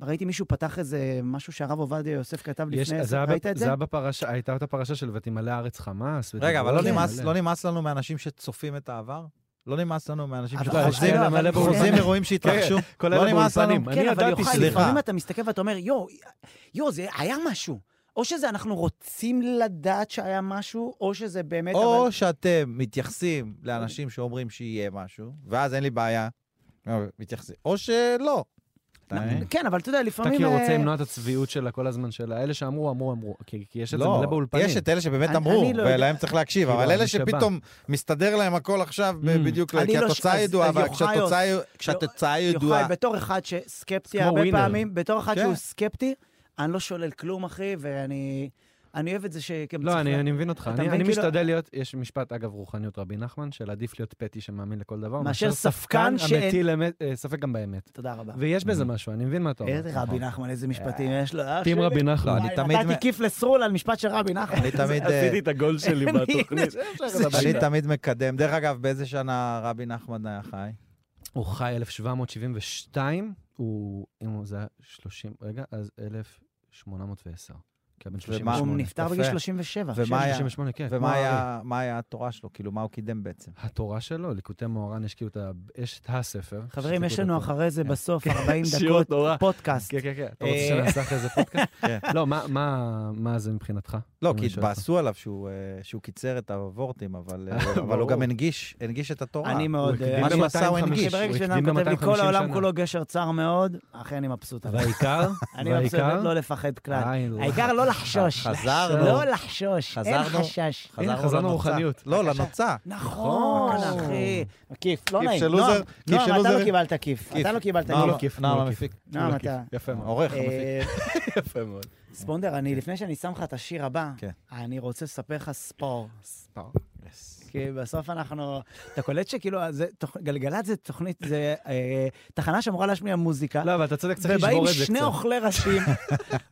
Speaker 1: ראיתי מישהו פתח איזה משהו שהרב עובדיה יוסף כתב
Speaker 3: יש-
Speaker 1: לפני,
Speaker 3: זה היה
Speaker 1: ראית
Speaker 3: ב-
Speaker 1: את
Speaker 3: זה
Speaker 1: זה?
Speaker 3: היה בפרשה, הייתה אותה פרשה של ותימלא הארץ חמאס.
Speaker 2: רגע, אבל לא
Speaker 1: כן.
Speaker 3: ותימלא.
Speaker 2: נמאס- לא נמאס לנו מאנשים שצופים את העבר? לא נמאס לנו מאנשים
Speaker 1: אבל
Speaker 3: לא, יש
Speaker 2: שחוזרים
Speaker 3: כאלה
Speaker 1: אבל-
Speaker 3: מלא
Speaker 1: אבל-
Speaker 2: חוזרים אירועים שהתרחשו?
Speaker 3: כל
Speaker 2: לא
Speaker 3: אלה
Speaker 2: נמאס לנו?
Speaker 3: באולפנים. אני
Speaker 1: כן, אבל
Speaker 3: ידעתי
Speaker 1: יוחאי,
Speaker 2: סליחה.
Speaker 1: לפעמים אתה מסתכל ואתה אומר, יואו, יואו, זה היה משהו. או שזה אנחנו רוצים לדעת שהיה משהו, או שזה באמת... אבל-
Speaker 2: או שאתם מתייחסים לאנשים שאומרים שיהיה משהו, ואז אין לי בעיה. לא, מתייחסים. או שלא. שתיים.
Speaker 1: כן, אבל אתה יודע,
Speaker 3: אתה
Speaker 1: לפעמים...
Speaker 3: כאילו
Speaker 1: אה,
Speaker 3: רוצה למנוע את הצביעות שלה כל הזמן, של האלה שאמרו, אמרו, אמרו. כי כי יש את זה
Speaker 2: לא,
Speaker 3: מלא באולפנים.
Speaker 2: יש את אלה שבאמת
Speaker 1: אני-
Speaker 2: אמרו,
Speaker 1: אני לא יודע.
Speaker 2: ולהם צריך להקשיב,
Speaker 3: כאילו,
Speaker 2: אבל אלה
Speaker 3: אני שבא.
Speaker 2: שפתאום מסתדר להם הכל עכשיו ב-
Speaker 3: Mm.
Speaker 2: בדיוק,
Speaker 1: אני
Speaker 2: כי
Speaker 1: לא ש-
Speaker 2: התוצאה
Speaker 1: אז-
Speaker 2: ידועה,
Speaker 1: אז
Speaker 2: אבל
Speaker 1: יוחאי
Speaker 2: כשהתוצאה
Speaker 1: עוש-
Speaker 2: יו- כשהתוצאה
Speaker 1: יוחאי,
Speaker 2: ידועה...
Speaker 1: בתור אחד שסקפטי
Speaker 3: כמו
Speaker 1: הרבה
Speaker 3: ווינר.
Speaker 1: פעמים, בתור אחד
Speaker 2: כן.
Speaker 1: שהוא סקפטי, אני לא שולל כלום, אחי, ואני אני אוהב את זה שגם
Speaker 3: לא,
Speaker 1: צריך
Speaker 3: אני
Speaker 1: לה-
Speaker 3: אני מבין אותך.
Speaker 1: אתה
Speaker 3: אני
Speaker 1: מבין,
Speaker 3: אני
Speaker 1: כאילו-
Speaker 3: משתדל להיות, יש משפט, אגב, רוחניות רבי נחמן, של עדיף להיות פטי שמאמין לכל דבר,
Speaker 1: מאשר ספקן שאין-
Speaker 3: המטיל אמת- אה, ספק גם באמת.
Speaker 1: תודה רבה.
Speaker 3: ויש בזה משהו, אני מבין מה אתה אומר.
Speaker 1: איזה רבי נחמן, איזה משפטים
Speaker 3: אה,
Speaker 1: יש לו. אח
Speaker 3: טים
Speaker 1: שלי.
Speaker 3: רבי נחמן.
Speaker 2: לא, אני
Speaker 1: וואי,
Speaker 2: תמיד מ-
Speaker 1: נתתי כיף לסרול על משפט של רבי נחמן.
Speaker 2: אני תמיד... אה,
Speaker 3: עשיתי את הגול שלי
Speaker 1: אני-
Speaker 3: בתוכנית.
Speaker 2: אני תמיד מקדם. דרך אגב, באיזה שנה רבי נחמן היה חי?
Speaker 3: הוא חי 1772, הוא, אם הוא- זה היה 30, רגע, אז 1810. כי הוא בן
Speaker 2: ומה-
Speaker 1: הוא
Speaker 3: 38.
Speaker 1: נפטר
Speaker 2: יפה.
Speaker 1: בגיל 37.
Speaker 2: ומה היה?
Speaker 3: 38, כן. כמו
Speaker 2: ומה
Speaker 3: הארי.
Speaker 2: היה- מה היה התורה שלו? כאילו, מה הוא קידם בעצם?
Speaker 3: התורה שלו, ליקוטי מוהר"ן, יש כאילו את ה... יש את הספר.
Speaker 1: חברים,
Speaker 3: שזה
Speaker 1: יש לנו
Speaker 3: ליקוטי
Speaker 1: אחרי זה
Speaker 3: כן.
Speaker 1: בסוף 40
Speaker 3: שיעור
Speaker 1: דקות
Speaker 3: תורה.
Speaker 1: פודקאסט.
Speaker 3: כן, כן, כן. אתה
Speaker 1: אה,
Speaker 3: רוצה שנעשה אחרי זה פודקאסט?
Speaker 2: כן.
Speaker 3: לא, מה- מה- מה זה מבחינתך?
Speaker 2: לא,
Speaker 3: אני
Speaker 2: כי
Speaker 3: שואל אותך.
Speaker 2: התבאסו עליו שהוא, אה, שהוא קיצר את הוורטים, אבל, אה, אבל הוא
Speaker 3: ברור.
Speaker 2: גם הנגיש, הנגיש את התורה.
Speaker 1: אני מאוד...
Speaker 3: הוא
Speaker 1: אה,
Speaker 3: הקדים
Speaker 1: אני-
Speaker 2: מה שעשה הוא
Speaker 3: 250.
Speaker 2: הנגיש.
Speaker 1: כי ברגע
Speaker 3: הוא
Speaker 1: שבן
Speaker 3: הקדים
Speaker 1: אדם
Speaker 3: גם
Speaker 1: כותב לי
Speaker 3: 250
Speaker 1: כל העולם
Speaker 3: שנה."
Speaker 1: כולו גשר צר מאוד, אחי, אני מבסוט. אבל
Speaker 3: והעיקר?
Speaker 1: אני מבסוט לא לפחד כלל.
Speaker 3: אה,
Speaker 1: העיקר לא לחשוש.
Speaker 2: חזרנו.
Speaker 1: לא לחשוש, אין
Speaker 2: חזרנו.
Speaker 1: חשש.
Speaker 3: הנה, חזרנו
Speaker 2: לנוצה.
Speaker 3: רוחניות.
Speaker 2: לא, לנוצה.
Speaker 1: נכון,
Speaker 3: נכון.
Speaker 1: אחי. כיף, לא
Speaker 2: כיף
Speaker 1: נעים.
Speaker 2: של לוזר,
Speaker 1: נועם,
Speaker 2: כיף של
Speaker 1: נועם, אתה
Speaker 2: לוזר.
Speaker 1: לא קיבלת כיף.
Speaker 2: כיף.
Speaker 1: אתה לא קיבלת
Speaker 2: נועם,
Speaker 1: כיף.
Speaker 2: כיף,
Speaker 3: נועם
Speaker 2: נועם
Speaker 3: המפיק.
Speaker 1: נועם, אתה...
Speaker 3: יפה מאוד.
Speaker 2: עורך, המפיק.
Speaker 1: אה,
Speaker 3: יפה מאוד.
Speaker 1: ספונדר, אני, לפני שאני שם לך את השיר הבא,
Speaker 2: כן.
Speaker 1: אני רוצה לספר לך ספור.
Speaker 2: Yes.
Speaker 1: כי בסוף אנחנו... אתה קולט שכאילו, זה תוכ- גלגלצ זה תוכנית, זה אה, תחנה שאמורה להשמיע מוזיקה.
Speaker 3: לא, אבל אתה צודק, צריך
Speaker 1: ובאים
Speaker 3: לשבור את זה
Speaker 1: שני
Speaker 3: קצת.
Speaker 1: אוכלי ראשים,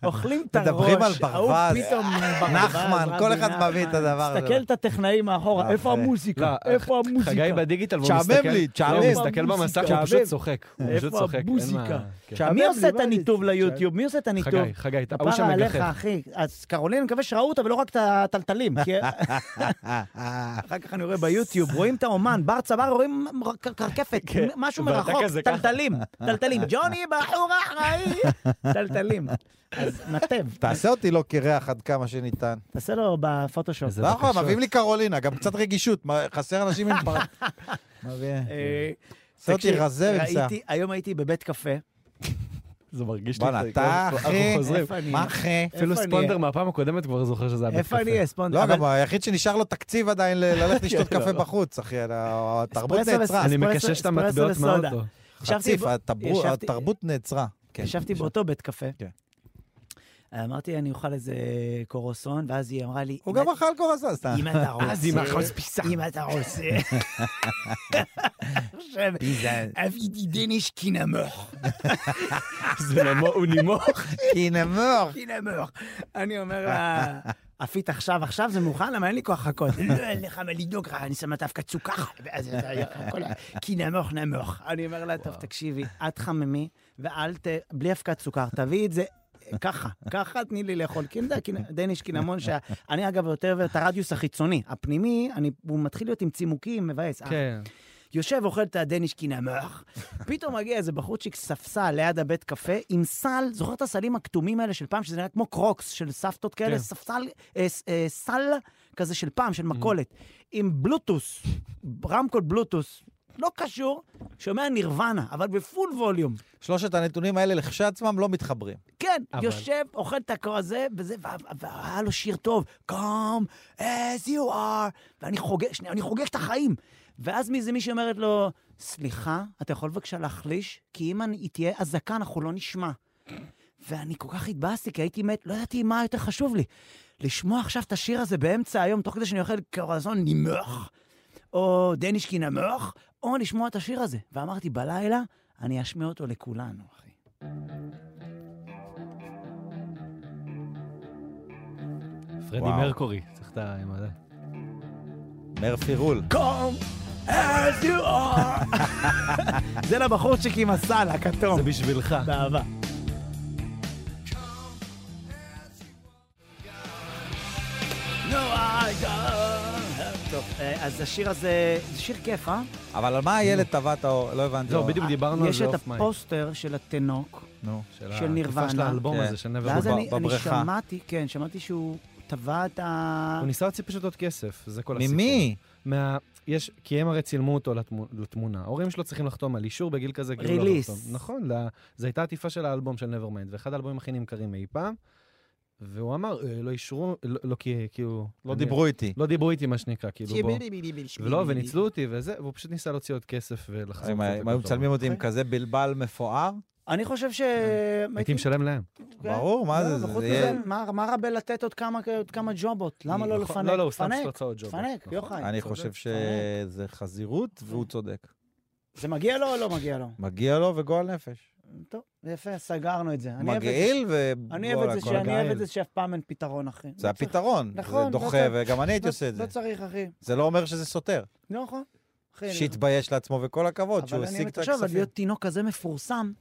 Speaker 1: אוכלים את הראש,
Speaker 2: מדברים על
Speaker 1: ההוא
Speaker 2: ברווז, אה,
Speaker 1: פתאום ברווז,
Speaker 2: נחמן,
Speaker 1: רבי
Speaker 2: כל אחד מביא את
Speaker 1: נחמן.
Speaker 2: הדבר הזה.
Speaker 1: תסתכל את הטכנאי מאחורה,
Speaker 2: יפה.
Speaker 1: איפה המוזיקה?
Speaker 3: לא,
Speaker 1: איפה המוזיקה?
Speaker 3: חגי בדיגיטל, והוא
Speaker 2: תשעמם
Speaker 3: מסתכל...
Speaker 2: לי, תשעמם.
Speaker 3: לא, הוא
Speaker 1: איפה
Speaker 3: מסתכל
Speaker 1: המוזיקה?
Speaker 3: במסך, והוא
Speaker 1: תשעמם.
Speaker 3: פשוט צוחק. הוא פשוט
Speaker 1: איפה
Speaker 3: צוחק. אין
Speaker 1: המוזיקה?
Speaker 3: מה- כן.
Speaker 1: מי עושה את הניתוב ליוטיוב? מי עושה את הניתוב?
Speaker 3: חגי, חגי, אתה- הוא
Speaker 1: כפרה
Speaker 3: שם
Speaker 1: עליך,
Speaker 3: מגחך.
Speaker 1: אחי. אז קרולין, אני מקווה שראו אותה ולא רק את הטלטלים. כי אחר כך אני רואה ביוטיוב, רואים את האומן, בר צבר, רואים מ- ק- קרקפת,
Speaker 3: כן.
Speaker 1: מ- משהו
Speaker 3: ואתה
Speaker 1: מרחוק,
Speaker 3: כזה ככה.
Speaker 1: טלטלים, טלטלים. ג'וני בחור אחראי, טלטלים. אז נתב,
Speaker 2: תעשה אותי לא קרח עד כמה שניתן.
Speaker 1: תעשה לו בפוטושופ.
Speaker 3: איזה
Speaker 2: לא יכול,
Speaker 3: בקשות.
Speaker 2: מביאים לי קרולינה, גם קצת רגישות, מה, חסר אנשים עם פרט. מביא.
Speaker 1: אה,
Speaker 2: עושה אותי
Speaker 1: תקשיב,
Speaker 2: רזה עם שיער.
Speaker 1: ראיתי- היום הייתי בבית קפה.
Speaker 3: זה מרגיש לי...
Speaker 2: בואנה,
Speaker 3: זה-
Speaker 2: אתה
Speaker 3: אנחנו
Speaker 2: אחי,
Speaker 3: חוזרים.
Speaker 1: איפה אני
Speaker 2: מה אחי?
Speaker 3: אפילו
Speaker 1: איפה אני
Speaker 3: ספונדר
Speaker 1: אהיה?
Speaker 3: מהפעם הקודמת כבר זוכר שזה היה בית קפה.
Speaker 1: איפה אני אהיה ספונדר?
Speaker 2: לא,
Speaker 1: אבל-
Speaker 2: גם היחיד שנשאר לו תקציב עדיין ל- ללכת לשתות
Speaker 3: כן, לא,
Speaker 2: קפה
Speaker 3: לא.
Speaker 2: בחוץ, אחי, על ה- התרבות
Speaker 1: אספרסו
Speaker 2: נעצרה.
Speaker 1: וס-
Speaker 3: אני
Speaker 1: אספרסו-
Speaker 3: מקשש את
Speaker 1: אספרסו
Speaker 3: המטבעות
Speaker 1: וסודה.
Speaker 3: מהאוטו.
Speaker 1: ישבתי
Speaker 2: חציף,
Speaker 1: ב-
Speaker 2: התרבות-
Speaker 1: ישבתי-
Speaker 2: התרבות נעצרה. כן.
Speaker 1: ישבתי באותו בית קפה. אה,
Speaker 2: כן.
Speaker 1: אמרתי, אני אוכל איזה קורוסון, ואז היא אמרה לי...
Speaker 2: הוא
Speaker 1: "אם
Speaker 2: גם אכל קורסה, סתם.
Speaker 1: אם אתה רוצה...
Speaker 3: אז היא מאחוז פיסה.
Speaker 1: אם אתה רוצה... עכשיו, אביתי דניש קינמוך.
Speaker 3: זה נמוך, הוא נימוך.
Speaker 2: כי נמוך.
Speaker 1: קינמוך. אני אומר לה... עפית עכשיו, עכשיו זה מוכן, למה אין לי כוח לחכות. לא, אין לך מה לדאוג לך, אני שמה דווקא צוקחה. ואז אתה הכל ה- כי נמוך נמוך. אני אומר לה, טוב, תקשיבי, את חממי, ואל ת... בלי אבקת סוכר, תביאי את זה. ככה, ככה תני לי לאכול. כי אני יודע, קינ- דניש קינמון, שה- אני אגב יותר ויותר את הרדיוס החיצוני. הפנימי, אני- הוא מתחיל להיות עם צימוקים, מבאס.
Speaker 3: כן.
Speaker 1: יושב, אוכל את הדניש קינמח, פתאום מגיע איזה בחורצ'יק ספסל ליד הבית קפה עם סל, זוכר את הסלים הכתומים האלה של פעם, שזה נראה כמו קרוקס של סבתות כאלה,
Speaker 3: כן.
Speaker 1: ספסל, אה, ס- אה, סל כזה של פעם, של מכולת, עם בלוטוס, רמקול בלוטוס, לא קשור, שומע נירוונה, אבל בפול ווליום.
Speaker 2: שלושת הנתונים האלה לכשעצמם לא מתחברים.
Speaker 1: כן,
Speaker 3: אבל-
Speaker 1: אבל... יושב, אוכל את הקור הזה, וזה, וה- וה- והיה לו שיר טוב, Come as you are, ואני חוגג, שנייה, אני חוגג את החיים. ואז מי זה מי שאומרת לו, סליחה, אתה יכול בבקשה להחליש? כי אם אני- היא תהיה אזעקה, אנחנו לא נשמע. ואני כל כך התבאסתי, כי הייתי מת, לא ידעתי מה יותר חשוב לי. לשמוע עכשיו את השיר הזה באמצע היום, תוך כדי שאני אוכל קרזון נמוך, או דנישקי נמוך, או לשמוע את השיר הזה. ואמרתי, בלילה, אני אשמיע אותו לכולנו, אחי.
Speaker 3: פרדי
Speaker 2: וואו.
Speaker 3: מרקורי, צריך את ה... עם הזה.
Speaker 2: מרפי רול.
Speaker 1: come as you are. זה לבחורצ'יק עם הסל הכתום.
Speaker 3: זה בשבילך.
Speaker 1: באהבה. No, I don't have- טוב, אה, אז השיר הזה, זה שיר כיף, אה?
Speaker 2: אבל על מה הילד טבע את האור? לא הבנתי.
Speaker 3: לא, בדיוק דיברנו על
Speaker 1: יש
Speaker 3: זה
Speaker 1: את
Speaker 3: אוף מייק.
Speaker 1: הפוסטר של התינוק,
Speaker 2: נו.
Speaker 1: של נירוונה.
Speaker 3: של האלבום
Speaker 2: כן.
Speaker 3: הזה, של נבר
Speaker 1: ואז
Speaker 2: שהוא
Speaker 1: אני
Speaker 2: ב-
Speaker 1: אני
Speaker 2: בבריכה.
Speaker 1: שמעתי, כן, שמעתי שהוא תבע את ה...
Speaker 3: הוא ניסה להוציא פשוט עוד כסף, זה כל הסיפור.
Speaker 2: ממי?
Speaker 3: מה... יש... כי הם הרי צילמו אותו לתמו- לתמונה. ההורים שלו צריכים לחתום על אישור בגיל כזה. כאילו לא
Speaker 1: Release.
Speaker 3: לחתום. נכון, לה... זו הייתה עטיפה של האלבום של Nevermind, ואחד האלבומים הכי נמכרים אי פעם. והוא אמר, "אה, לא אישרו, לא, לא כי- כאילו...
Speaker 2: לא
Speaker 3: אני-
Speaker 2: דיברו איתי.
Speaker 3: לא דיברו איתי, מה שנקרא, כאילו בוא. ולא, וניצלו אותי וזה, והוא פשוט ניסה להוציא עוד כסף ולחזור.
Speaker 2: אם
Speaker 3: קצת
Speaker 2: היו
Speaker 3: לכותרות.
Speaker 2: מצלמים אותי עם כזה בלבל מפואר,
Speaker 1: אני חושב ש...
Speaker 3: הייתי משלם להם.
Speaker 1: כן.
Speaker 2: ברור, מה
Speaker 1: לא,
Speaker 2: זה, זה
Speaker 1: וחוץ
Speaker 2: יהיה-
Speaker 1: מזה, מה מה רע בלתת עוד כמה- עוד כמה ג'ובות? למה לא
Speaker 3: נכון.
Speaker 1: לפנק?
Speaker 3: לא, לא, הוא סתם
Speaker 1: תפנק,
Speaker 3: פשוט רצה עוד ג'וב.
Speaker 1: תפנק,
Speaker 3: נכון.
Speaker 1: יוחאי.
Speaker 2: אני
Speaker 3: צודק,
Speaker 2: חושב שזה חזירות והוא צודק.
Speaker 1: זה מגיע לו או לא מגיע לו?
Speaker 2: מגיע לו וגועל נפש.
Speaker 1: טוב, יפה, סגרנו את זה. אני אוהב את זה
Speaker 2: מגעיל ו...
Speaker 1: ש- אני אוהב את זה
Speaker 2: וואלה, גועל
Speaker 1: שאני אוהב את
Speaker 2: געיל.
Speaker 1: זה שאף פעם אין פתרון, אחי. לא
Speaker 2: זה
Speaker 1: צריך-
Speaker 2: הפתרון, זה
Speaker 1: נכון, לא
Speaker 2: דוחה,
Speaker 1: צריך-
Speaker 2: וגם אני הייתי
Speaker 1: לא-
Speaker 2: עושה את זה.
Speaker 1: לא צריך, אחי.
Speaker 2: זה לא אומר שזה סותר.
Speaker 1: לא נכון. אחי, אני-
Speaker 2: שיתבייש לעצמו וכל הכבוד שהוא
Speaker 1: אבל אני
Speaker 2: השיג את
Speaker 1: מת עכשיו על
Speaker 2: הכספים.
Speaker 1: להיות תינוק כזה מפורסם.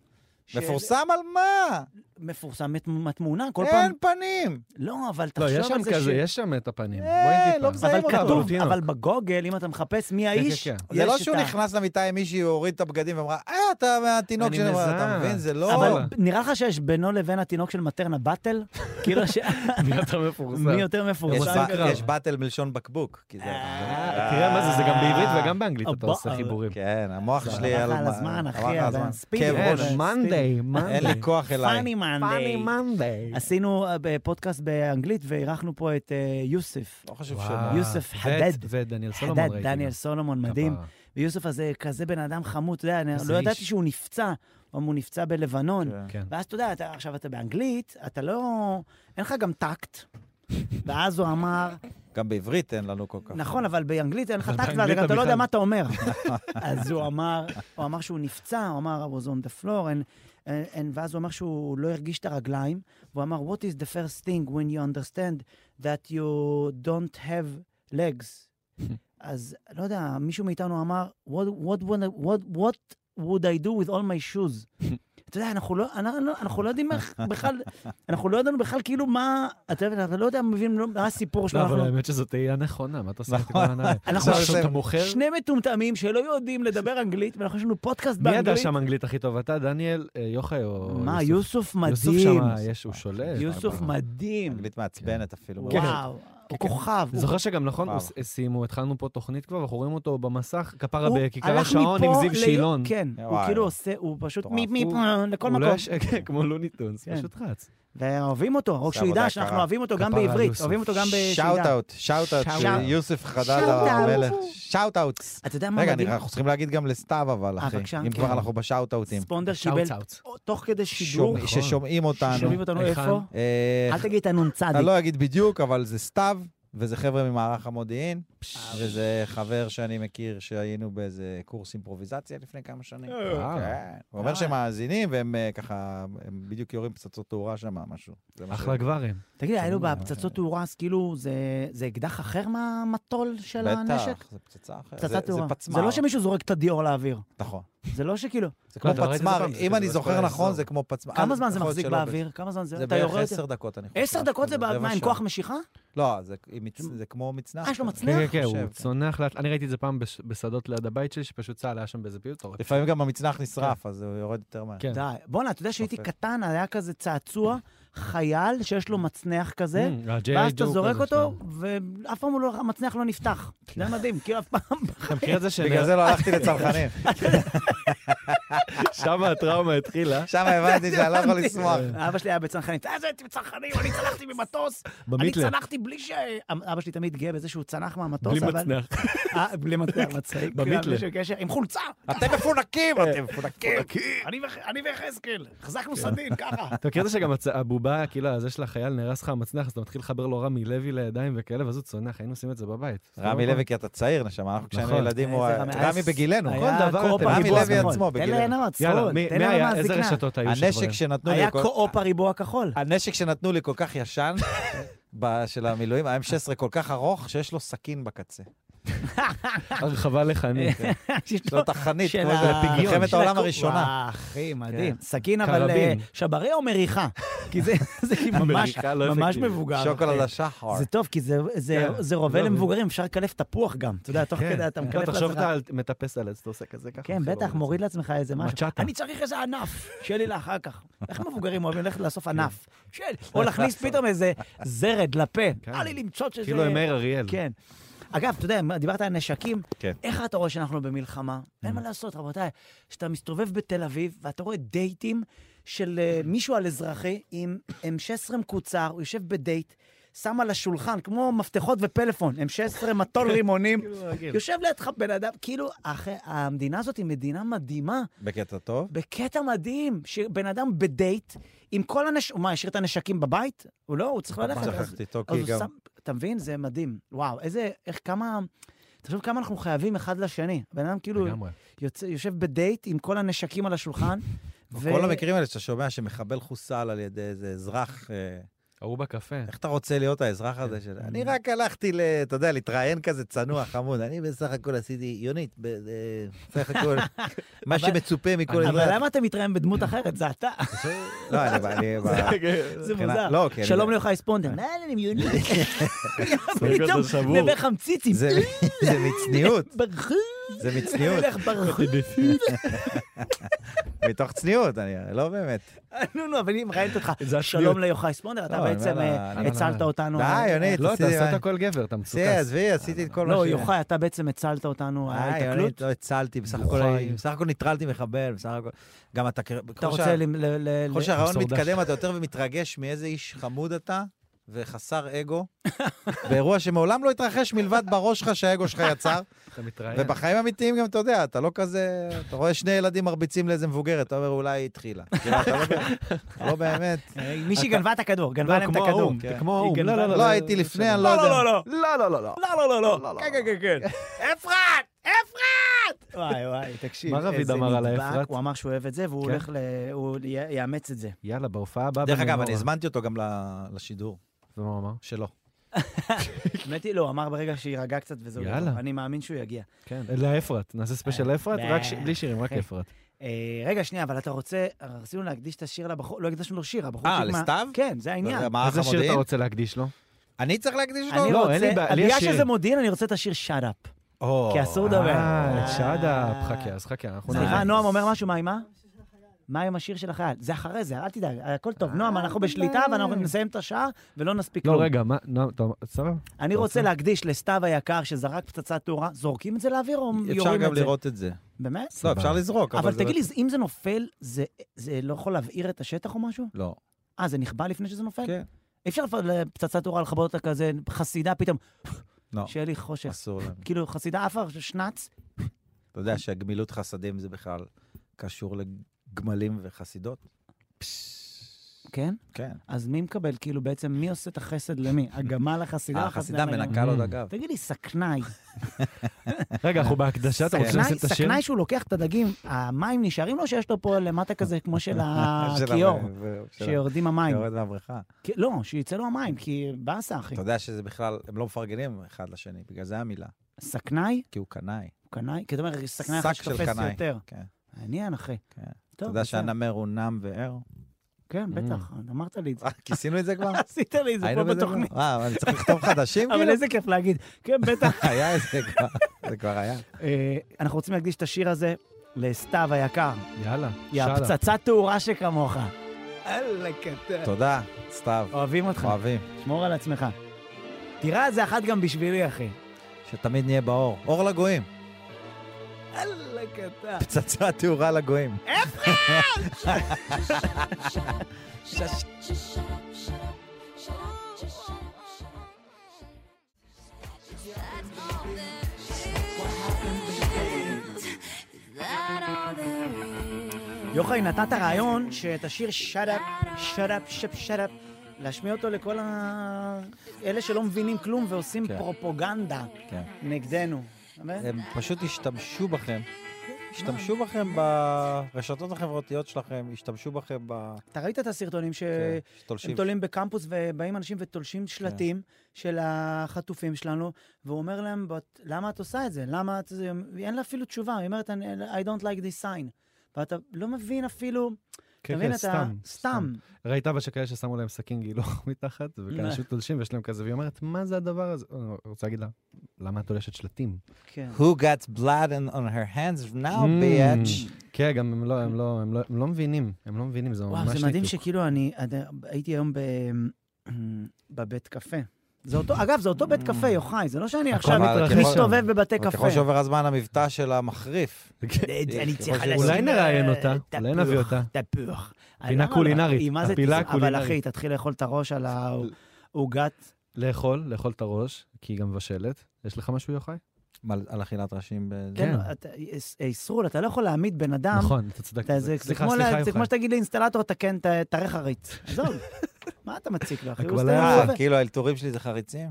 Speaker 1: ש-
Speaker 2: מפורסם על מה?
Speaker 1: מפורסם מת- מהתמונה, כל פעם...
Speaker 2: אין פנים!
Speaker 1: לא, אבל
Speaker 3: לא,
Speaker 1: תחשוב על
Speaker 3: יש
Speaker 1: זה
Speaker 3: שם כזה,
Speaker 1: ש-
Speaker 3: יש שם את הפנים.
Speaker 2: אה,
Speaker 3: בואי
Speaker 2: לא
Speaker 3: נטיפה.
Speaker 2: מזהים
Speaker 1: אבל
Speaker 2: אותם.
Speaker 1: כתוב,
Speaker 3: תינוק.
Speaker 1: אבל בגוגל, אם אתה מחפש מי האיש,
Speaker 3: כן,
Speaker 2: זה
Speaker 1: יש
Speaker 2: לא
Speaker 1: את
Speaker 2: שהוא
Speaker 1: ה-
Speaker 2: נכנס למיטה עם מישהי, הוא הוריד את הבגדים ואמרה, אה, אתה מהתינוק
Speaker 3: אני
Speaker 2: שלי, אתה
Speaker 3: מזהה.
Speaker 2: מבין? זה לא...
Speaker 1: אבל נראה לך שיש בינו לבין התינוק של מטרנה באטל? כאילו ש...
Speaker 3: מי אתה מפורסם?
Speaker 1: מי יותר
Speaker 2: יש
Speaker 1: מפורסם?
Speaker 2: ב- יש באטל מלשון בקבוק. כי זה-
Speaker 1: אה,
Speaker 3: תראה מה זה, זה גם בעברית וגם באנגלית אתה
Speaker 1: הבא-
Speaker 3: עושה חיבורים.
Speaker 2: כן, המוח
Speaker 1: זה
Speaker 2: שלי...
Speaker 1: הלך על
Speaker 2: מה-
Speaker 1: הזמן, אחי,
Speaker 2: הלך על
Speaker 1: אבל
Speaker 2: הזמן.
Speaker 1: ספידי,
Speaker 2: כאב
Speaker 1: כן,
Speaker 2: ראש.
Speaker 1: זה-
Speaker 3: מאנדי,
Speaker 2: אין לי כוח
Speaker 1: פאני
Speaker 2: אליי.
Speaker 1: מאנדי.
Speaker 3: מאנדי.
Speaker 1: עשינו אה, ב- פודקאסט באנגלית ואירחנו פה את אה, יוסף.
Speaker 2: לא חושב
Speaker 3: וואו.
Speaker 2: שלא.
Speaker 1: יוסף
Speaker 3: ואת-
Speaker 1: חדד.
Speaker 3: ודניאל סולומון
Speaker 1: חדד,
Speaker 3: ראיתי.
Speaker 1: דניאל סולומון, מדהים.
Speaker 3: כפרה.
Speaker 1: ויוסף הזה כזה בן אדם חמוד, אתה יודע, אני
Speaker 3: איזה
Speaker 1: לא ידעתי
Speaker 3: איש.
Speaker 1: שהוא נפצע, או הוא נפצע בלבנון.
Speaker 2: כן.
Speaker 3: כן.
Speaker 1: ואז אתה יודע, אתה, עכשיו אתה באנגלית, אתה לא... אין לך גם טקט. ואז הוא אמר,
Speaker 2: גם בעברית אין לנו כל כך.
Speaker 1: נכון, אבל באנגלית אין לך טקט, ואתה
Speaker 3: באנגלית
Speaker 1: גם אתה לא יודע
Speaker 3: בכלל-
Speaker 1: מה אתה אומר. אז הוא אמר, הוא אמר שהוא נפצע, הוא אמר, I was on the floor, and, and, and, ואז הוא אמר שהוא לא הרגיש את הרגליים, והוא אמר, what is the first thing when you understand that you don't have legs? אז לא יודע, מישהו מאיתנו אמר, what, what, would- what, what would I do with all my shoes? אתה יודע, אנחנו לא, אנחנו, אנחנו לא יודעים איך בכלל, אנחנו לא ידענו בכלל כאילו מה, אתה יודע, אתה לא יודע, מבין מה הסיפור שלו.
Speaker 3: לא, אבל
Speaker 1: אנחנו-
Speaker 3: האמת שזו תהייה נכונה, מה אתה עושה את כל
Speaker 2: נכון.
Speaker 3: הנעליים?
Speaker 1: אנחנו
Speaker 3: עכשיו
Speaker 2: עושים-
Speaker 3: אתה מוכר?
Speaker 1: שני מטומטמים שלא יודעים לדבר אנגלית, ואנחנו יש לנו פודקאסט
Speaker 3: מי ידע
Speaker 1: באנגלית.
Speaker 3: שם אנגלית הכי טוב? אתה, דניאל, אה, יוחאי או...
Speaker 1: מה, יוסוף
Speaker 3: יוסוף
Speaker 1: מדהים.
Speaker 3: שם, אה, יש, הוא שולט. אה,
Speaker 1: יוסוף
Speaker 3: אבל-
Speaker 1: מדהים.
Speaker 2: אנגלית מעצבנת אפילו.
Speaker 3: כן.
Speaker 1: וואו, הוא כוכב. הוא-
Speaker 3: זוכר שגם נכון,
Speaker 2: וואו.
Speaker 3: הוא- סיימו, התחלנו פה תוכנית כבר, ואנחנו רואים אותו במסך, כפרה
Speaker 1: הוא
Speaker 3: בכיכר
Speaker 1: הלך
Speaker 3: השעון עם
Speaker 1: מפה
Speaker 3: זיו
Speaker 1: ל-
Speaker 3: שילון.
Speaker 1: כן, הוא
Speaker 2: וואי.
Speaker 1: כאילו עושה, הוא פשוט
Speaker 2: מטורף.
Speaker 1: מי- מי-
Speaker 3: הוא-
Speaker 1: לכל
Speaker 3: הוא לא
Speaker 1: מקום.
Speaker 3: ישקר כמו לוני טונס,
Speaker 1: כן.
Speaker 3: פשוט רץ.
Speaker 1: ואוהבים אותו, או
Speaker 2: עושה
Speaker 1: שהוא ידע
Speaker 2: עבודה
Speaker 1: שאנחנו
Speaker 2: יקרה.
Speaker 1: אוהבים אותו גם
Speaker 3: כפרה על
Speaker 1: בעברית,
Speaker 3: יוסוף.
Speaker 1: אוהבים אותו גם
Speaker 2: שאוט
Speaker 1: בשידה.
Speaker 2: אאוט, שאוט אאוט,
Speaker 1: שאוט-
Speaker 2: יוסף חדד
Speaker 1: שאוט-אאוט.
Speaker 2: המלך. שאוט אאוט.
Speaker 1: אתה יודע מה
Speaker 2: רגע,
Speaker 1: מדהים?
Speaker 2: אני- אנחנו צריכים להגיד גם לסתיו אבל,
Speaker 1: אה,
Speaker 2: אחי.
Speaker 1: בבקשה,
Speaker 2: אם
Speaker 1: כן.
Speaker 2: כבר אנחנו בשאוט אאוטים.
Speaker 1: ספונדר קיבל
Speaker 3: שאוט-אאוט.
Speaker 1: תוך כדי שידור,
Speaker 2: שומע- ששומעים אותנו.
Speaker 1: שומעים אותנו
Speaker 3: היכן?
Speaker 1: איפה?
Speaker 2: אה,
Speaker 1: אל תגיד את הנ"צ.
Speaker 2: אני לא אגיד בדיוק, אבל זה סתיו, וזה חבר'ה ממערך המודיעין, וזה חבר שאני מכיר שהיינו באיזה קורס אימפרוביזציה לפני כמה שנים.
Speaker 1: אה,
Speaker 3: וואו.
Speaker 1: אוקיי.
Speaker 2: כן. הוא אומר שהם מאזינים, והם אה, ככה, הם בדיוק יורים פצצות תאורה שם, משהו. זה מה
Speaker 3: אחלה
Speaker 2: ש-
Speaker 3: גברים.
Speaker 1: תגיד, האלו
Speaker 2: שומע.
Speaker 1: בהפצצות תאורה, אז כאילו, זה- זה אקדח אחר מהמטול של הנשק?
Speaker 2: בטח, זה פצצה אחרת. זה-
Speaker 1: פצצת תאורה.
Speaker 2: זה
Speaker 1: זה
Speaker 2: פצמ"ר.
Speaker 1: לא שמישהו זורק את הדיור לאוויר.
Speaker 2: נכון.
Speaker 1: זה לא שכאילו...
Speaker 2: זה כמו
Speaker 3: אתה ראית את זה
Speaker 2: פצמ"ר,
Speaker 3: פעם? זה לא
Speaker 2: אם
Speaker 3: כזה
Speaker 2: אני
Speaker 3: בכל
Speaker 2: זוכר נכון,
Speaker 3: האזור.
Speaker 2: זה כמו פצמ"ר.
Speaker 1: כמה
Speaker 2: אה,
Speaker 1: זמן זה
Speaker 2: יכול להיות
Speaker 1: מחזיק
Speaker 2: שלא,
Speaker 1: באוויר? כמה זמן זה...
Speaker 2: זה
Speaker 1: אתה יורד...
Speaker 2: בערך עשר דקות, אני חושב.
Speaker 1: עשר דקות זה
Speaker 2: כאילו,
Speaker 1: ב-
Speaker 2: רבע
Speaker 1: מה, עם
Speaker 2: שעה.
Speaker 1: כוח משיכה?
Speaker 2: לא, זה עם מצ- זה כמו מצנח.
Speaker 1: אה, יש לו
Speaker 2: כזה.
Speaker 1: מצנח?
Speaker 3: כן, כן, כן, הוא
Speaker 2: חושב.
Speaker 3: צונח לאט, אני ראיתי את זה פעם בש- בשדות ליד הבית שלי, שפשוט צהל היה שם באיזה פעילות, אתה רואה.
Speaker 2: לפעמים גם
Speaker 1: כן.
Speaker 2: המצנח נשרף, אז הוא יורד יותר מהר.
Speaker 3: כן.
Speaker 1: די. בואנה, אתה יודע שהייתי
Speaker 2: אוקיי.
Speaker 1: קטן, היה כזה צעצוע, חייל שיש לו מצנח כזה,
Speaker 3: Mm, ה-G.I.
Speaker 1: ואז אתה
Speaker 3: Joe
Speaker 1: זורק
Speaker 3: כזה
Speaker 1: אותו,
Speaker 3: שלהם.
Speaker 1: ואף פעם הוא לא- המצנח לא נפתח. זה היה מדהים, כאילו אף פעם...
Speaker 3: אתה מכיר את זה
Speaker 2: בגלל זה לא הלכתי לצרכנים.
Speaker 3: ששם הטראומה התחילה?
Speaker 2: שם הבנתי שאני לא יכול
Speaker 1: הבנתי.
Speaker 2: לשמוח.
Speaker 1: אבא שלי היה בצנחנים, אז הייתי בצנחנים, אני צנחתי ממטוס, אני
Speaker 3: במיתלה.
Speaker 1: צנחתי בלי ש... אמ, אבא שלי תמיד גאה בזה שהוא צנח מהמטוס,
Speaker 3: בלי
Speaker 1: אבל...
Speaker 3: מצנח.
Speaker 1: אה, בלי מצנח, מצחיק. אה,
Speaker 3: במיתלה.
Speaker 1: בלי שום קשר, עם חולצה,
Speaker 2: אתם מפונקים, אתם מפונקים.
Speaker 1: אני וח- אני ויחזקאל, החזקנו
Speaker 3: כן.
Speaker 1: סדין, ככה.
Speaker 3: אתה מכיר את זה שגם הצ- הבובה, כאילו, הזה של החייל נהרס לך המצנח, אז אתה מתחיל לחבר לו רמי לוי לידיים וכאלה, ואז הוא צונח, היינו עושים את זה בבית.
Speaker 2: רמי לוי, כי אתה צעיר, נשמה, אנחנו כשהיינו
Speaker 3: נכון.
Speaker 2: ילדים, הוא
Speaker 1: איזה
Speaker 2: היה- רמי בגילנו.
Speaker 1: אה, היה
Speaker 2: כל דבר
Speaker 1: קו-אופ
Speaker 2: אתם- רמי
Speaker 1: הריבוע
Speaker 2: לוי
Speaker 1: הכחול.
Speaker 2: עצמו
Speaker 1: תן
Speaker 2: בגילנו. לא,
Speaker 1: ליהנות,
Speaker 3: יאללה,
Speaker 1: צחול,
Speaker 3: מי-
Speaker 1: תן
Speaker 3: מי
Speaker 1: ליהנות
Speaker 3: היה, איזה
Speaker 1: מהזקנה.
Speaker 3: רשתות היו שם?
Speaker 2: הנשק
Speaker 3: בהם?
Speaker 2: שנתנו לי,
Speaker 1: היה
Speaker 2: כל-
Speaker 1: קו-אופ הריבוע הכחול.
Speaker 2: הנשק שנתנו
Speaker 1: אה.
Speaker 2: לי כל כך ישן, ב- של המילואים, ה-M16 כל כך ארוך, שיש לו סכין בקצה.
Speaker 3: הרחבה כן. לחנית.
Speaker 2: יש לו תחנית, כמו
Speaker 1: של ה-
Speaker 2: בפגיון. מלחמת
Speaker 1: של
Speaker 2: העולם
Speaker 1: הקו-
Speaker 2: הראשונה. כן.
Speaker 1: וואו, אחי, מדהים. סכין אבל אה,
Speaker 3: קרבין.
Speaker 1: שברי או מריחה? כי זה זה כאילו ממש
Speaker 3: מריחה לא
Speaker 1: ממש
Speaker 3: אפקטיבית.
Speaker 1: מבוגר.
Speaker 2: שוקולד
Speaker 1: אחי.
Speaker 2: השחר.
Speaker 1: זה טוב, כי זה- זה-
Speaker 3: כן,
Speaker 1: זה רובה
Speaker 3: לא, כן.
Speaker 1: למבוגרים, אפשר לקלף תפוח גם. אתה יודע, תוך כדי אתה מקלף
Speaker 3: תחשוב
Speaker 1: לעצמך.
Speaker 3: אתה על- מטפס על עץ, אתה עושה כזה ככה.
Speaker 1: כן,
Speaker 3: עושה לו
Speaker 1: בטח,
Speaker 3: כזה.
Speaker 1: מוריד לעצמך איזה משהו.
Speaker 3: מצ'טה.
Speaker 1: אני צריך איזה ענף, שיהיה לי לאחר כך. איך מבוגרים אוהבים ללכת לאסוף
Speaker 3: כן.
Speaker 1: ענף? של- או להכניס פתאום איזה זרד לפה.
Speaker 3: כן.
Speaker 1: בא לי למצוא שזה...
Speaker 3: כאילו עם מאיר אריאל.
Speaker 1: כן. אגב, אתה יודע, דיברת על נשקים,
Speaker 3: כן.
Speaker 1: איך אתה רואה שאנחנו במלחמה? אין מה לעשות, רבותיי. כשאתה מסתובב בתל אביב ואתה רואה דייטים של אה, מישהו על אזרחי עם M16 מקוצר, הוא יושב בדייט, שם על השולחן, כמו מפתחות ופלאפון, M16 מטול רימונים, יושב לידך בן אדם, כאילו, אחי, המדינה הזאת היא מדינה מדהימה,
Speaker 2: בקטע טוב.
Speaker 1: בקטע מדהים, שבן אדם בדייט עם כל הנשקים, מה, השאיר את הנשקים בבית? הוא לא, הוא צריך ללכת. אז-
Speaker 2: שכחתי איתו,
Speaker 1: אז
Speaker 2: כי
Speaker 1: הוא
Speaker 2: אוקיי, גם...
Speaker 1: שם, אתה מבין? זה מדהים. וואו, איזה, איך, כמה, תחשוב כמה אנחנו חייבים אחד לשני. הבן אדם כאילו
Speaker 3: לגמרי.
Speaker 1: יוצא, יושב בדייט עם כל הנשקים על השולחן. ו-
Speaker 2: כל המקרים האלה שאתה שומע שמחבל חוסל על ידי איזה אזרח, אה,
Speaker 3: ההוא בקפה.
Speaker 2: איך אתה רוצה להיות
Speaker 1: כן.
Speaker 2: האזרח הזה של...
Speaker 1: Mm.
Speaker 2: אני רק הלכתי, ל- אתה יודע, להתראיין כזה צנוע, חמוד. אני בסך הכל עשיתי יונית, ב- אה, בסך הכל מה שמצופה מכל אזרח.
Speaker 1: אבל למה אתה מתראיין בדמות אחרת? זה אתה.
Speaker 2: לא, אני... אני-
Speaker 3: כן.
Speaker 1: זה
Speaker 2: מבחינה-
Speaker 1: מוזר.
Speaker 2: לא, כי אני-
Speaker 1: שלום ליוחאי ספונדר. מה, אני מיוני? פתאום
Speaker 3: שבור.
Speaker 1: נווה חמציצים.
Speaker 2: זה זה מצניעות,
Speaker 1: ברחו.
Speaker 2: זה
Speaker 1: אני
Speaker 2: מצניעות,
Speaker 1: הולך ברחו.
Speaker 2: מתוך צניעות, אני לא באמת.
Speaker 1: אה, נו, נו, אבל היא מראיינת אותך.
Speaker 3: זה הצניעות.
Speaker 1: שלום ליוחאי ספונדר, אתה
Speaker 2: לא, אני
Speaker 1: בעצם
Speaker 2: אומר לה,
Speaker 1: אה,
Speaker 2: אני אומר
Speaker 1: הצלת
Speaker 3: לה,
Speaker 1: אותנו. אה,
Speaker 2: די, יונית,
Speaker 3: לא, אתה
Speaker 2: עשיתי-
Speaker 3: עושה את הכל גבר, אתה
Speaker 2: עשיתי,
Speaker 3: מצוקס.
Speaker 2: עזבי, עשיתי את כל מה ש...
Speaker 1: לא, יוחאי, אתה בעצם הצלת אותנו,
Speaker 2: אה,
Speaker 1: ההיתקלות.
Speaker 2: יונית, לא הצלתי, בסך הכל
Speaker 3: יוחאי.
Speaker 2: אני- בסך הכל ניטרלתי מחבל, בסך הכל... גם אתה...
Speaker 1: אתה רוצה ל... ל- ל-
Speaker 2: ככל
Speaker 1: ל-
Speaker 2: שהרעיון
Speaker 3: למסור דש.
Speaker 2: מתקדם, אתה יותר ומתרגש מאיזה איש חמוד אתה וחסר אגו, באירוע שמעולם לא התרחש מלבד בראש שלך שהאגו שלך יצר,
Speaker 3: אתה מתראיין.
Speaker 2: ובחיים האמיתיים גם, אתה יודע, אתה לא כזה... אתה רואה שני ילדים מרביצים לאיזה מבוגרת, אתה אומר, אולי היא התחילה. כאילו, אתה לא באמת- אתה לא באמת...
Speaker 1: אה, מישהי גנבה את הכדור, גנבה להם את
Speaker 3: לא, כמו
Speaker 1: הכדור.
Speaker 3: האו"ם,
Speaker 2: כן.
Speaker 3: כמו האו"ם.
Speaker 1: היא גנבה.
Speaker 2: לא, הייתי לפני, אני לא יודע.
Speaker 1: לא.
Speaker 3: לא, לא, לא, לא.
Speaker 1: לא, לא, לא, לא. כן, כן, כן, כן. אפרת! אפרת! וואי, וואי, תקשיב.
Speaker 3: מה רביד
Speaker 1: איזה
Speaker 3: אמר על
Speaker 1: נדבק,
Speaker 3: האפרת?
Speaker 1: הוא אמר שהוא אוהב את זה, והוא
Speaker 3: כן.
Speaker 1: הולך ל... הוא י- יאמץ את זה.
Speaker 3: יאללה, בהופעה הבאה.
Speaker 2: דרך אגב,
Speaker 1: לא
Speaker 3: במנורה.
Speaker 2: אני הזמנתי אותו גם ל- לשידור
Speaker 3: ומה הוא אמר?
Speaker 2: שלו.
Speaker 1: האמת היא, לא, הוא אמר ברגע שיירגע קצת וזהו. לא,
Speaker 3: יאללה.
Speaker 1: אני מאמין שהוא יגיע.
Speaker 3: כן. לאפרת. נעשה ספיישל אפרת, רק ש- בלי שירים, רק
Speaker 1: כן.
Speaker 3: אפרת.
Speaker 1: אה, רגע, שנייה, אבל אתה רוצה... רצינו להקדיש את השיר לבחור, לא הקדשנו לו שיר, הבחור
Speaker 2: אה,
Speaker 1: שהגמה-
Speaker 2: לסתיו?
Speaker 1: כן, זה
Speaker 3: לא,
Speaker 1: העניין.
Speaker 2: מה
Speaker 3: איזה שיר
Speaker 2: החמודים?
Speaker 3: אתה רוצה להקדיש לו?
Speaker 2: אני צריך להקדיש
Speaker 1: אני
Speaker 2: אותו?
Speaker 3: לא, אין לי
Speaker 1: רוצה...
Speaker 3: בעיה, לי
Speaker 1: בגלל
Speaker 3: השיר.
Speaker 1: שזה מודיעין, אני רוצה את השיר שאט אפ.
Speaker 2: או,
Speaker 1: כי אסור לדבר.
Speaker 3: אה, שדה,
Speaker 1: אה.
Speaker 3: חכה, אז חכה, אנחנו
Speaker 1: סליחה,
Speaker 3: נראה.
Speaker 1: נועם אומר משהו, מה עם מה? מה עם השיר של החייל? זה אחרי זה, אל תדאג, הכל
Speaker 2: אה,
Speaker 1: טוב. נועם, אנחנו בשליטה ואנחנו נסיים את השעה ולא נספיק
Speaker 3: לא,
Speaker 1: כלום.
Speaker 3: רגע, מה, נועם, אתה סבבה?
Speaker 1: אני רוצה להקדיש לסתיו היקר שזרק פצצת תאורה, זורקים את זה לאוויר או יורים את זה?
Speaker 2: אפשר גם לראות את זה.
Speaker 1: באמת?
Speaker 2: לא, אפשר לזרוק,
Speaker 1: אבל
Speaker 2: זה לא-
Speaker 1: תגיד לי, אם זה נופל, זה- זה לא יכול להבעיר את השטח או משהו?
Speaker 2: לא.
Speaker 1: אה, זה נכבה לפני שזה נופל?
Speaker 2: כן.
Speaker 1: אי אפשר לפצצת תאורה לכבות אותה כזה חסידה פתאום,
Speaker 2: לא,
Speaker 1: שיהיה לי חושך.
Speaker 2: אסור לנו.
Speaker 1: כאילו, חסידה עפה, שנץ,
Speaker 2: אתה יודע שהגמילות חסדים זה בכלל קשור לגמלים וחסידות?
Speaker 1: כן?
Speaker 2: כן.
Speaker 1: אז מי מקבל, כאילו, בעצם מי עושה את החסד למי? הגמל החסידה?
Speaker 2: החסידה
Speaker 1: החסדה לגמל?
Speaker 2: מנקה לו את הגב.
Speaker 1: תגיד לי, סכנאי,
Speaker 3: רגע, אנחנו בהקדשה, אתה רוצה
Speaker 1: סכנאי,
Speaker 3: לעשות את השיר?
Speaker 1: סכנאי שהוא לוקח את הדגים, המים נשארים לו שיש לו פה למטה כזה, כמו של
Speaker 2: של
Speaker 1: הכיור,
Speaker 2: ה- ו- של ה-
Speaker 1: שיורדים המים.
Speaker 2: שיורד מהבריכה.
Speaker 1: כי- לא, שיצא לו המים, כי באסה, אחי.
Speaker 2: אתה יודע שזה בכלל, הם לא מפרגנים אחד לשני, בגלל זה המילה.
Speaker 1: סכנאי,
Speaker 2: כי הוא קנאי.
Speaker 1: קנאי, כי אתה אומר, סכנאי
Speaker 2: שק
Speaker 1: אחד
Speaker 2: של
Speaker 1: שתופס
Speaker 2: קנאי.
Speaker 1: יותר.
Speaker 2: כן.
Speaker 1: מעניין, אחי.
Speaker 2: כן. אתה
Speaker 1: טוב,
Speaker 2: יודע
Speaker 1: בסדר.
Speaker 2: שהנמר הוא נם וער?
Speaker 1: כן, בטח, אמרת לי את זה.
Speaker 2: אה, כיסינו את זה כבר?
Speaker 1: עשית לי את זה פה
Speaker 2: היינו בזה כבר?
Speaker 1: בתוכנית.
Speaker 2: אה, אבל אני צריך לכתוב חדשים
Speaker 1: אבל
Speaker 2: כאילו?
Speaker 1: איזה כיף להגיד. כן, בטח.
Speaker 2: היה איזה כבר, זה כבר היה.
Speaker 1: אה, אנחנו רוצים להקדיש את השיר הזה לסתיו היקר.
Speaker 3: יאללה,
Speaker 1: יא
Speaker 3: שאלה.
Speaker 1: פצצת תאורה שכמוך. אללה קטן.
Speaker 2: תודה, סתיו.
Speaker 1: אוהבים אותך,
Speaker 2: אוהבים.
Speaker 1: שמור על עצמך. תראה איזה אחת גם בשבילי, אחי.
Speaker 2: שתמיד נהיה באור. אור לגויים.
Speaker 1: אללה קטן.
Speaker 2: פצצה תאורה לגויים.
Speaker 1: אה? יוחאי, נתת רעיון שאת השיר שדאפ, שדאפ, שפ, שדאפ, להשמיע אותו לכל ה... אלה שלא מבינים כלום ועושים
Speaker 2: כן.
Speaker 1: פרופוגנדה
Speaker 2: כן.
Speaker 1: נגדנו. באמת?
Speaker 2: הם פשוט השתמשו בכם השתמשו בכם ברשתות החברתיות שלכם, השתמשו בכם ב...
Speaker 1: אתה ראית את הסרטונים
Speaker 2: כן,
Speaker 1: שהם
Speaker 2: שתולשים.
Speaker 1: אה, תולים בקמפוס ובאים אנשים ותולשים שלטים של החטופים שלנו, והוא אומר להם, "בת- למה את עושה את זה? למה את... זה?" אין לה אפילו תשובה, היא אומרת, "אני- I don't like this sign. ואתה לא מבין אפילו,
Speaker 3: כן,
Speaker 1: אתה מבין, אתה... סתם.
Speaker 3: ראית אבא שכאלה ששמו להם סכין גילוח מתחת,
Speaker 1: מה?
Speaker 3: וכאלה שתולשים ויש להם כזה, והיא אומרת, מה זה הדבר הזה? אני רוצה להגיד לה, למה את תולשת שלטים?
Speaker 1: כן.
Speaker 2: Who got blood on on her hands now,
Speaker 3: Mm.
Speaker 2: bitch?
Speaker 3: כן, גם הם לא, הם לא, הם לא, הם לא מבינים, הם לא מבינים, זה ממש
Speaker 1: וואו, זה מדהים שכאילו אני... עד- הייתי היום ב... בבית קפה. זה אותו, אגב, זה אותו בית קפה,
Speaker 3: Mm.
Speaker 1: יוחאי, זה לא שאני עכשיו
Speaker 2: אבל
Speaker 3: מתרחש שם.
Speaker 1: מסתובב בבתי
Speaker 2: אבל
Speaker 1: קפה.
Speaker 2: אוקיי, ככל שעובר הזמן, המבטא שלה מחריף.
Speaker 3: כן.
Speaker 1: אני צריכה
Speaker 2: אולי
Speaker 1: לשים...
Speaker 3: נראיין
Speaker 1: אה,
Speaker 3: אותה, אולי נביא
Speaker 1: תפוח,
Speaker 3: אותה.
Speaker 1: תפוח.
Speaker 3: פינה
Speaker 1: אני למה לא?
Speaker 3: קולינרית,
Speaker 1: היא מה זה
Speaker 3: הפינה
Speaker 1: תז- אבל אחי,
Speaker 3: הקולינרית.
Speaker 1: תתחיל לאכול את הראש על העוגת.
Speaker 3: לאכול, לאכול את הראש, כי היא גם מבשלת. יש לך משהו, יוחאי?
Speaker 2: מה, על אכילת ראשים. ב-
Speaker 1: כן. אתה- יש- ישרול, אתה לא יכול להעמיד בן אדם.
Speaker 3: נכון, אתה צדק.
Speaker 1: אתה- זה זה
Speaker 3: סליחה,
Speaker 1: כמו לה-
Speaker 3: סליחה,
Speaker 1: זה כמו
Speaker 3: יוחאי.
Speaker 1: שתגיד לאינסטלטור, תקן את ה- את הריח עזוב. מה אתה מציק לו, אחי? הוא
Speaker 3: הקבלה-
Speaker 1: סתם
Speaker 2: אה,
Speaker 1: סובל.
Speaker 2: כאילו האלתורים שלי זה חריצים?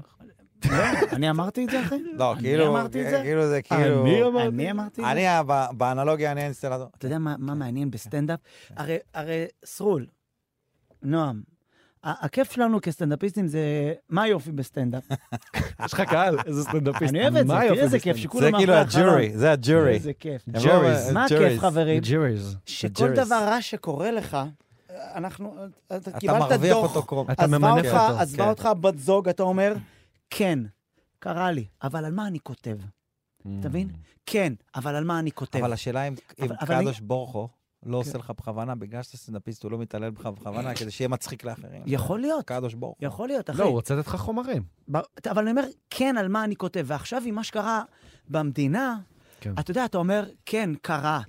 Speaker 1: לא, אני אמרתי את זה, אחי?
Speaker 2: לא,
Speaker 1: אני
Speaker 2: כאילו,
Speaker 1: אמרתי את זה?
Speaker 2: כאילו זה כאילו...
Speaker 3: אני אמרתי.
Speaker 1: אני אמרתי את זה?
Speaker 2: אני, ה- ב- באנלוגיה, אני האינסטלטור.
Speaker 1: אתה יודע מה, מה מעניין בסטנדאפ?
Speaker 2: אה.
Speaker 1: הרי, הרי סרול, נועם, ה- הכיף שלנו כסטנדאפיסטים זה מה היופי בסטנדאפ.
Speaker 3: יש לך קהל, איזה סטנדאפיסט.
Speaker 1: אני אוהב את זה,
Speaker 3: מה
Speaker 1: תראה
Speaker 3: יופי
Speaker 1: איזה
Speaker 3: בסטנדאפ.
Speaker 1: כיף שכולם
Speaker 2: זה כאילו
Speaker 1: מאחורי החלון.
Speaker 2: הג'ורי, זה הג'ורי.
Speaker 1: איזה כיף.
Speaker 2: הם לא-
Speaker 3: juries.
Speaker 1: מה
Speaker 2: juries.
Speaker 1: הכיף, חברים?
Speaker 3: ג'יריז.
Speaker 1: שכל
Speaker 2: juries.
Speaker 1: דבר רע שקורה לך, אה, אנחנו, אתה
Speaker 2: אתה
Speaker 1: קיבלת
Speaker 2: מרוויח
Speaker 1: דוח,
Speaker 2: אותו קרוב.
Speaker 3: אתה
Speaker 1: עזבה
Speaker 3: ממנף
Speaker 1: אותך,
Speaker 3: אותו,
Speaker 1: עזבה
Speaker 2: כן.
Speaker 1: אותך בת זוג, אתה אומר, כן, קרה לי, אבל על מה אני כותב? אתה מבין? כן, אבל על מה אני כותב?
Speaker 2: אבל השאלה אם אם
Speaker 1: אבל- אבל כן.
Speaker 2: קדוש בורחו לא עושה לך בכוונה, בגלל שאתה סטנדאפיסט, הוא לא מתעלל בך בכוונה, כדי שיהיה מצחיק לאחרים.
Speaker 1: יכול להיות,
Speaker 2: קדוש בורחו.
Speaker 1: יכול להיות, אחי.
Speaker 3: לא, הוא רוצה לתת לך חומרים.
Speaker 1: ב- אבל אני אומר, כן, על מה אני כותב. ועכשיו עם מה שקרה במדינה,
Speaker 3: כן.
Speaker 1: אתה יודע, אתה אומר, כן, קרה.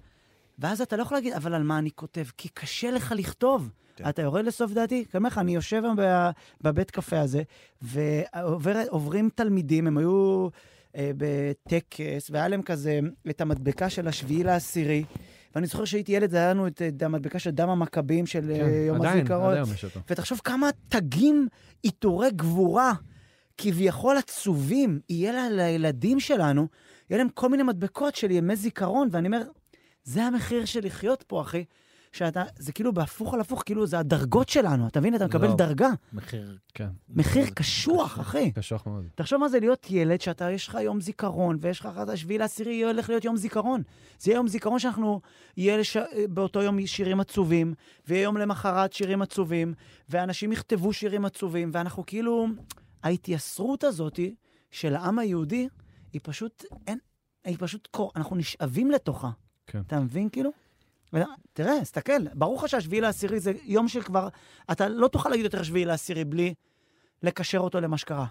Speaker 1: ואז אתה לא יכול להגיד, אבל על מה אני כותב? כי קשה לך לכתוב.
Speaker 3: כן.
Speaker 1: אתה יורד לסוף דעתי? אני אומר לך, אני יושב היום ב- בבית קפה הזה, ועוברים תלמידים, הם היו אה, בטקס, והיה להם כזה את המדבקה של השביעי לעשירי. ואני זוכר שהייתי ילד, זה היה לנו את אה, המדבקה של דם המכבים של אה,
Speaker 3: כן,
Speaker 1: יום
Speaker 3: עדיין,
Speaker 1: הזיכרון.
Speaker 3: עד היום יש אותו.
Speaker 1: ותחשוב כמה תגים, עיטורי גבורה, כביכול עצובים, יהיה לה, לילדים שלנו, יהיה להם כל מיני מדבקות של ימי זיכרון, ואני אומר, זה המחיר של לחיות פה, אחי. שאתה, זה כאילו בהפוך על הפוך, כאילו זה הדרגות שלנו, אתה מבין? אתה מקבל
Speaker 2: לא.
Speaker 1: דרגה.
Speaker 2: מחיר.
Speaker 3: כן,
Speaker 1: מחיר קשוח, אחי.
Speaker 3: קשוח מאוד.
Speaker 1: תחשוב מה זה להיות ילד, שאתה, יש לך יום זיכרון, ויש לך אחר כך שביעי לעשירי, הולך להיות יום זיכרון. זה יהיה יום זיכרון שאנחנו, יהיה לש... אה, באותו יום שירים עצובים, ויהיה יום למחרת שירים עצובים, ואנשים יכתבו שירים עצובים, ואנחנו כאילו, ההתייסרות הזאת של העם היהודי, היא פשוט, אין, היא פשוט, קור- אנחנו נשאבים לתוכה.
Speaker 3: כן.
Speaker 1: אתה מבין כאילו? ו- תראה, תסתכל, ברור לך שהשביעי לעשירי זה יום שכבר, אתה לא תוכל להגיד יותר שביעי לעשירי בלי לקשר אותו למה שקרה.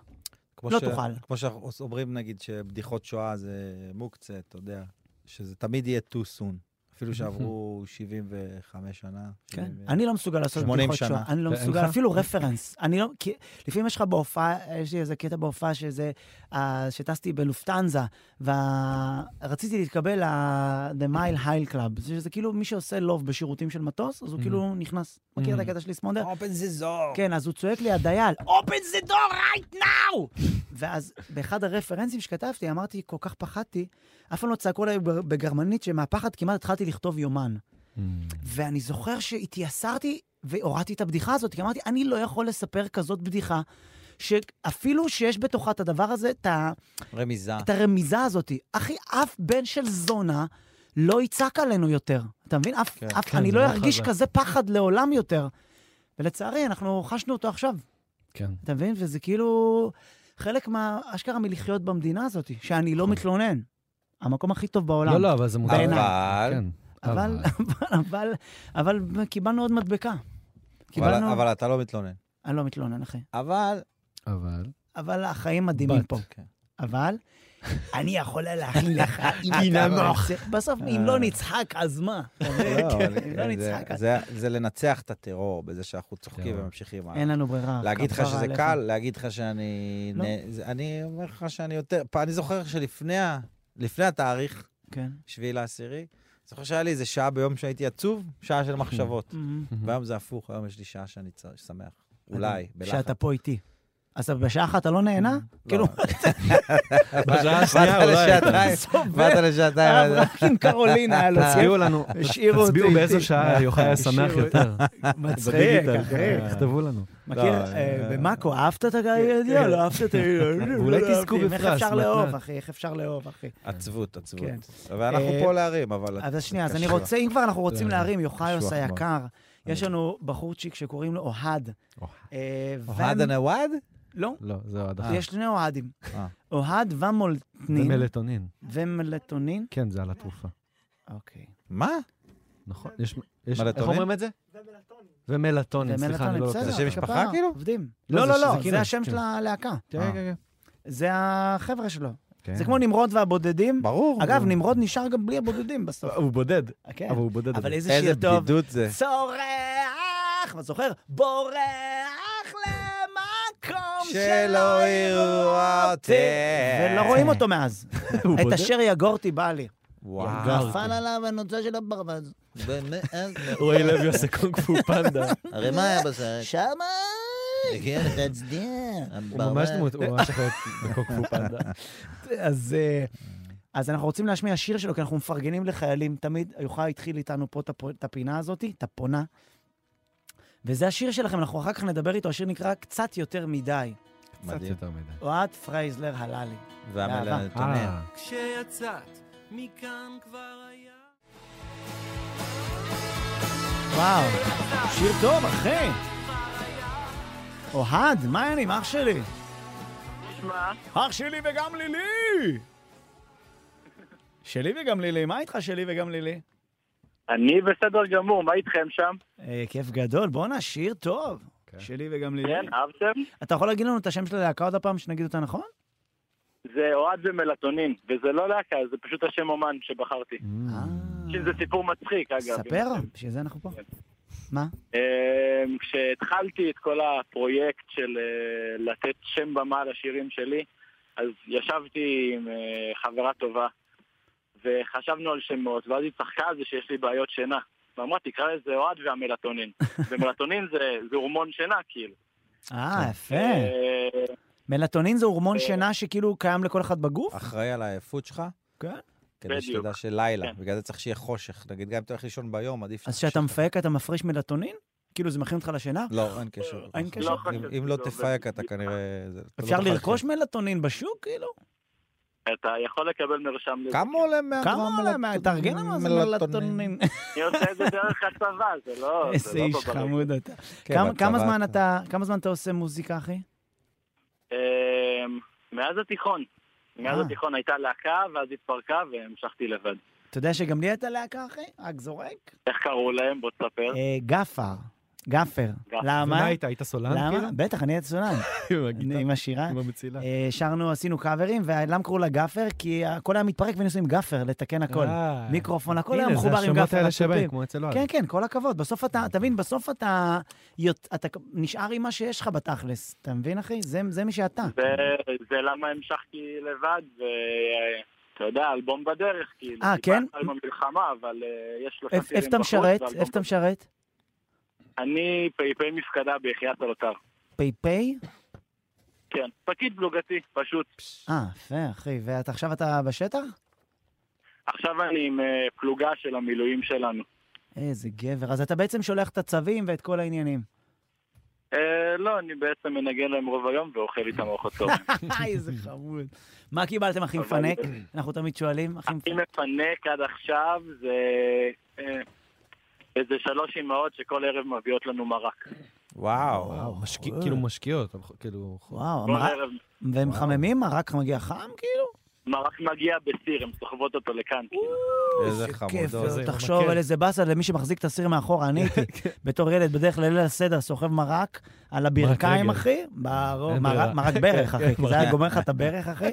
Speaker 2: כמו
Speaker 1: לא
Speaker 2: ש-
Speaker 1: תוכל.
Speaker 2: כמו שאנחנו אומרים, נגיד, שבדיחות שואה זה מוקצה, אתה יודע, שזה תמיד יהיה too soon. אפילו שעברו 75 שנה.
Speaker 1: כן.
Speaker 2: 70
Speaker 1: אני לא מסוגל לעשות
Speaker 2: 80
Speaker 1: בדיחות
Speaker 2: שנה.
Speaker 1: שואה. אני לא
Speaker 3: ואין
Speaker 1: מסוגל,
Speaker 3: לך?
Speaker 1: אפילו רפרנס. אני לא, כי לפעמים יש לך בהופעה, יש לי איזה קטע בהופעה שזה, אה, שטסתי בלופטנזה, ורציתי להתקבל ל-The Mile High Club, שזה כאילו מי שעושה לוב בשירותים של מטוס, אז הוא
Speaker 3: Mhm.
Speaker 1: כאילו נכנס. מכיר את
Speaker 3: Mhm.
Speaker 1: הקטע שלי, סמונדר?
Speaker 2: אופן זה זור.
Speaker 1: כן, אז הוא צועק לי, הדייל, open the door right now! ואז באחד הרפרנסים שכתבתי, אמרתי, כל כך פחדתי, אף פעם לא צעקו עליי בג- בגרמנית, שמהפחד כמעט התחלתי לכתוב יומן. Mm, ואני זוכר שהתייסרתי והורדתי את הבדיחה הזאת, כי אמרתי, אני לא יכול לספר כזאת בדיחה, שאפילו שיש בתוכה את הדבר הזה, את, ה...
Speaker 2: רמיזה.
Speaker 1: את הרמיזה הזאת. אחי, אף בן של זונה לא יצעק עלינו יותר. אתה מבין? אף,
Speaker 2: כן,
Speaker 1: אף,
Speaker 3: כן,
Speaker 1: אני
Speaker 3: זה
Speaker 1: לא
Speaker 3: מאוד
Speaker 1: ארגיש
Speaker 3: חזק.
Speaker 1: כזה פחד לעולם יותר. ולצערי, אנחנו חשנו אותו עכשיו,
Speaker 3: כן.
Speaker 1: אתה מבין? וזה כאילו חלק מה... אשכרה מלחיות במדינה הזאת, שאני לא מתלונן. המקום הכי טוב בעולם.
Speaker 3: נכון. לא, לא, אבל זה מותר.
Speaker 1: בעיניי.
Speaker 2: אבל-
Speaker 3: כן.
Speaker 1: אבל, אבל, אבל, אבל קיבלנו עוד מדבקה.
Speaker 2: אבל
Speaker 1: קיבלנו...
Speaker 2: אבל אתה לא מתלונן.
Speaker 1: אני לא מתלונן, אחי.
Speaker 2: אבל...
Speaker 3: אבל...
Speaker 1: אבל החיים מדהימים
Speaker 3: בת.
Speaker 1: פה.
Speaker 2: כן.
Speaker 1: אבל אני יכולה להכין לך אם
Speaker 2: אתה
Speaker 1: רוצה. בסוף, אם לא נצחק, אז מה?
Speaker 2: לא, אבל-
Speaker 1: אם לא
Speaker 2: זה-
Speaker 1: נצחק, אז...
Speaker 2: זה- זה לנצח את הטרור בזה שאנחנו צוחקים
Speaker 3: כן.
Speaker 2: וממשיכים. הלאה.
Speaker 1: אין לנו ברירה.
Speaker 2: להגיד לך
Speaker 1: כפרה
Speaker 2: שזה
Speaker 1: עליך.
Speaker 2: קל, להגיד לך שאני...
Speaker 1: לא.
Speaker 2: נ- זה- אני אומר לך שאני יותר... פ- אני זוכר שלפני ה- לפני התאריך,
Speaker 1: כן.
Speaker 2: שביעי לעשירי, זוכר שהיה לי איזה שעה ביום שהייתי עצוב, שעה של
Speaker 3: Mm-hmm.
Speaker 2: מחשבות. והיום זה הפוך, היום יש לי שעה שאני צר- שמח. אולי, בלחץ.
Speaker 1: שאתה פה איתי. אז בשעה אחת אתה לא נהנה? כאילו,
Speaker 2: לא.
Speaker 3: בשעה השנייה אולי.
Speaker 2: באת לשעתיים.
Speaker 1: הרב רק עם אה, קרולינה היה לו
Speaker 3: תצביעו לנו,
Speaker 1: לא השאירו אותי.
Speaker 3: תצביעו באיזו שעה יוחאי היה שמח
Speaker 1: השאירו
Speaker 3: יותר.
Speaker 1: מצחיק,
Speaker 3: בדיגיטל.
Speaker 1: אחי.
Speaker 2: כן.
Speaker 3: תכתבו לנו.
Speaker 1: מכיר, אה, במאקו, אהבת את
Speaker 3: כן,
Speaker 1: הגיא? לא אהבת את ה...
Speaker 3: ואולי
Speaker 1: לא
Speaker 3: תזכו
Speaker 1: אהבתי. איך
Speaker 3: בפרס,
Speaker 1: אפשר לאהוב,
Speaker 3: מתנת.
Speaker 1: אחי? איך אפשר לאהוב, אחי?
Speaker 2: עצבות, עצבות.
Speaker 1: כן.
Speaker 2: ואנחנו
Speaker 1: אה,
Speaker 2: פה להרים, אבל...
Speaker 1: אז שנייה, אז אני
Speaker 2: קשוח.
Speaker 1: רוצה, אם כבר אנחנו רוצים
Speaker 3: לא,
Speaker 1: להרים, יוחאיוס
Speaker 2: קשוח מאוד.
Speaker 1: היקר, יש לנו בחורצ'יק שקוראים לו אוהד. אה,
Speaker 2: אוהד
Speaker 1: ון-
Speaker 2: הנוואד?
Speaker 1: לא,
Speaker 3: לא, זה עוד אחד.
Speaker 1: יש שני אוהדים.
Speaker 2: אה.
Speaker 1: אוהד
Speaker 3: זה
Speaker 1: ומולטנין
Speaker 3: מלטונין.
Speaker 1: ומלטונין.
Speaker 3: כן, זה על התרופה.
Speaker 1: אוקיי.
Speaker 2: מה?
Speaker 3: נכון. יש... יש-
Speaker 2: מלטונין?
Speaker 3: איך אומרים את זה? ומלטונין. סליחה,
Speaker 1: ומלטונין,
Speaker 3: אני לא
Speaker 1: בסדר.
Speaker 3: לוקח.
Speaker 2: זה שם
Speaker 1: כפרה,
Speaker 2: משפחה, כאילו?
Speaker 1: עובדים.
Speaker 3: לא,
Speaker 1: לא,
Speaker 3: זה-
Speaker 1: לא,
Speaker 3: זה
Speaker 1: לא,
Speaker 3: כאילו,
Speaker 1: זה השם
Speaker 3: כן.
Speaker 1: של הלהקה.
Speaker 3: כן,
Speaker 2: אה.
Speaker 3: כן, כן.
Speaker 1: זה החבר'ה שלו.
Speaker 2: כן.
Speaker 1: זה כמו נמרוד והבודדים.
Speaker 2: ברור.
Speaker 1: אגב, נמרוד נשאר גם בלי הבודדים בסוף.
Speaker 3: הוא בודד,
Speaker 1: כן.
Speaker 3: אבל הוא בודד.
Speaker 1: אבל איזה שיר
Speaker 2: איזה
Speaker 1: טוב.
Speaker 2: בדידות זה.
Speaker 1: צורח, מה זוכר? בורח למקום
Speaker 2: שלא יראו אותי.
Speaker 1: ולא רואים אותו מאז.
Speaker 3: הוא אה, אוקיי.
Speaker 1: את
Speaker 3: בודד.
Speaker 1: אשר יגורתי בא לי.
Speaker 2: וואו.
Speaker 3: גרתי.
Speaker 1: נפל עליו הנוצה של הברווז.
Speaker 2: ומאז,
Speaker 3: רועי לוי עושה קונג פו פנדה.
Speaker 2: הרי מה היה בסרט?
Speaker 1: שמה!
Speaker 2: הגיע
Speaker 1: תצדיע.
Speaker 3: הוא ממש דמות, הוא ממש יכול להיות בקונג פו פנדה.
Speaker 1: אה, אז... אה, אז אנחנו רוצים להשמיע שיר שלו, כי אנחנו מפרגנים לחיילים תמיד. יוחאי התחיל איתנו פה את הפ- את הפינה הזאת, את הפונה. וזה השיר שלכם, אנחנו אחר כך נדבר איתו, השיר נקרא קצת יותר מדי.
Speaker 3: קצת יותר מדי.
Speaker 1: אוהד פרייזלר הללי.
Speaker 3: אה,
Speaker 2: והמלטוניה.
Speaker 6: כשיצאת מכאן כבר היה...
Speaker 1: וואו, שיר טוב, אחי. אוהד, מה העניינים, אח שלי?
Speaker 5: מה?
Speaker 1: אח שלי וגם לילי! שלי וגם לילי, מה איתך שלי וגם לילי?
Speaker 5: אני בסדר גמור, מה איתכם שם?
Speaker 1: אה, כיף גדול, בואנה, שיר טוב. שלי וגם לילי.
Speaker 5: כן, אהבתם?
Speaker 1: אתה יכול להגיד לנו את השם של הלהקה עוד הפעם, שנגיד אותה נכון?
Speaker 2: Mm.
Speaker 5: זה אוהד ומלטונין, וזה לא להקה, זה פשוט השם אומן שבחרתי.
Speaker 1: אה,
Speaker 5: שזה סיפור מצחיק, אגב. כן.
Speaker 1: ספר, בשביל זה אנחנו פה. מה?
Speaker 5: אמ, כשהתחלתי את כל הפרויקט של אה, לתת שם במה לשירים שלי, אז ישבתי עם אה, חברה טובה, וחשבנו על שמות, ואז היא צחקה על זה שיש לי בעיות שינה. ואמרה, תקרא לזה אוהד והמלטונין. ומלטונין זה, זה הורמון שינה, כאילו.
Speaker 2: כן.
Speaker 1: אה, יפה.
Speaker 5: אה,
Speaker 1: מלטונין זה הורמון
Speaker 5: אה.
Speaker 1: שינה שכאילו קיים לכל אחד בגוף?
Speaker 2: אחראי על העייפות שלך?
Speaker 1: כן.
Speaker 2: כדי
Speaker 5: בדיוק.
Speaker 2: שתדע שלילה,
Speaker 5: כן.
Speaker 2: בגלל זה צריך שיהיה חושך. נגיד, גם אם אתה הולך לישון ביום, עדיף...
Speaker 1: אז
Speaker 2: שתחשוב.
Speaker 1: כשאתה מפהק אתה מפריש מלטונין? כאילו זה מכין אותך לשינה?
Speaker 2: לא, אין קשר.
Speaker 1: אין קשר?
Speaker 5: לא חשבתי
Speaker 2: אם- אם לא
Speaker 5: שזה
Speaker 2: תפייק,
Speaker 5: עובד.
Speaker 2: אתה כנראה... זה- אתה לא
Speaker 1: אפשר
Speaker 2: תוכל אה,
Speaker 1: לרכוש מלטונין בשוק, כאילו?
Speaker 5: אתה יכול לקבל מרשם לזה.
Speaker 2: כמה עולה 100 גרם
Speaker 1: כמה עולה? מה-
Speaker 2: לא, מלטונין?
Speaker 1: תארגן לנו איזה מלטונין.
Speaker 5: אני עושה את לא, זה דרך הצבא, זה לא...
Speaker 1: איזה
Speaker 5: זה לא
Speaker 1: איש
Speaker 5: בבית.
Speaker 1: חמוד אתה.
Speaker 2: כן,
Speaker 1: כמה-
Speaker 2: בצבא
Speaker 1: כמה זמן אתה כמה זמן אתה עושה מוזיקה, אחי?
Speaker 5: אמ, מאז התיכון. מאז
Speaker 1: אה.
Speaker 5: התיכון הייתה להקה, ואז התפרקה והמשכתי לבד.
Speaker 1: אתה יודע שגם לי הייתה להקה, אחי? רק זורק?
Speaker 5: איך קראו להם? בוא תספר.
Speaker 1: אה, גפר. גפר.
Speaker 5: גפר.
Speaker 1: למה?
Speaker 3: ומה היית? היית סולן?
Speaker 1: למה?
Speaker 3: כאילו?
Speaker 1: בטח, אני הייתי סולן.
Speaker 3: עם
Speaker 1: אני-
Speaker 3: הגיטרה,
Speaker 1: עם השירה.
Speaker 3: עם המצילה.
Speaker 1: אה, שרנו, עשינו קאברים, ולמה קראו לה גפר? כי הכל היה מתפרק והיינו עושים גפר, לתקן הכל.
Speaker 3: אה.
Speaker 1: מיקרופון, הכל
Speaker 3: הנה,
Speaker 1: היה
Speaker 3: זה
Speaker 1: מחובר עם
Speaker 3: השמות
Speaker 1: גפר.
Speaker 3: האלה שבאים,
Speaker 1: התופים.
Speaker 3: כמו אצל אוהד.
Speaker 1: כן, כן, כל הכבוד. בסוף אתה, תבין, בסוף אתה, יות- אתה נשאר עם מה שיש לך בתכלס. אתה מבין, אחי? זה, זה מי שאתה.
Speaker 5: זה- זה למה המשכתי לבד, ואתה יודע, אלבום בדרך, כאילו.
Speaker 1: אה,
Speaker 5: טיפה
Speaker 1: כן?
Speaker 5: עם המלחמה, אבל אה, יש שלושה
Speaker 1: איפ-
Speaker 5: שירים
Speaker 1: איפה אתה
Speaker 5: בחוץ, לא
Speaker 1: משרת?
Speaker 5: ואלבום
Speaker 1: איפה אתה
Speaker 5: בדרך.
Speaker 1: משרת?
Speaker 5: אני פ"פ מפקדה ביחיית הלוטר.
Speaker 1: פ"פ?
Speaker 5: כן, פקיד פלוגתי, פשוט.
Speaker 1: אה, יפה, אחי. ועכשיו אתה בשטח?
Speaker 5: עכשיו אני עם אה, פלוגה של המילואים שלנו.
Speaker 1: איזה גבר. אז אתה בעצם שולח את הצווים ואת כל העניינים.
Speaker 5: אה, לא, אני בעצם מנגן להם רוב היום ואוכל איתם ארוחות טוב.
Speaker 1: איזה חמוד. מה קיבלתם, אחי מפנק? אנחנו תמיד שואלים, אחי
Speaker 5: הכי
Speaker 1: מפנק.
Speaker 5: מפנק עד עכשיו זה אה, איזה שלוש אמהות שכל ערב מביאות לנו מרק.
Speaker 2: וואו.
Speaker 1: וואו,
Speaker 3: משקיע-
Speaker 1: וואו.
Speaker 3: כאילו משקיעות, כאילו...
Speaker 1: וואו,
Speaker 5: כל
Speaker 1: המרק-
Speaker 5: ערב
Speaker 1: והם חממים? מרק מגיע חם, כאילו?
Speaker 5: מרק מגיע בסיר, הן סוחבות אותו לכאן. כאילו.
Speaker 2: איזה
Speaker 1: כיף,
Speaker 2: חמודות.
Speaker 1: זה
Speaker 3: זה
Speaker 1: תחשוב
Speaker 3: מקל.
Speaker 1: על איזה באסה למי שמחזיק את הסיר מאחורה, אני הייתי בתור ילד בדרך לליל הסדר סוחב מרק על הברכיים,
Speaker 3: רגל.
Speaker 1: אחי, ברור,
Speaker 3: אין
Speaker 1: מרק-
Speaker 3: ברירה.
Speaker 1: מרק ברך, אחי, כי זה היה
Speaker 2: מרק.
Speaker 1: גומר לך את הברך, אחי.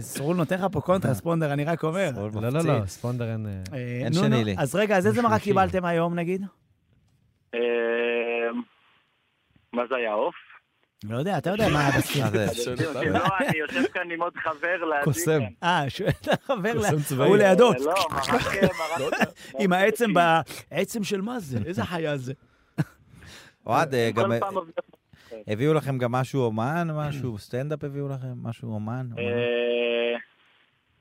Speaker 1: סרול נותן לך פה קונטרספונדר, אני רק אומר.
Speaker 2: מאוד
Speaker 3: לא, לא,
Speaker 2: מפציץ.
Speaker 3: לא, ספונדר אין... אה,
Speaker 1: אה,
Speaker 2: אין
Speaker 1: נו,
Speaker 2: שני
Speaker 1: נו.
Speaker 2: לי.
Speaker 1: אז רגע, אז איזה מרק
Speaker 3: משמשים.
Speaker 1: קיבלתם היום, נגיד?
Speaker 5: אה, מה זה היה, עוף?
Speaker 1: לא יודע, אתה יודע מה היה בסיר.
Speaker 2: מה זה?
Speaker 5: לא, אני יושב כאן עם עוד חבר לידי.
Speaker 3: קוסם.
Speaker 5: כאן.
Speaker 1: אה, שואל את החבר, לה-
Speaker 3: קוסם צבאי.
Speaker 1: הוא לידו,
Speaker 5: אה, לא, מרק... מרק-
Speaker 1: לא עם
Speaker 5: לא,
Speaker 1: העצם, ב- העצם של מה זה? איזה חיה זה?
Speaker 2: אוהד, אה,
Speaker 5: כל
Speaker 2: גם... אה,
Speaker 5: פעם מביאות
Speaker 2: הביאו לכם גם משהו אומן, משהו סטנדאפ הביאו לכם? משהו אומן? אומן?
Speaker 5: אה,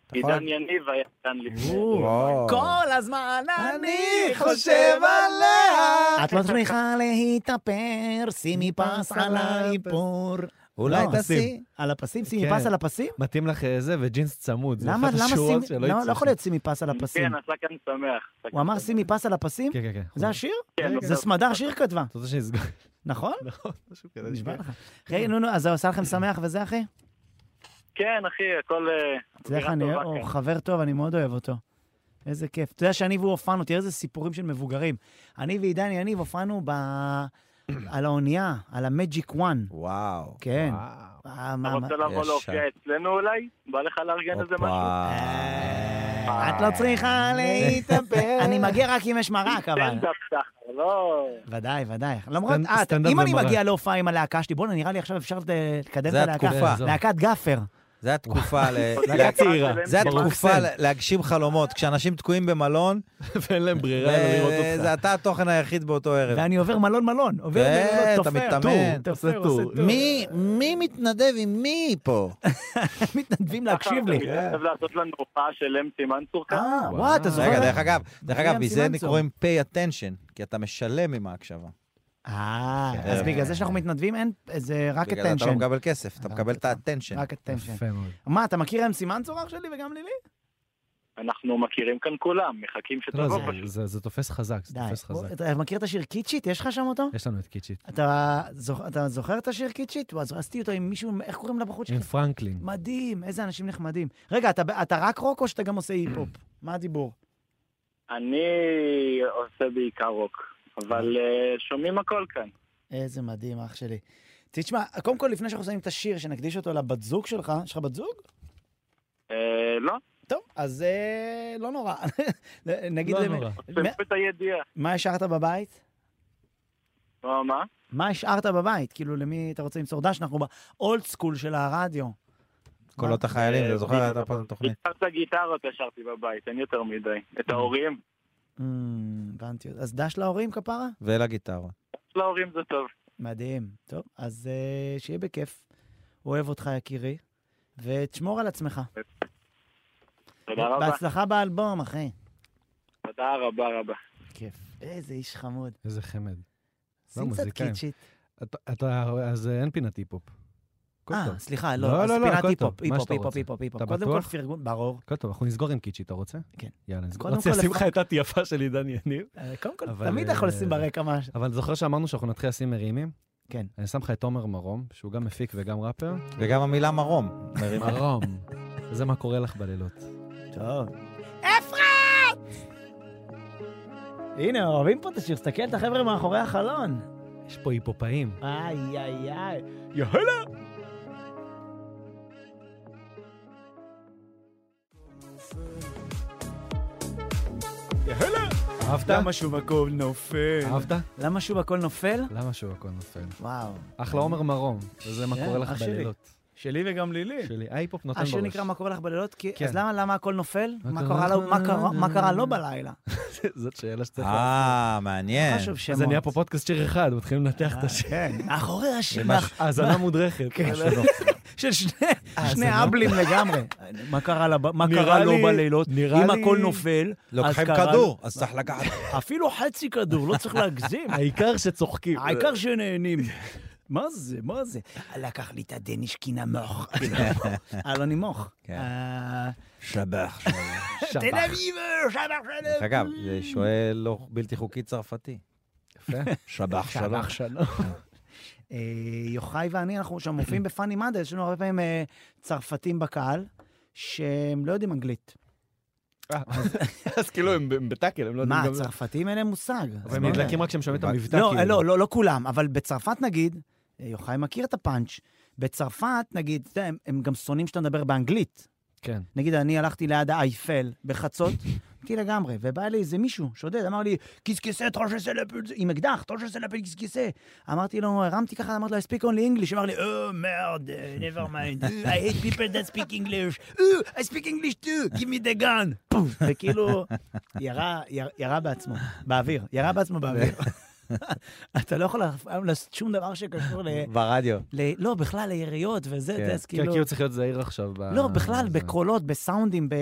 Speaker 2: אתה יכול-
Speaker 5: עידן יניב היה כאן לפני.
Speaker 2: וואו.
Speaker 1: כל הזמן אני
Speaker 2: חושב עליה.
Speaker 1: את לא צריכה להתאפר, שימי פס על האיפור.
Speaker 2: אולי
Speaker 1: לא,
Speaker 2: תעשי.
Speaker 1: שים. על הפסים? שימי
Speaker 3: כן.
Speaker 1: פס על הפסים?
Speaker 3: מתאים לך אה, זה וג'ינס צמוד. זה
Speaker 1: למה,
Speaker 3: אחת
Speaker 1: למה
Speaker 3: השורות
Speaker 1: שימי...
Speaker 3: שלא
Speaker 1: לא, לא
Speaker 3: הצלחתי.
Speaker 1: יכול להיות שימי פס על הפסים.
Speaker 5: כן, עשה כאן שמח. עשה
Speaker 1: הוא
Speaker 5: כאן
Speaker 1: אמר
Speaker 5: שמח.
Speaker 1: שימי פס על הפסים?
Speaker 3: כן, כן, כן.
Speaker 1: זה השיר?
Speaker 5: כן,
Speaker 1: זה
Speaker 5: לא,
Speaker 1: סמדר שיר כתבה,
Speaker 3: אתה רוצה שנסגור?
Speaker 1: נכון?
Speaker 3: נכון, משהו כזה.
Speaker 1: נשבע לך. אחי, נו, נו, אז זה עושה לכם שמח וזה, אחי?
Speaker 5: כן, אחי, הכל... אה,
Speaker 1: אתה יודע
Speaker 5: אווירה
Speaker 1: איך, אני
Speaker 5: טובה
Speaker 1: הוא
Speaker 5: כאן.
Speaker 1: חבר טוב, אני מאוד אוהב אותו. איזה כיף. אתה יודע שאני והוא הופענו, תראה איזה סיפורים של מבוגרים. אני ועידן יניב הופענו ב... על האונייה, על המג'יק וואן.
Speaker 2: וואו.
Speaker 1: כן.
Speaker 3: וואו.
Speaker 1: אה,
Speaker 5: אתה
Speaker 1: מה- מה-
Speaker 5: רוצה לבוא
Speaker 2: ישר.
Speaker 5: להופיע אצלנו אולי? בא לך לארגן איזה כן, משהו?
Speaker 1: אה, את לא צריכה להתאפר. אני מגיע רק אם יש מרק, אבל.
Speaker 5: סטנדאפ סחר, לא...
Speaker 1: ודאי, ודאי. למרות,
Speaker 3: סטנד-
Speaker 1: אה,
Speaker 3: סטנדאפ
Speaker 1: אם אני
Speaker 3: ומרק.
Speaker 1: מגיע להופעה עם הלהקה שלי, בוא'נה, נראה לי עכשיו אפשר אה, לקדם את
Speaker 2: זה
Speaker 1: הלהקה.
Speaker 2: התקופה.
Speaker 3: זהו.
Speaker 1: להקת גאפר.
Speaker 2: זה התקופה ל...
Speaker 3: להקה צעירה.
Speaker 2: זה
Speaker 5: ברור.
Speaker 2: התקופה ל- להגשים חלומות. כשאנשים תקועים במלון,
Speaker 3: ואין להם ברירה אלא לראות
Speaker 2: אה,
Speaker 3: אותך.
Speaker 2: זה אתה התוכן היחיד באותו ערב.
Speaker 1: ואני עובר מלון מלון. עובר
Speaker 2: כן,
Speaker 1: מלון,
Speaker 2: אתה
Speaker 1: תופר.
Speaker 2: מתאמן,
Speaker 1: טור,
Speaker 3: עושה
Speaker 1: תופר,
Speaker 3: טור.
Speaker 1: עושה טור.
Speaker 2: מי, מי מתנדב עם מי פה?
Speaker 1: מתנדבים להקשיב לי.
Speaker 5: אתה מתכתב לעשות לנו הופעה של אמסי מנצור כאן?
Speaker 1: אה, וואי, אתה זוכר?
Speaker 2: אה, רגע, דרך אגב, דרך אגב,
Speaker 1: ים
Speaker 2: מזה
Speaker 1: סימנצור.
Speaker 2: קוראים pay attention, כי אתה משלם עם ההקשבה.
Speaker 1: אה,
Speaker 2: כן.
Speaker 1: אז בגלל זה שאנחנו מתנדבים, אין, זה רק
Speaker 2: בגלל זה אתה לא
Speaker 1: attention.
Speaker 2: מקבל כסף, אתה
Speaker 1: רק
Speaker 2: מקבל את
Speaker 1: attention.
Speaker 2: האטנשן.
Speaker 1: רק attention.
Speaker 3: יפה מאוד.
Speaker 1: מה, אתה מכיר אמסי מנצור אח שלי וגם לילי?
Speaker 5: אנחנו מכירים כאן כולם, מחכים
Speaker 3: לא,
Speaker 5: שתבוא
Speaker 3: זה-
Speaker 5: פשוט.
Speaker 3: זה- זה תופס חזק, זה
Speaker 1: די.
Speaker 3: תופס חזק.
Speaker 1: אתה מכיר את השיר קיצ'יט? יש לך שם אותו?
Speaker 3: יש לנו את קיצ'ית.
Speaker 1: אתה זוכ- אתה זוכר את השיר קיצ'יט? וואי, אז עשיתי אותו עם מישהו, איך קוראים לבחוץ
Speaker 3: עם
Speaker 1: שלך?
Speaker 3: פרנקלין.
Speaker 1: מדהים, איזה אנשים נחמדים. רגע, אתה ב- אתה רק רוק או שאתה גם עושה היפ-הופ? מה הדיבור?
Speaker 5: אני עושה בעיקר רוק, אבל אה, שומעים הכל כאן.
Speaker 1: איזה מדהים, אח שלי. תשמע, קודם כל, לפני שאנחנו שמים את השיר, שנקדיש אותו לבת זוג שלך, יש לך בת זוג?
Speaker 5: אה, לא,
Speaker 1: טוב, אז אה, לא נורא. נגיד...
Speaker 3: לא
Speaker 1: למי-
Speaker 3: נורא.
Speaker 1: מה-
Speaker 5: תשמעו את הידיעה.
Speaker 1: מה השארת בבית?
Speaker 5: מה, מה?
Speaker 1: מה השארת בבית? כאילו, למי אתה רוצה למסור דש? אנחנו באולד סקול של הרדיו.
Speaker 2: קולות החיילים,
Speaker 1: אה,
Speaker 2: אתה זוכר? הייתה פה תוכנית.
Speaker 5: בעיקר את הגיטרות השארתי בבית, אין יותר מדי. את ההורים,
Speaker 1: Mm, הבנתי. אז דש להורים, כפרה?
Speaker 2: ולגיטרה.
Speaker 5: להורים זה טוב.
Speaker 1: מדהים. טוב, אז אה, שיהיה בכיף. אוהב אותך, יקירי. ותשמור על עצמך.
Speaker 5: תודה רבה.
Speaker 1: בהצלחה באלבום, אחי.
Speaker 5: תודה רבה רבה.
Speaker 1: כיף. איזה איש חמוד.
Speaker 3: איזה חמד.
Speaker 1: שים קצת
Speaker 3: מוזיקאים.
Speaker 1: קיצ'ית.
Speaker 3: אתה- אתה, אז אה, אין פינת היפ-הופ. הכל
Speaker 1: אה,
Speaker 3: טוב.
Speaker 1: סליחה,
Speaker 3: לא,
Speaker 1: לא, אז
Speaker 3: לא, לא,
Speaker 1: פינת
Speaker 3: הכל
Speaker 1: היפ-הופ,
Speaker 3: טוב. מה
Speaker 1: היפ-הופ,
Speaker 3: שאתה
Speaker 1: היפ-הופ,
Speaker 3: רוצה.
Speaker 1: היפ-הופ, היפ-הופ.
Speaker 3: אתה
Speaker 1: קודם כל
Speaker 3: בטוח?
Speaker 1: פרגון, ברור.
Speaker 3: הכל טוב, אנחנו נסגור עם קיצ'י, אתה רוצה?
Speaker 1: כן.
Speaker 3: יאללה, נסגור. אוקיי,
Speaker 1: קודם
Speaker 3: רציתי
Speaker 1: כל
Speaker 3: לשים לך
Speaker 1: לפחות-
Speaker 3: את עטיפה של עידן יניב.
Speaker 1: אה, קודם כל,
Speaker 3: אבל,
Speaker 1: תמיד יכול
Speaker 3: אה,
Speaker 1: לשים ברקע משהו.
Speaker 3: אבל זוכר שאמרנו שאנחנו נתחיל לשים מרימים?
Speaker 1: כן.
Speaker 3: אני שם לך את תומר מרום, שהוא גם מפיק וגם ראפר.
Speaker 2: וגם המילה מרום. מרימה.
Speaker 3: מרום. זה מה קורה לך בלילות.
Speaker 1: טוב. אפרת! הנה, אוהבים פה את השיר, תסתכל את החבר'ה מאחורי החלון.
Speaker 3: יש פה היפופאים.
Speaker 1: איי, איי, איי. יאללה!
Speaker 3: אהבת?
Speaker 1: שוב הכל נופל?
Speaker 3: אהבת?
Speaker 1: למה שוב הכל נופל?
Speaker 3: למה שהוא הכל נופל?
Speaker 1: וואו.
Speaker 3: אחלה עומר מרום, וזה מה
Speaker 1: כן,
Speaker 3: קורה לך
Speaker 1: אח שלי.
Speaker 3: בלילות.
Speaker 1: שלי וגם לילי.
Speaker 3: שלי, ההיפ-הופ נותן בראש.
Speaker 1: השיר נקרא מה קורה לך בלילות? כי-
Speaker 3: כן.
Speaker 1: אז למה למה הכל נופל?
Speaker 3: מה
Speaker 1: מה
Speaker 3: קרה
Speaker 1: קרה
Speaker 3: לך?
Speaker 1: לו- מה קרה- מה קרה לו בלילה?
Speaker 3: זאת שאלה שצריך...
Speaker 2: אה, מעניין.
Speaker 1: חשוב
Speaker 3: לה-
Speaker 1: שמות.
Speaker 3: כן.
Speaker 1: אה, כן,
Speaker 3: זה נהיה פה פודקאסט שיר אחד, מתחילים לנתח את השיר.
Speaker 1: מאחורי השיר.
Speaker 3: האזנה מודרכת.
Speaker 1: כן. של שני-
Speaker 3: לא. אה,
Speaker 1: שני
Speaker 3: זה לא-
Speaker 1: אבלים לגמרי. מה קרה לה- מה
Speaker 3: נראה
Speaker 1: קרה לו
Speaker 3: לי-
Speaker 1: בלילות?
Speaker 3: נראה
Speaker 1: אם
Speaker 3: לי-
Speaker 1: הכל נופל, אז
Speaker 2: לוקחים
Speaker 1: קרה-
Speaker 2: כדור, אז צריך לקחת.
Speaker 1: אפילו חצי כדור, לא צריך להגזים.
Speaker 3: העיקר שצוחקים.
Speaker 1: העיקר שנהנים. מה זה, מה זה? לקח לי את הדניש קינמוך. אלוני מוך.
Speaker 2: כן.
Speaker 1: לא אה,
Speaker 2: שבח.
Speaker 3: שבח.
Speaker 1: תל אביב, שבח
Speaker 2: דרך
Speaker 1: שלום.
Speaker 2: אגב, זה שואל לא בלתי חוקי צרפתי.
Speaker 3: יפה.
Speaker 2: שבח שלום.
Speaker 1: שבח שלום. אה, יוחאי ואני, אנחנו שם מופיעים בפאני מאנדה, יש לנו הרבה פעמים אה, צרפתים בקהל, שהם לא יודעים אנגלית.
Speaker 3: אז כאילו הם בטאקל, הם לא
Speaker 1: מה, הצרפתים אין להם מושג.
Speaker 3: אבל
Speaker 1: אז
Speaker 3: הם
Speaker 1: מה?
Speaker 3: נדלקים רק כשהם שומעים את המבטא,
Speaker 1: לא,
Speaker 3: כאילו.
Speaker 1: לא, לא, לא כולם, אבל בצרפת נגיד, אה, יוחאי מכיר את הפאנץ', בצרפת נגיד, אתה יודע, הם- הם גם שונאים שאתה מדבר באנגלית.
Speaker 3: כן.
Speaker 1: נגיד, אני הלכתי ליד האייפל בחצות, הייתי לגמרי, ובא אלי איזה מישהו, שודד, אמר לי, קיסקיסה, תרושסה לפל, עם אקדח, תרושסה לפל, קיסקיסה. אמרתי לו, הרמתי ככה, אמרתי לו, I speak only English, אמר לי, Oh, מרד, uh, never mind, Uh, I hate people that speak English, Oh, I speak English too, give me the gun. פוף, וכאילו, ירה, יר- ירה בעצמו, באוויר, ירה בעצמו באוויר. אתה לא יכול אף פעם לעשות שום דבר שקשור ל...
Speaker 2: ברדיו.
Speaker 1: ל- לא, בכלל ליריות וזה,
Speaker 2: כן.
Speaker 1: אתה יודע, אז
Speaker 3: כן,
Speaker 1: כאילו...
Speaker 3: כאילו צריך להיות זהיר עכשיו. ב-
Speaker 1: לא, בכלל,
Speaker 3: אה, זה.
Speaker 1: בקולות, בסאונדים, ב...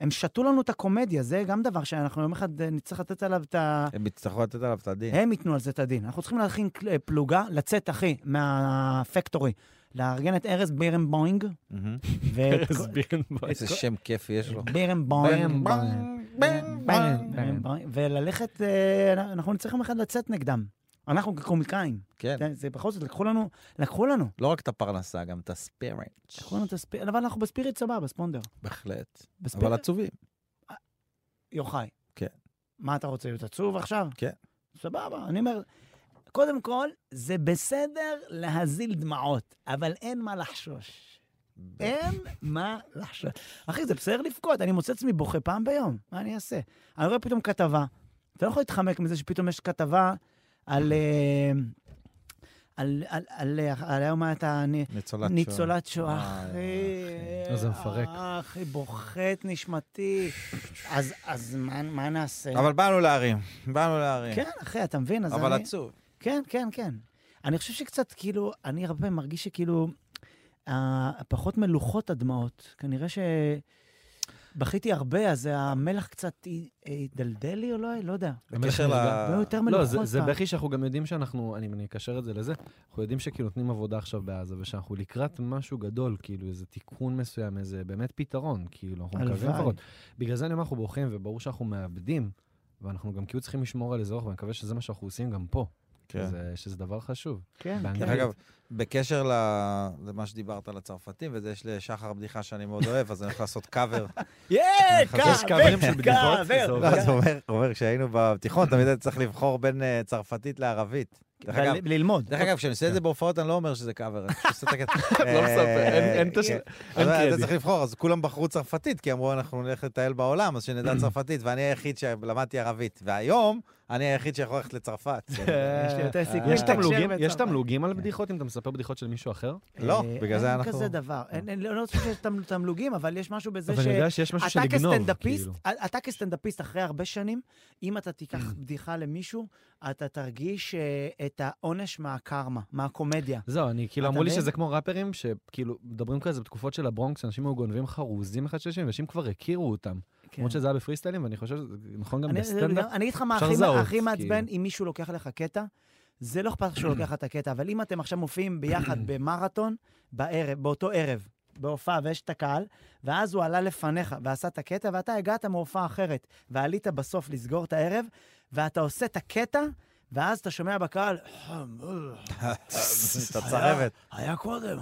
Speaker 1: הם שתו לנו את הקומדיה, זה גם דבר שאנחנו יום אחד אה, נצטרך לתת עליו את ה...
Speaker 2: הם יצטרכו לתת עליו את הדין.
Speaker 1: הם ייתנו על זה את הדין. אנחנו צריכים להכין כל- אה, פלוגה, לצאת, אחי, מהפקטורי. לארגן את ארז בירנבוינג,
Speaker 2: מהמם.
Speaker 1: ואת...
Speaker 3: ארז בירנבוים.
Speaker 2: איזה שם כיפי יש לו.
Speaker 1: בירנבוינג.
Speaker 2: בנג.
Speaker 1: וללכת, אה, אנחנו נצטרך יום אחד לצאת נגדם. אנחנו כקומיקאים.
Speaker 2: כן,
Speaker 1: זה- זה בכל זאת, לקחו לנו, לקחו לנו.
Speaker 2: לא רק את הפרנסה, גם את הספירנט.
Speaker 1: לקחו לנו את הספיריט, אבל אנחנו בספיריט סבבה, ספונדר.
Speaker 2: בהחלט.
Speaker 1: בספיריט,
Speaker 2: אבל עצובים.
Speaker 1: יוחאי.
Speaker 2: כן.
Speaker 1: מה אתה רוצה, להיות עצוב עכשיו?
Speaker 2: כן.
Speaker 1: סבבה, אני אומר, קודם כל, זה בסדר להזיל דמעות, אבל אין מה לחשוש.
Speaker 2: אה?
Speaker 1: אין מה לחשוש. אחי, זה בסדר לבכות, אני מוצא עצמי בוכה פעם ביום, מה אני אעשה? אני רואה פתאום כתבה, אתה לא יכול להתחמק מזה שפתאום יש כתבה על... אה, על, על, על, על, על היום הייתה
Speaker 2: ניצולת שואה.
Speaker 1: ניצולת שואה,
Speaker 2: וואי,
Speaker 1: אחי.
Speaker 3: לא, זה מפרק.
Speaker 1: אחי, בוחט נשמתי. אז, אז מה, מה נעשה?
Speaker 2: אבל באנו להרים. באנו להרים.
Speaker 1: כן, אחי, אתה מבין? אז
Speaker 2: אבל
Speaker 1: אני...
Speaker 2: עצוב.
Speaker 1: כן, כן, כן. אני חושב שקצת, כאילו, אני הרבה פעמים מרגיש שכאילו, אה, פחות מלוכות הדמעות. כנראה שבכיתי הרבה, אז המלח קצת הי- הידלדל לי או לא? לא יודע.
Speaker 2: בקשר ל...
Speaker 1: לא יותר
Speaker 3: לא,
Speaker 1: מלוכות
Speaker 3: זה- זה
Speaker 1: פעם.
Speaker 3: בכי שאנחנו גם יודעים שאנחנו, אני אני אקשר את זה לזה, אנחנו יודעים שכאילו נותנים עבודה עכשיו בעזה, ושאנחנו לקראת משהו גדול, כאילו איזה תיקון מסוים, איזה באמת פתרון, כאילו, אנחנו מקווים
Speaker 1: הלוואי.
Speaker 3: לפחות. בגלל זה אני אומר, אנחנו בורחים, וברור שאנחנו מאבדים, ואנחנו גם כאילו צריכים לשמור על איזה אורך, ואני מקווה שזה מה שאנחנו עושים גם פה,
Speaker 2: כן.
Speaker 3: שזה- שזה דבר חשוב.
Speaker 1: כן,
Speaker 3: באנגלית.
Speaker 2: דרך אגב, בקשר ל- למה שדיברת על הצרפתים, וזה יש לשחר בדיחה שאני מאוד אוהב, אז אני הולך לעשות קאבר.
Speaker 1: יאי,
Speaker 2: חשבתי
Speaker 3: יש קאברים של בדיחות, וזה
Speaker 1: כעבר.
Speaker 3: עובד.
Speaker 2: לא, זה אומר- אומר, כשהיינו בתיכון, תמיד הייתי צריך לבחור בין אה, צרפתית לערבית.
Speaker 3: כן,
Speaker 2: דרך אגב,
Speaker 1: ל- ללמוד.
Speaker 2: דרך אגב, כשאני עושה את זה בהופעות, אני לא אומר שזה קאבר, אני פשוט עושה את הקטע.
Speaker 3: לא מספר, אין- אין תש-
Speaker 2: כן. אבל
Speaker 3: אין
Speaker 2: אתה
Speaker 3: קרדיט.
Speaker 2: צריך לבחור, אז כולם בחרו צרפתית, כי אמרו, אנחנו נלך לטייל בעולם, אז שנדע צרפתית, ואני היחיד שלמדתי ערבית. והיום, אני היחיד שיכול ללכת לצרפת.
Speaker 3: כן.
Speaker 1: יש כן. לי יותר סיכוי.
Speaker 3: יש
Speaker 1: לתקשר
Speaker 3: תמלוגים- יש
Speaker 1: בצרפת.
Speaker 3: תמלוגים על בדיחות אם אתה מספר בדיחות של מישהו אחר?
Speaker 2: לא,
Speaker 1: אה,
Speaker 2: בגלל זה אנחנו...
Speaker 1: אין כזה דבר. אין- אין- לא לא חושב שיש תמ- תמלוגים, אבל יש משהו בזה
Speaker 3: אבל
Speaker 1: ש...
Speaker 3: אני יודע שיש משהו של
Speaker 1: אתה
Speaker 3: לגנוב,
Speaker 1: כסטנדאפיסט,
Speaker 3: כאילו.
Speaker 1: אתה כסטנדאפיסט אחרי הרבה שנים, אם אתה תיקח בדיחה למישהו, אתה תרגיש אה, את העונש מהקרמה, מהקומדיה.
Speaker 3: זהו, אני, כאילו,
Speaker 1: אתה
Speaker 3: אמרו לי
Speaker 1: מבין?
Speaker 3: שזה כמו ראפרים, שכאילו, מדברים כזה בתקופות של הברונקס, אנשים היו גונבים חרוזים אחד של השני, ואנשים כבר הכירו אותם. למרות שזה היה בפריסטיילים, ואני חושב שזה נכון גם
Speaker 1: כן. אני- לא-
Speaker 3: בסטנדאפ.
Speaker 1: אני אגיד לך מה
Speaker 3: אפשר
Speaker 1: הכי-
Speaker 3: לזהות,
Speaker 1: הכי מעצבן,
Speaker 3: כאילו.
Speaker 1: אם מישהו לוקח לך קטע, זה לא אכפת לך שהוא לוקח לך את הקטע, אבל אם אתם עכשיו מופיעים ביחד במרתון, בערב, באותו ערב, בהופעה ויש את הקהל, ואז הוא עלה לפניך ועשה את הקטע, ואתה הגעת מהופעה אחרת, ועלית בסוף לסגור את הערב, ואתה עושה את הקטע, ואז אתה שומע בקהל, "אה,
Speaker 2: את הצרבת.
Speaker 1: היה קודם,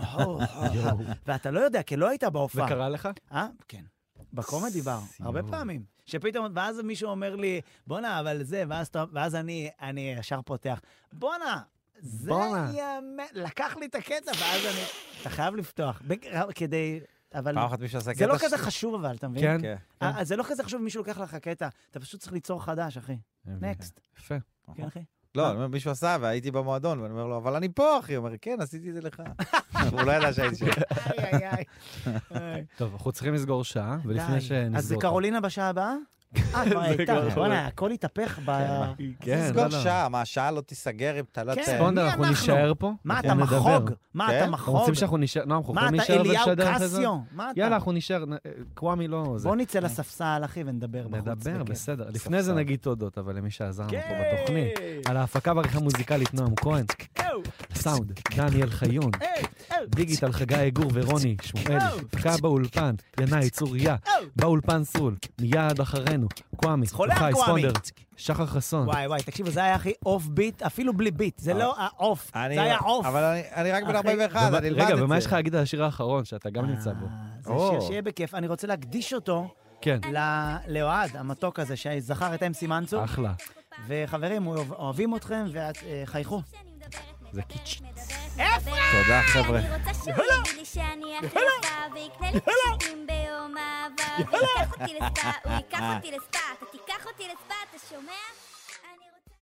Speaker 1: ואתה לא יודע, כי לא היית
Speaker 3: זה
Speaker 1: בהופעה.
Speaker 3: קרה לך?
Speaker 1: אה? כן. בקומדי בר, הרבה
Speaker 3: יואו.
Speaker 1: פעמים. שפתאום, ואז מישהו אומר לי, בואנה, אבל זה, ואז, אתה- ואז אני, אני ישר פותח, בואנה, זה
Speaker 3: בואנה."
Speaker 1: יאמן, לקח לי את הקטע, ואז אני... אתה חייב לפתוח, בג- כדי... אבל
Speaker 3: אה,
Speaker 2: פעם אחת מישהו עשה קטע...
Speaker 1: זה לא
Speaker 2: ש-
Speaker 1: כזה חשוב, אבל, אתה מבין?
Speaker 3: כן.
Speaker 2: כן.
Speaker 1: אה, אז זה לא כזה חשוב אם מישהו לוקח לך קטע, אתה פשוט צריך ליצור חדש, אחי. נקסט.
Speaker 3: יפה.
Speaker 1: כן, אחי?
Speaker 2: לא, אני אומר, מישהו עשה, והייתי במועדון, ואני אומר לו, אבל אני פה, אחי. הוא אומר, כן, עשיתי את זה לך. הוא לא ידע שהייתי שם.
Speaker 1: איי, איי, איי. איי.
Speaker 3: טוב, אנחנו צריכים לסגור שעה, ולפני
Speaker 1: די.
Speaker 3: שנסגור...
Speaker 1: אז זה
Speaker 3: אותה-
Speaker 1: קרולינה בשעה הבאה? אה, כבר הייתה. בואנה, הכל התהפך ב...
Speaker 3: כן,
Speaker 2: תסגור
Speaker 3: לא, לא.
Speaker 2: שעה, מה, השעה לא תיסגר אם אתה לא...
Speaker 1: כן.
Speaker 2: ת-
Speaker 1: בוא נ-
Speaker 3: ספונדר,
Speaker 1: מי
Speaker 3: נכון, אנחנו
Speaker 1: אנחנו?
Speaker 3: נישאר פה.
Speaker 1: מה,
Speaker 3: אנחנו
Speaker 1: אתה
Speaker 3: כן, נדבר.
Speaker 1: מחוג? מה, אתה
Speaker 2: כן?
Speaker 3: אתם רוצים
Speaker 1: מחוג?
Speaker 3: שאנחנו נשאר, לא, אנחנו
Speaker 1: מה,
Speaker 3: יכולים
Speaker 1: אתה
Speaker 3: להישאר
Speaker 1: אליהו
Speaker 3: ולשדר אחרי זה?
Speaker 1: קסיו? מה אתה?
Speaker 3: יאללה, אנחנו נשאר, נ- אה, קוואמי לא... זה.
Speaker 1: בוא נצא לספסל, אחי, ונדבר בחוץ.
Speaker 3: נדבר,
Speaker 1: בכיף.
Speaker 3: בסדר.
Speaker 2: סוף
Speaker 3: לפני זה
Speaker 2: סוף.
Speaker 3: נגיד תודות, אבל למי שעזר לנו פה
Speaker 1: כן.
Speaker 3: בתוכנית. על ההפקה והעריכה המוזיקלית נועם כהן.
Speaker 1: אהו,
Speaker 3: סאונד, דניאל חיון.
Speaker 1: אהו, אהו.
Speaker 3: דיגיטל, חגי גור ורוני שמואלי. הפקה באולפן, ינאי צוריה.
Speaker 1: אהו.
Speaker 3: באולפן סול. מיד אחרינו. קוואמי,
Speaker 1: חולה
Speaker 3: יוחאי
Speaker 1: הקוואמי.
Speaker 3: ספונדר. שחר חסון.
Speaker 1: וואי, וואי, תקשיבו, זה היה הכי אוף ביט, אפילו בלי ביט. זה לא
Speaker 3: אה,
Speaker 1: האוף,
Speaker 2: אני-
Speaker 1: זה היה
Speaker 3: לא-
Speaker 1: אוף.
Speaker 2: אבל אני- אני רק בן
Speaker 1: אחי.
Speaker 2: 41,
Speaker 3: ומה-
Speaker 2: אני אלמד את זה.
Speaker 3: רגע, ומה יש לך להגיד על השיר האחרון שאתה גם נמצא בו?
Speaker 1: אה, זה
Speaker 2: או.
Speaker 1: שיר שיהיה בכיף. אני רוצה להקדיש אותו
Speaker 3: כן,
Speaker 1: ל- לאוהד, המתוק הזה, שזכר את אמסי מנצור.
Speaker 3: אחלה.
Speaker 1: וחברים, אוהב- אוהבים אתכם, אה, וחייכו.
Speaker 3: זה קיצ'י.
Speaker 2: תודה, חבר'ה.
Speaker 7: אני רוצה שהוא יגיד לי שאני החלפה, ויקנה לי פשוטים ביום אהבה, הוא ייקח אותי לספא, הוא ייקח אותי לספא, אתה תיקח אותי לספא, אתה שומע?